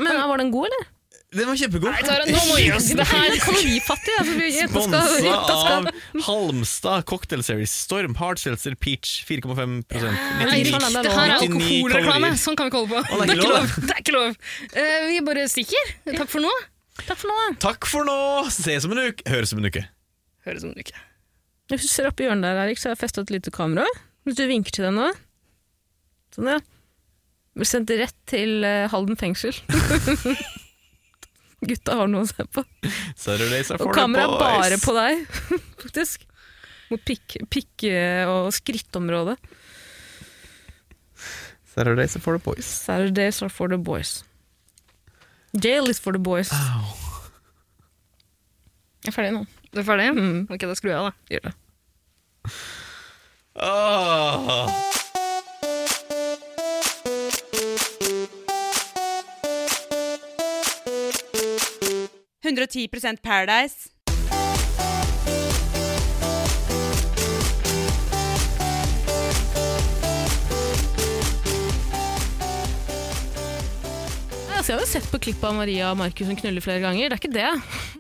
Speaker 1: Men eh, var den god, eller?
Speaker 2: Den var kjempegod.
Speaker 3: Nei, Tara, nå må vi gi oss. Det her er kolonifattig, altså, vi- jenta skal-
Speaker 2: Sponsa
Speaker 1: [laughs]
Speaker 3: jenta skal-
Speaker 2: av Halmstad Cocktail Series. Storm Hard Seltzer Peach 4,5
Speaker 3: Ah. Nei,
Speaker 2: 99
Speaker 3: Rikard, det her er
Speaker 2: 99
Speaker 3: alkoholreklame.
Speaker 2: kalorier.
Speaker 3: Sånn kan vi ikke holde på.
Speaker 2: Å,
Speaker 3: det er ikke lov.
Speaker 2: det.
Speaker 3: Det er ikke lov. Eh, vi bare stikker. Takk for nå. Takk for nå.
Speaker 2: Takk for nå! Ses om en uke. Høres om en uke.
Speaker 3: Høres om en uke.
Speaker 1: Hvis du ser oppi hjørnet der, Erik, så har jeg festa et lite kamera. Hvis du vinker til deg nå Sånn, ja. Blir sendt rett til eh, Halden fengsel. [laughs] Gutta har noe å se på.
Speaker 2: Saturdays are
Speaker 1: Og
Speaker 2: for the
Speaker 1: kameraet er bare
Speaker 2: boys.
Speaker 1: på deg, [laughs] faktisk. Mot pikk, pikk- og skrittområdet.
Speaker 2: Saturdays are for the boys.
Speaker 1: Saturdays are for the boys. Jail is for the boys. Jeg er ferdig nå.
Speaker 3: Du er ferdig? Ok, da skrur jeg av, da.
Speaker 1: Gjør det.
Speaker 2: Åh.
Speaker 13: Paradise.
Speaker 1: Altså, jeg har jo sett på klipp av Maria og Markus som knuller flere ganger. Det er ikke det.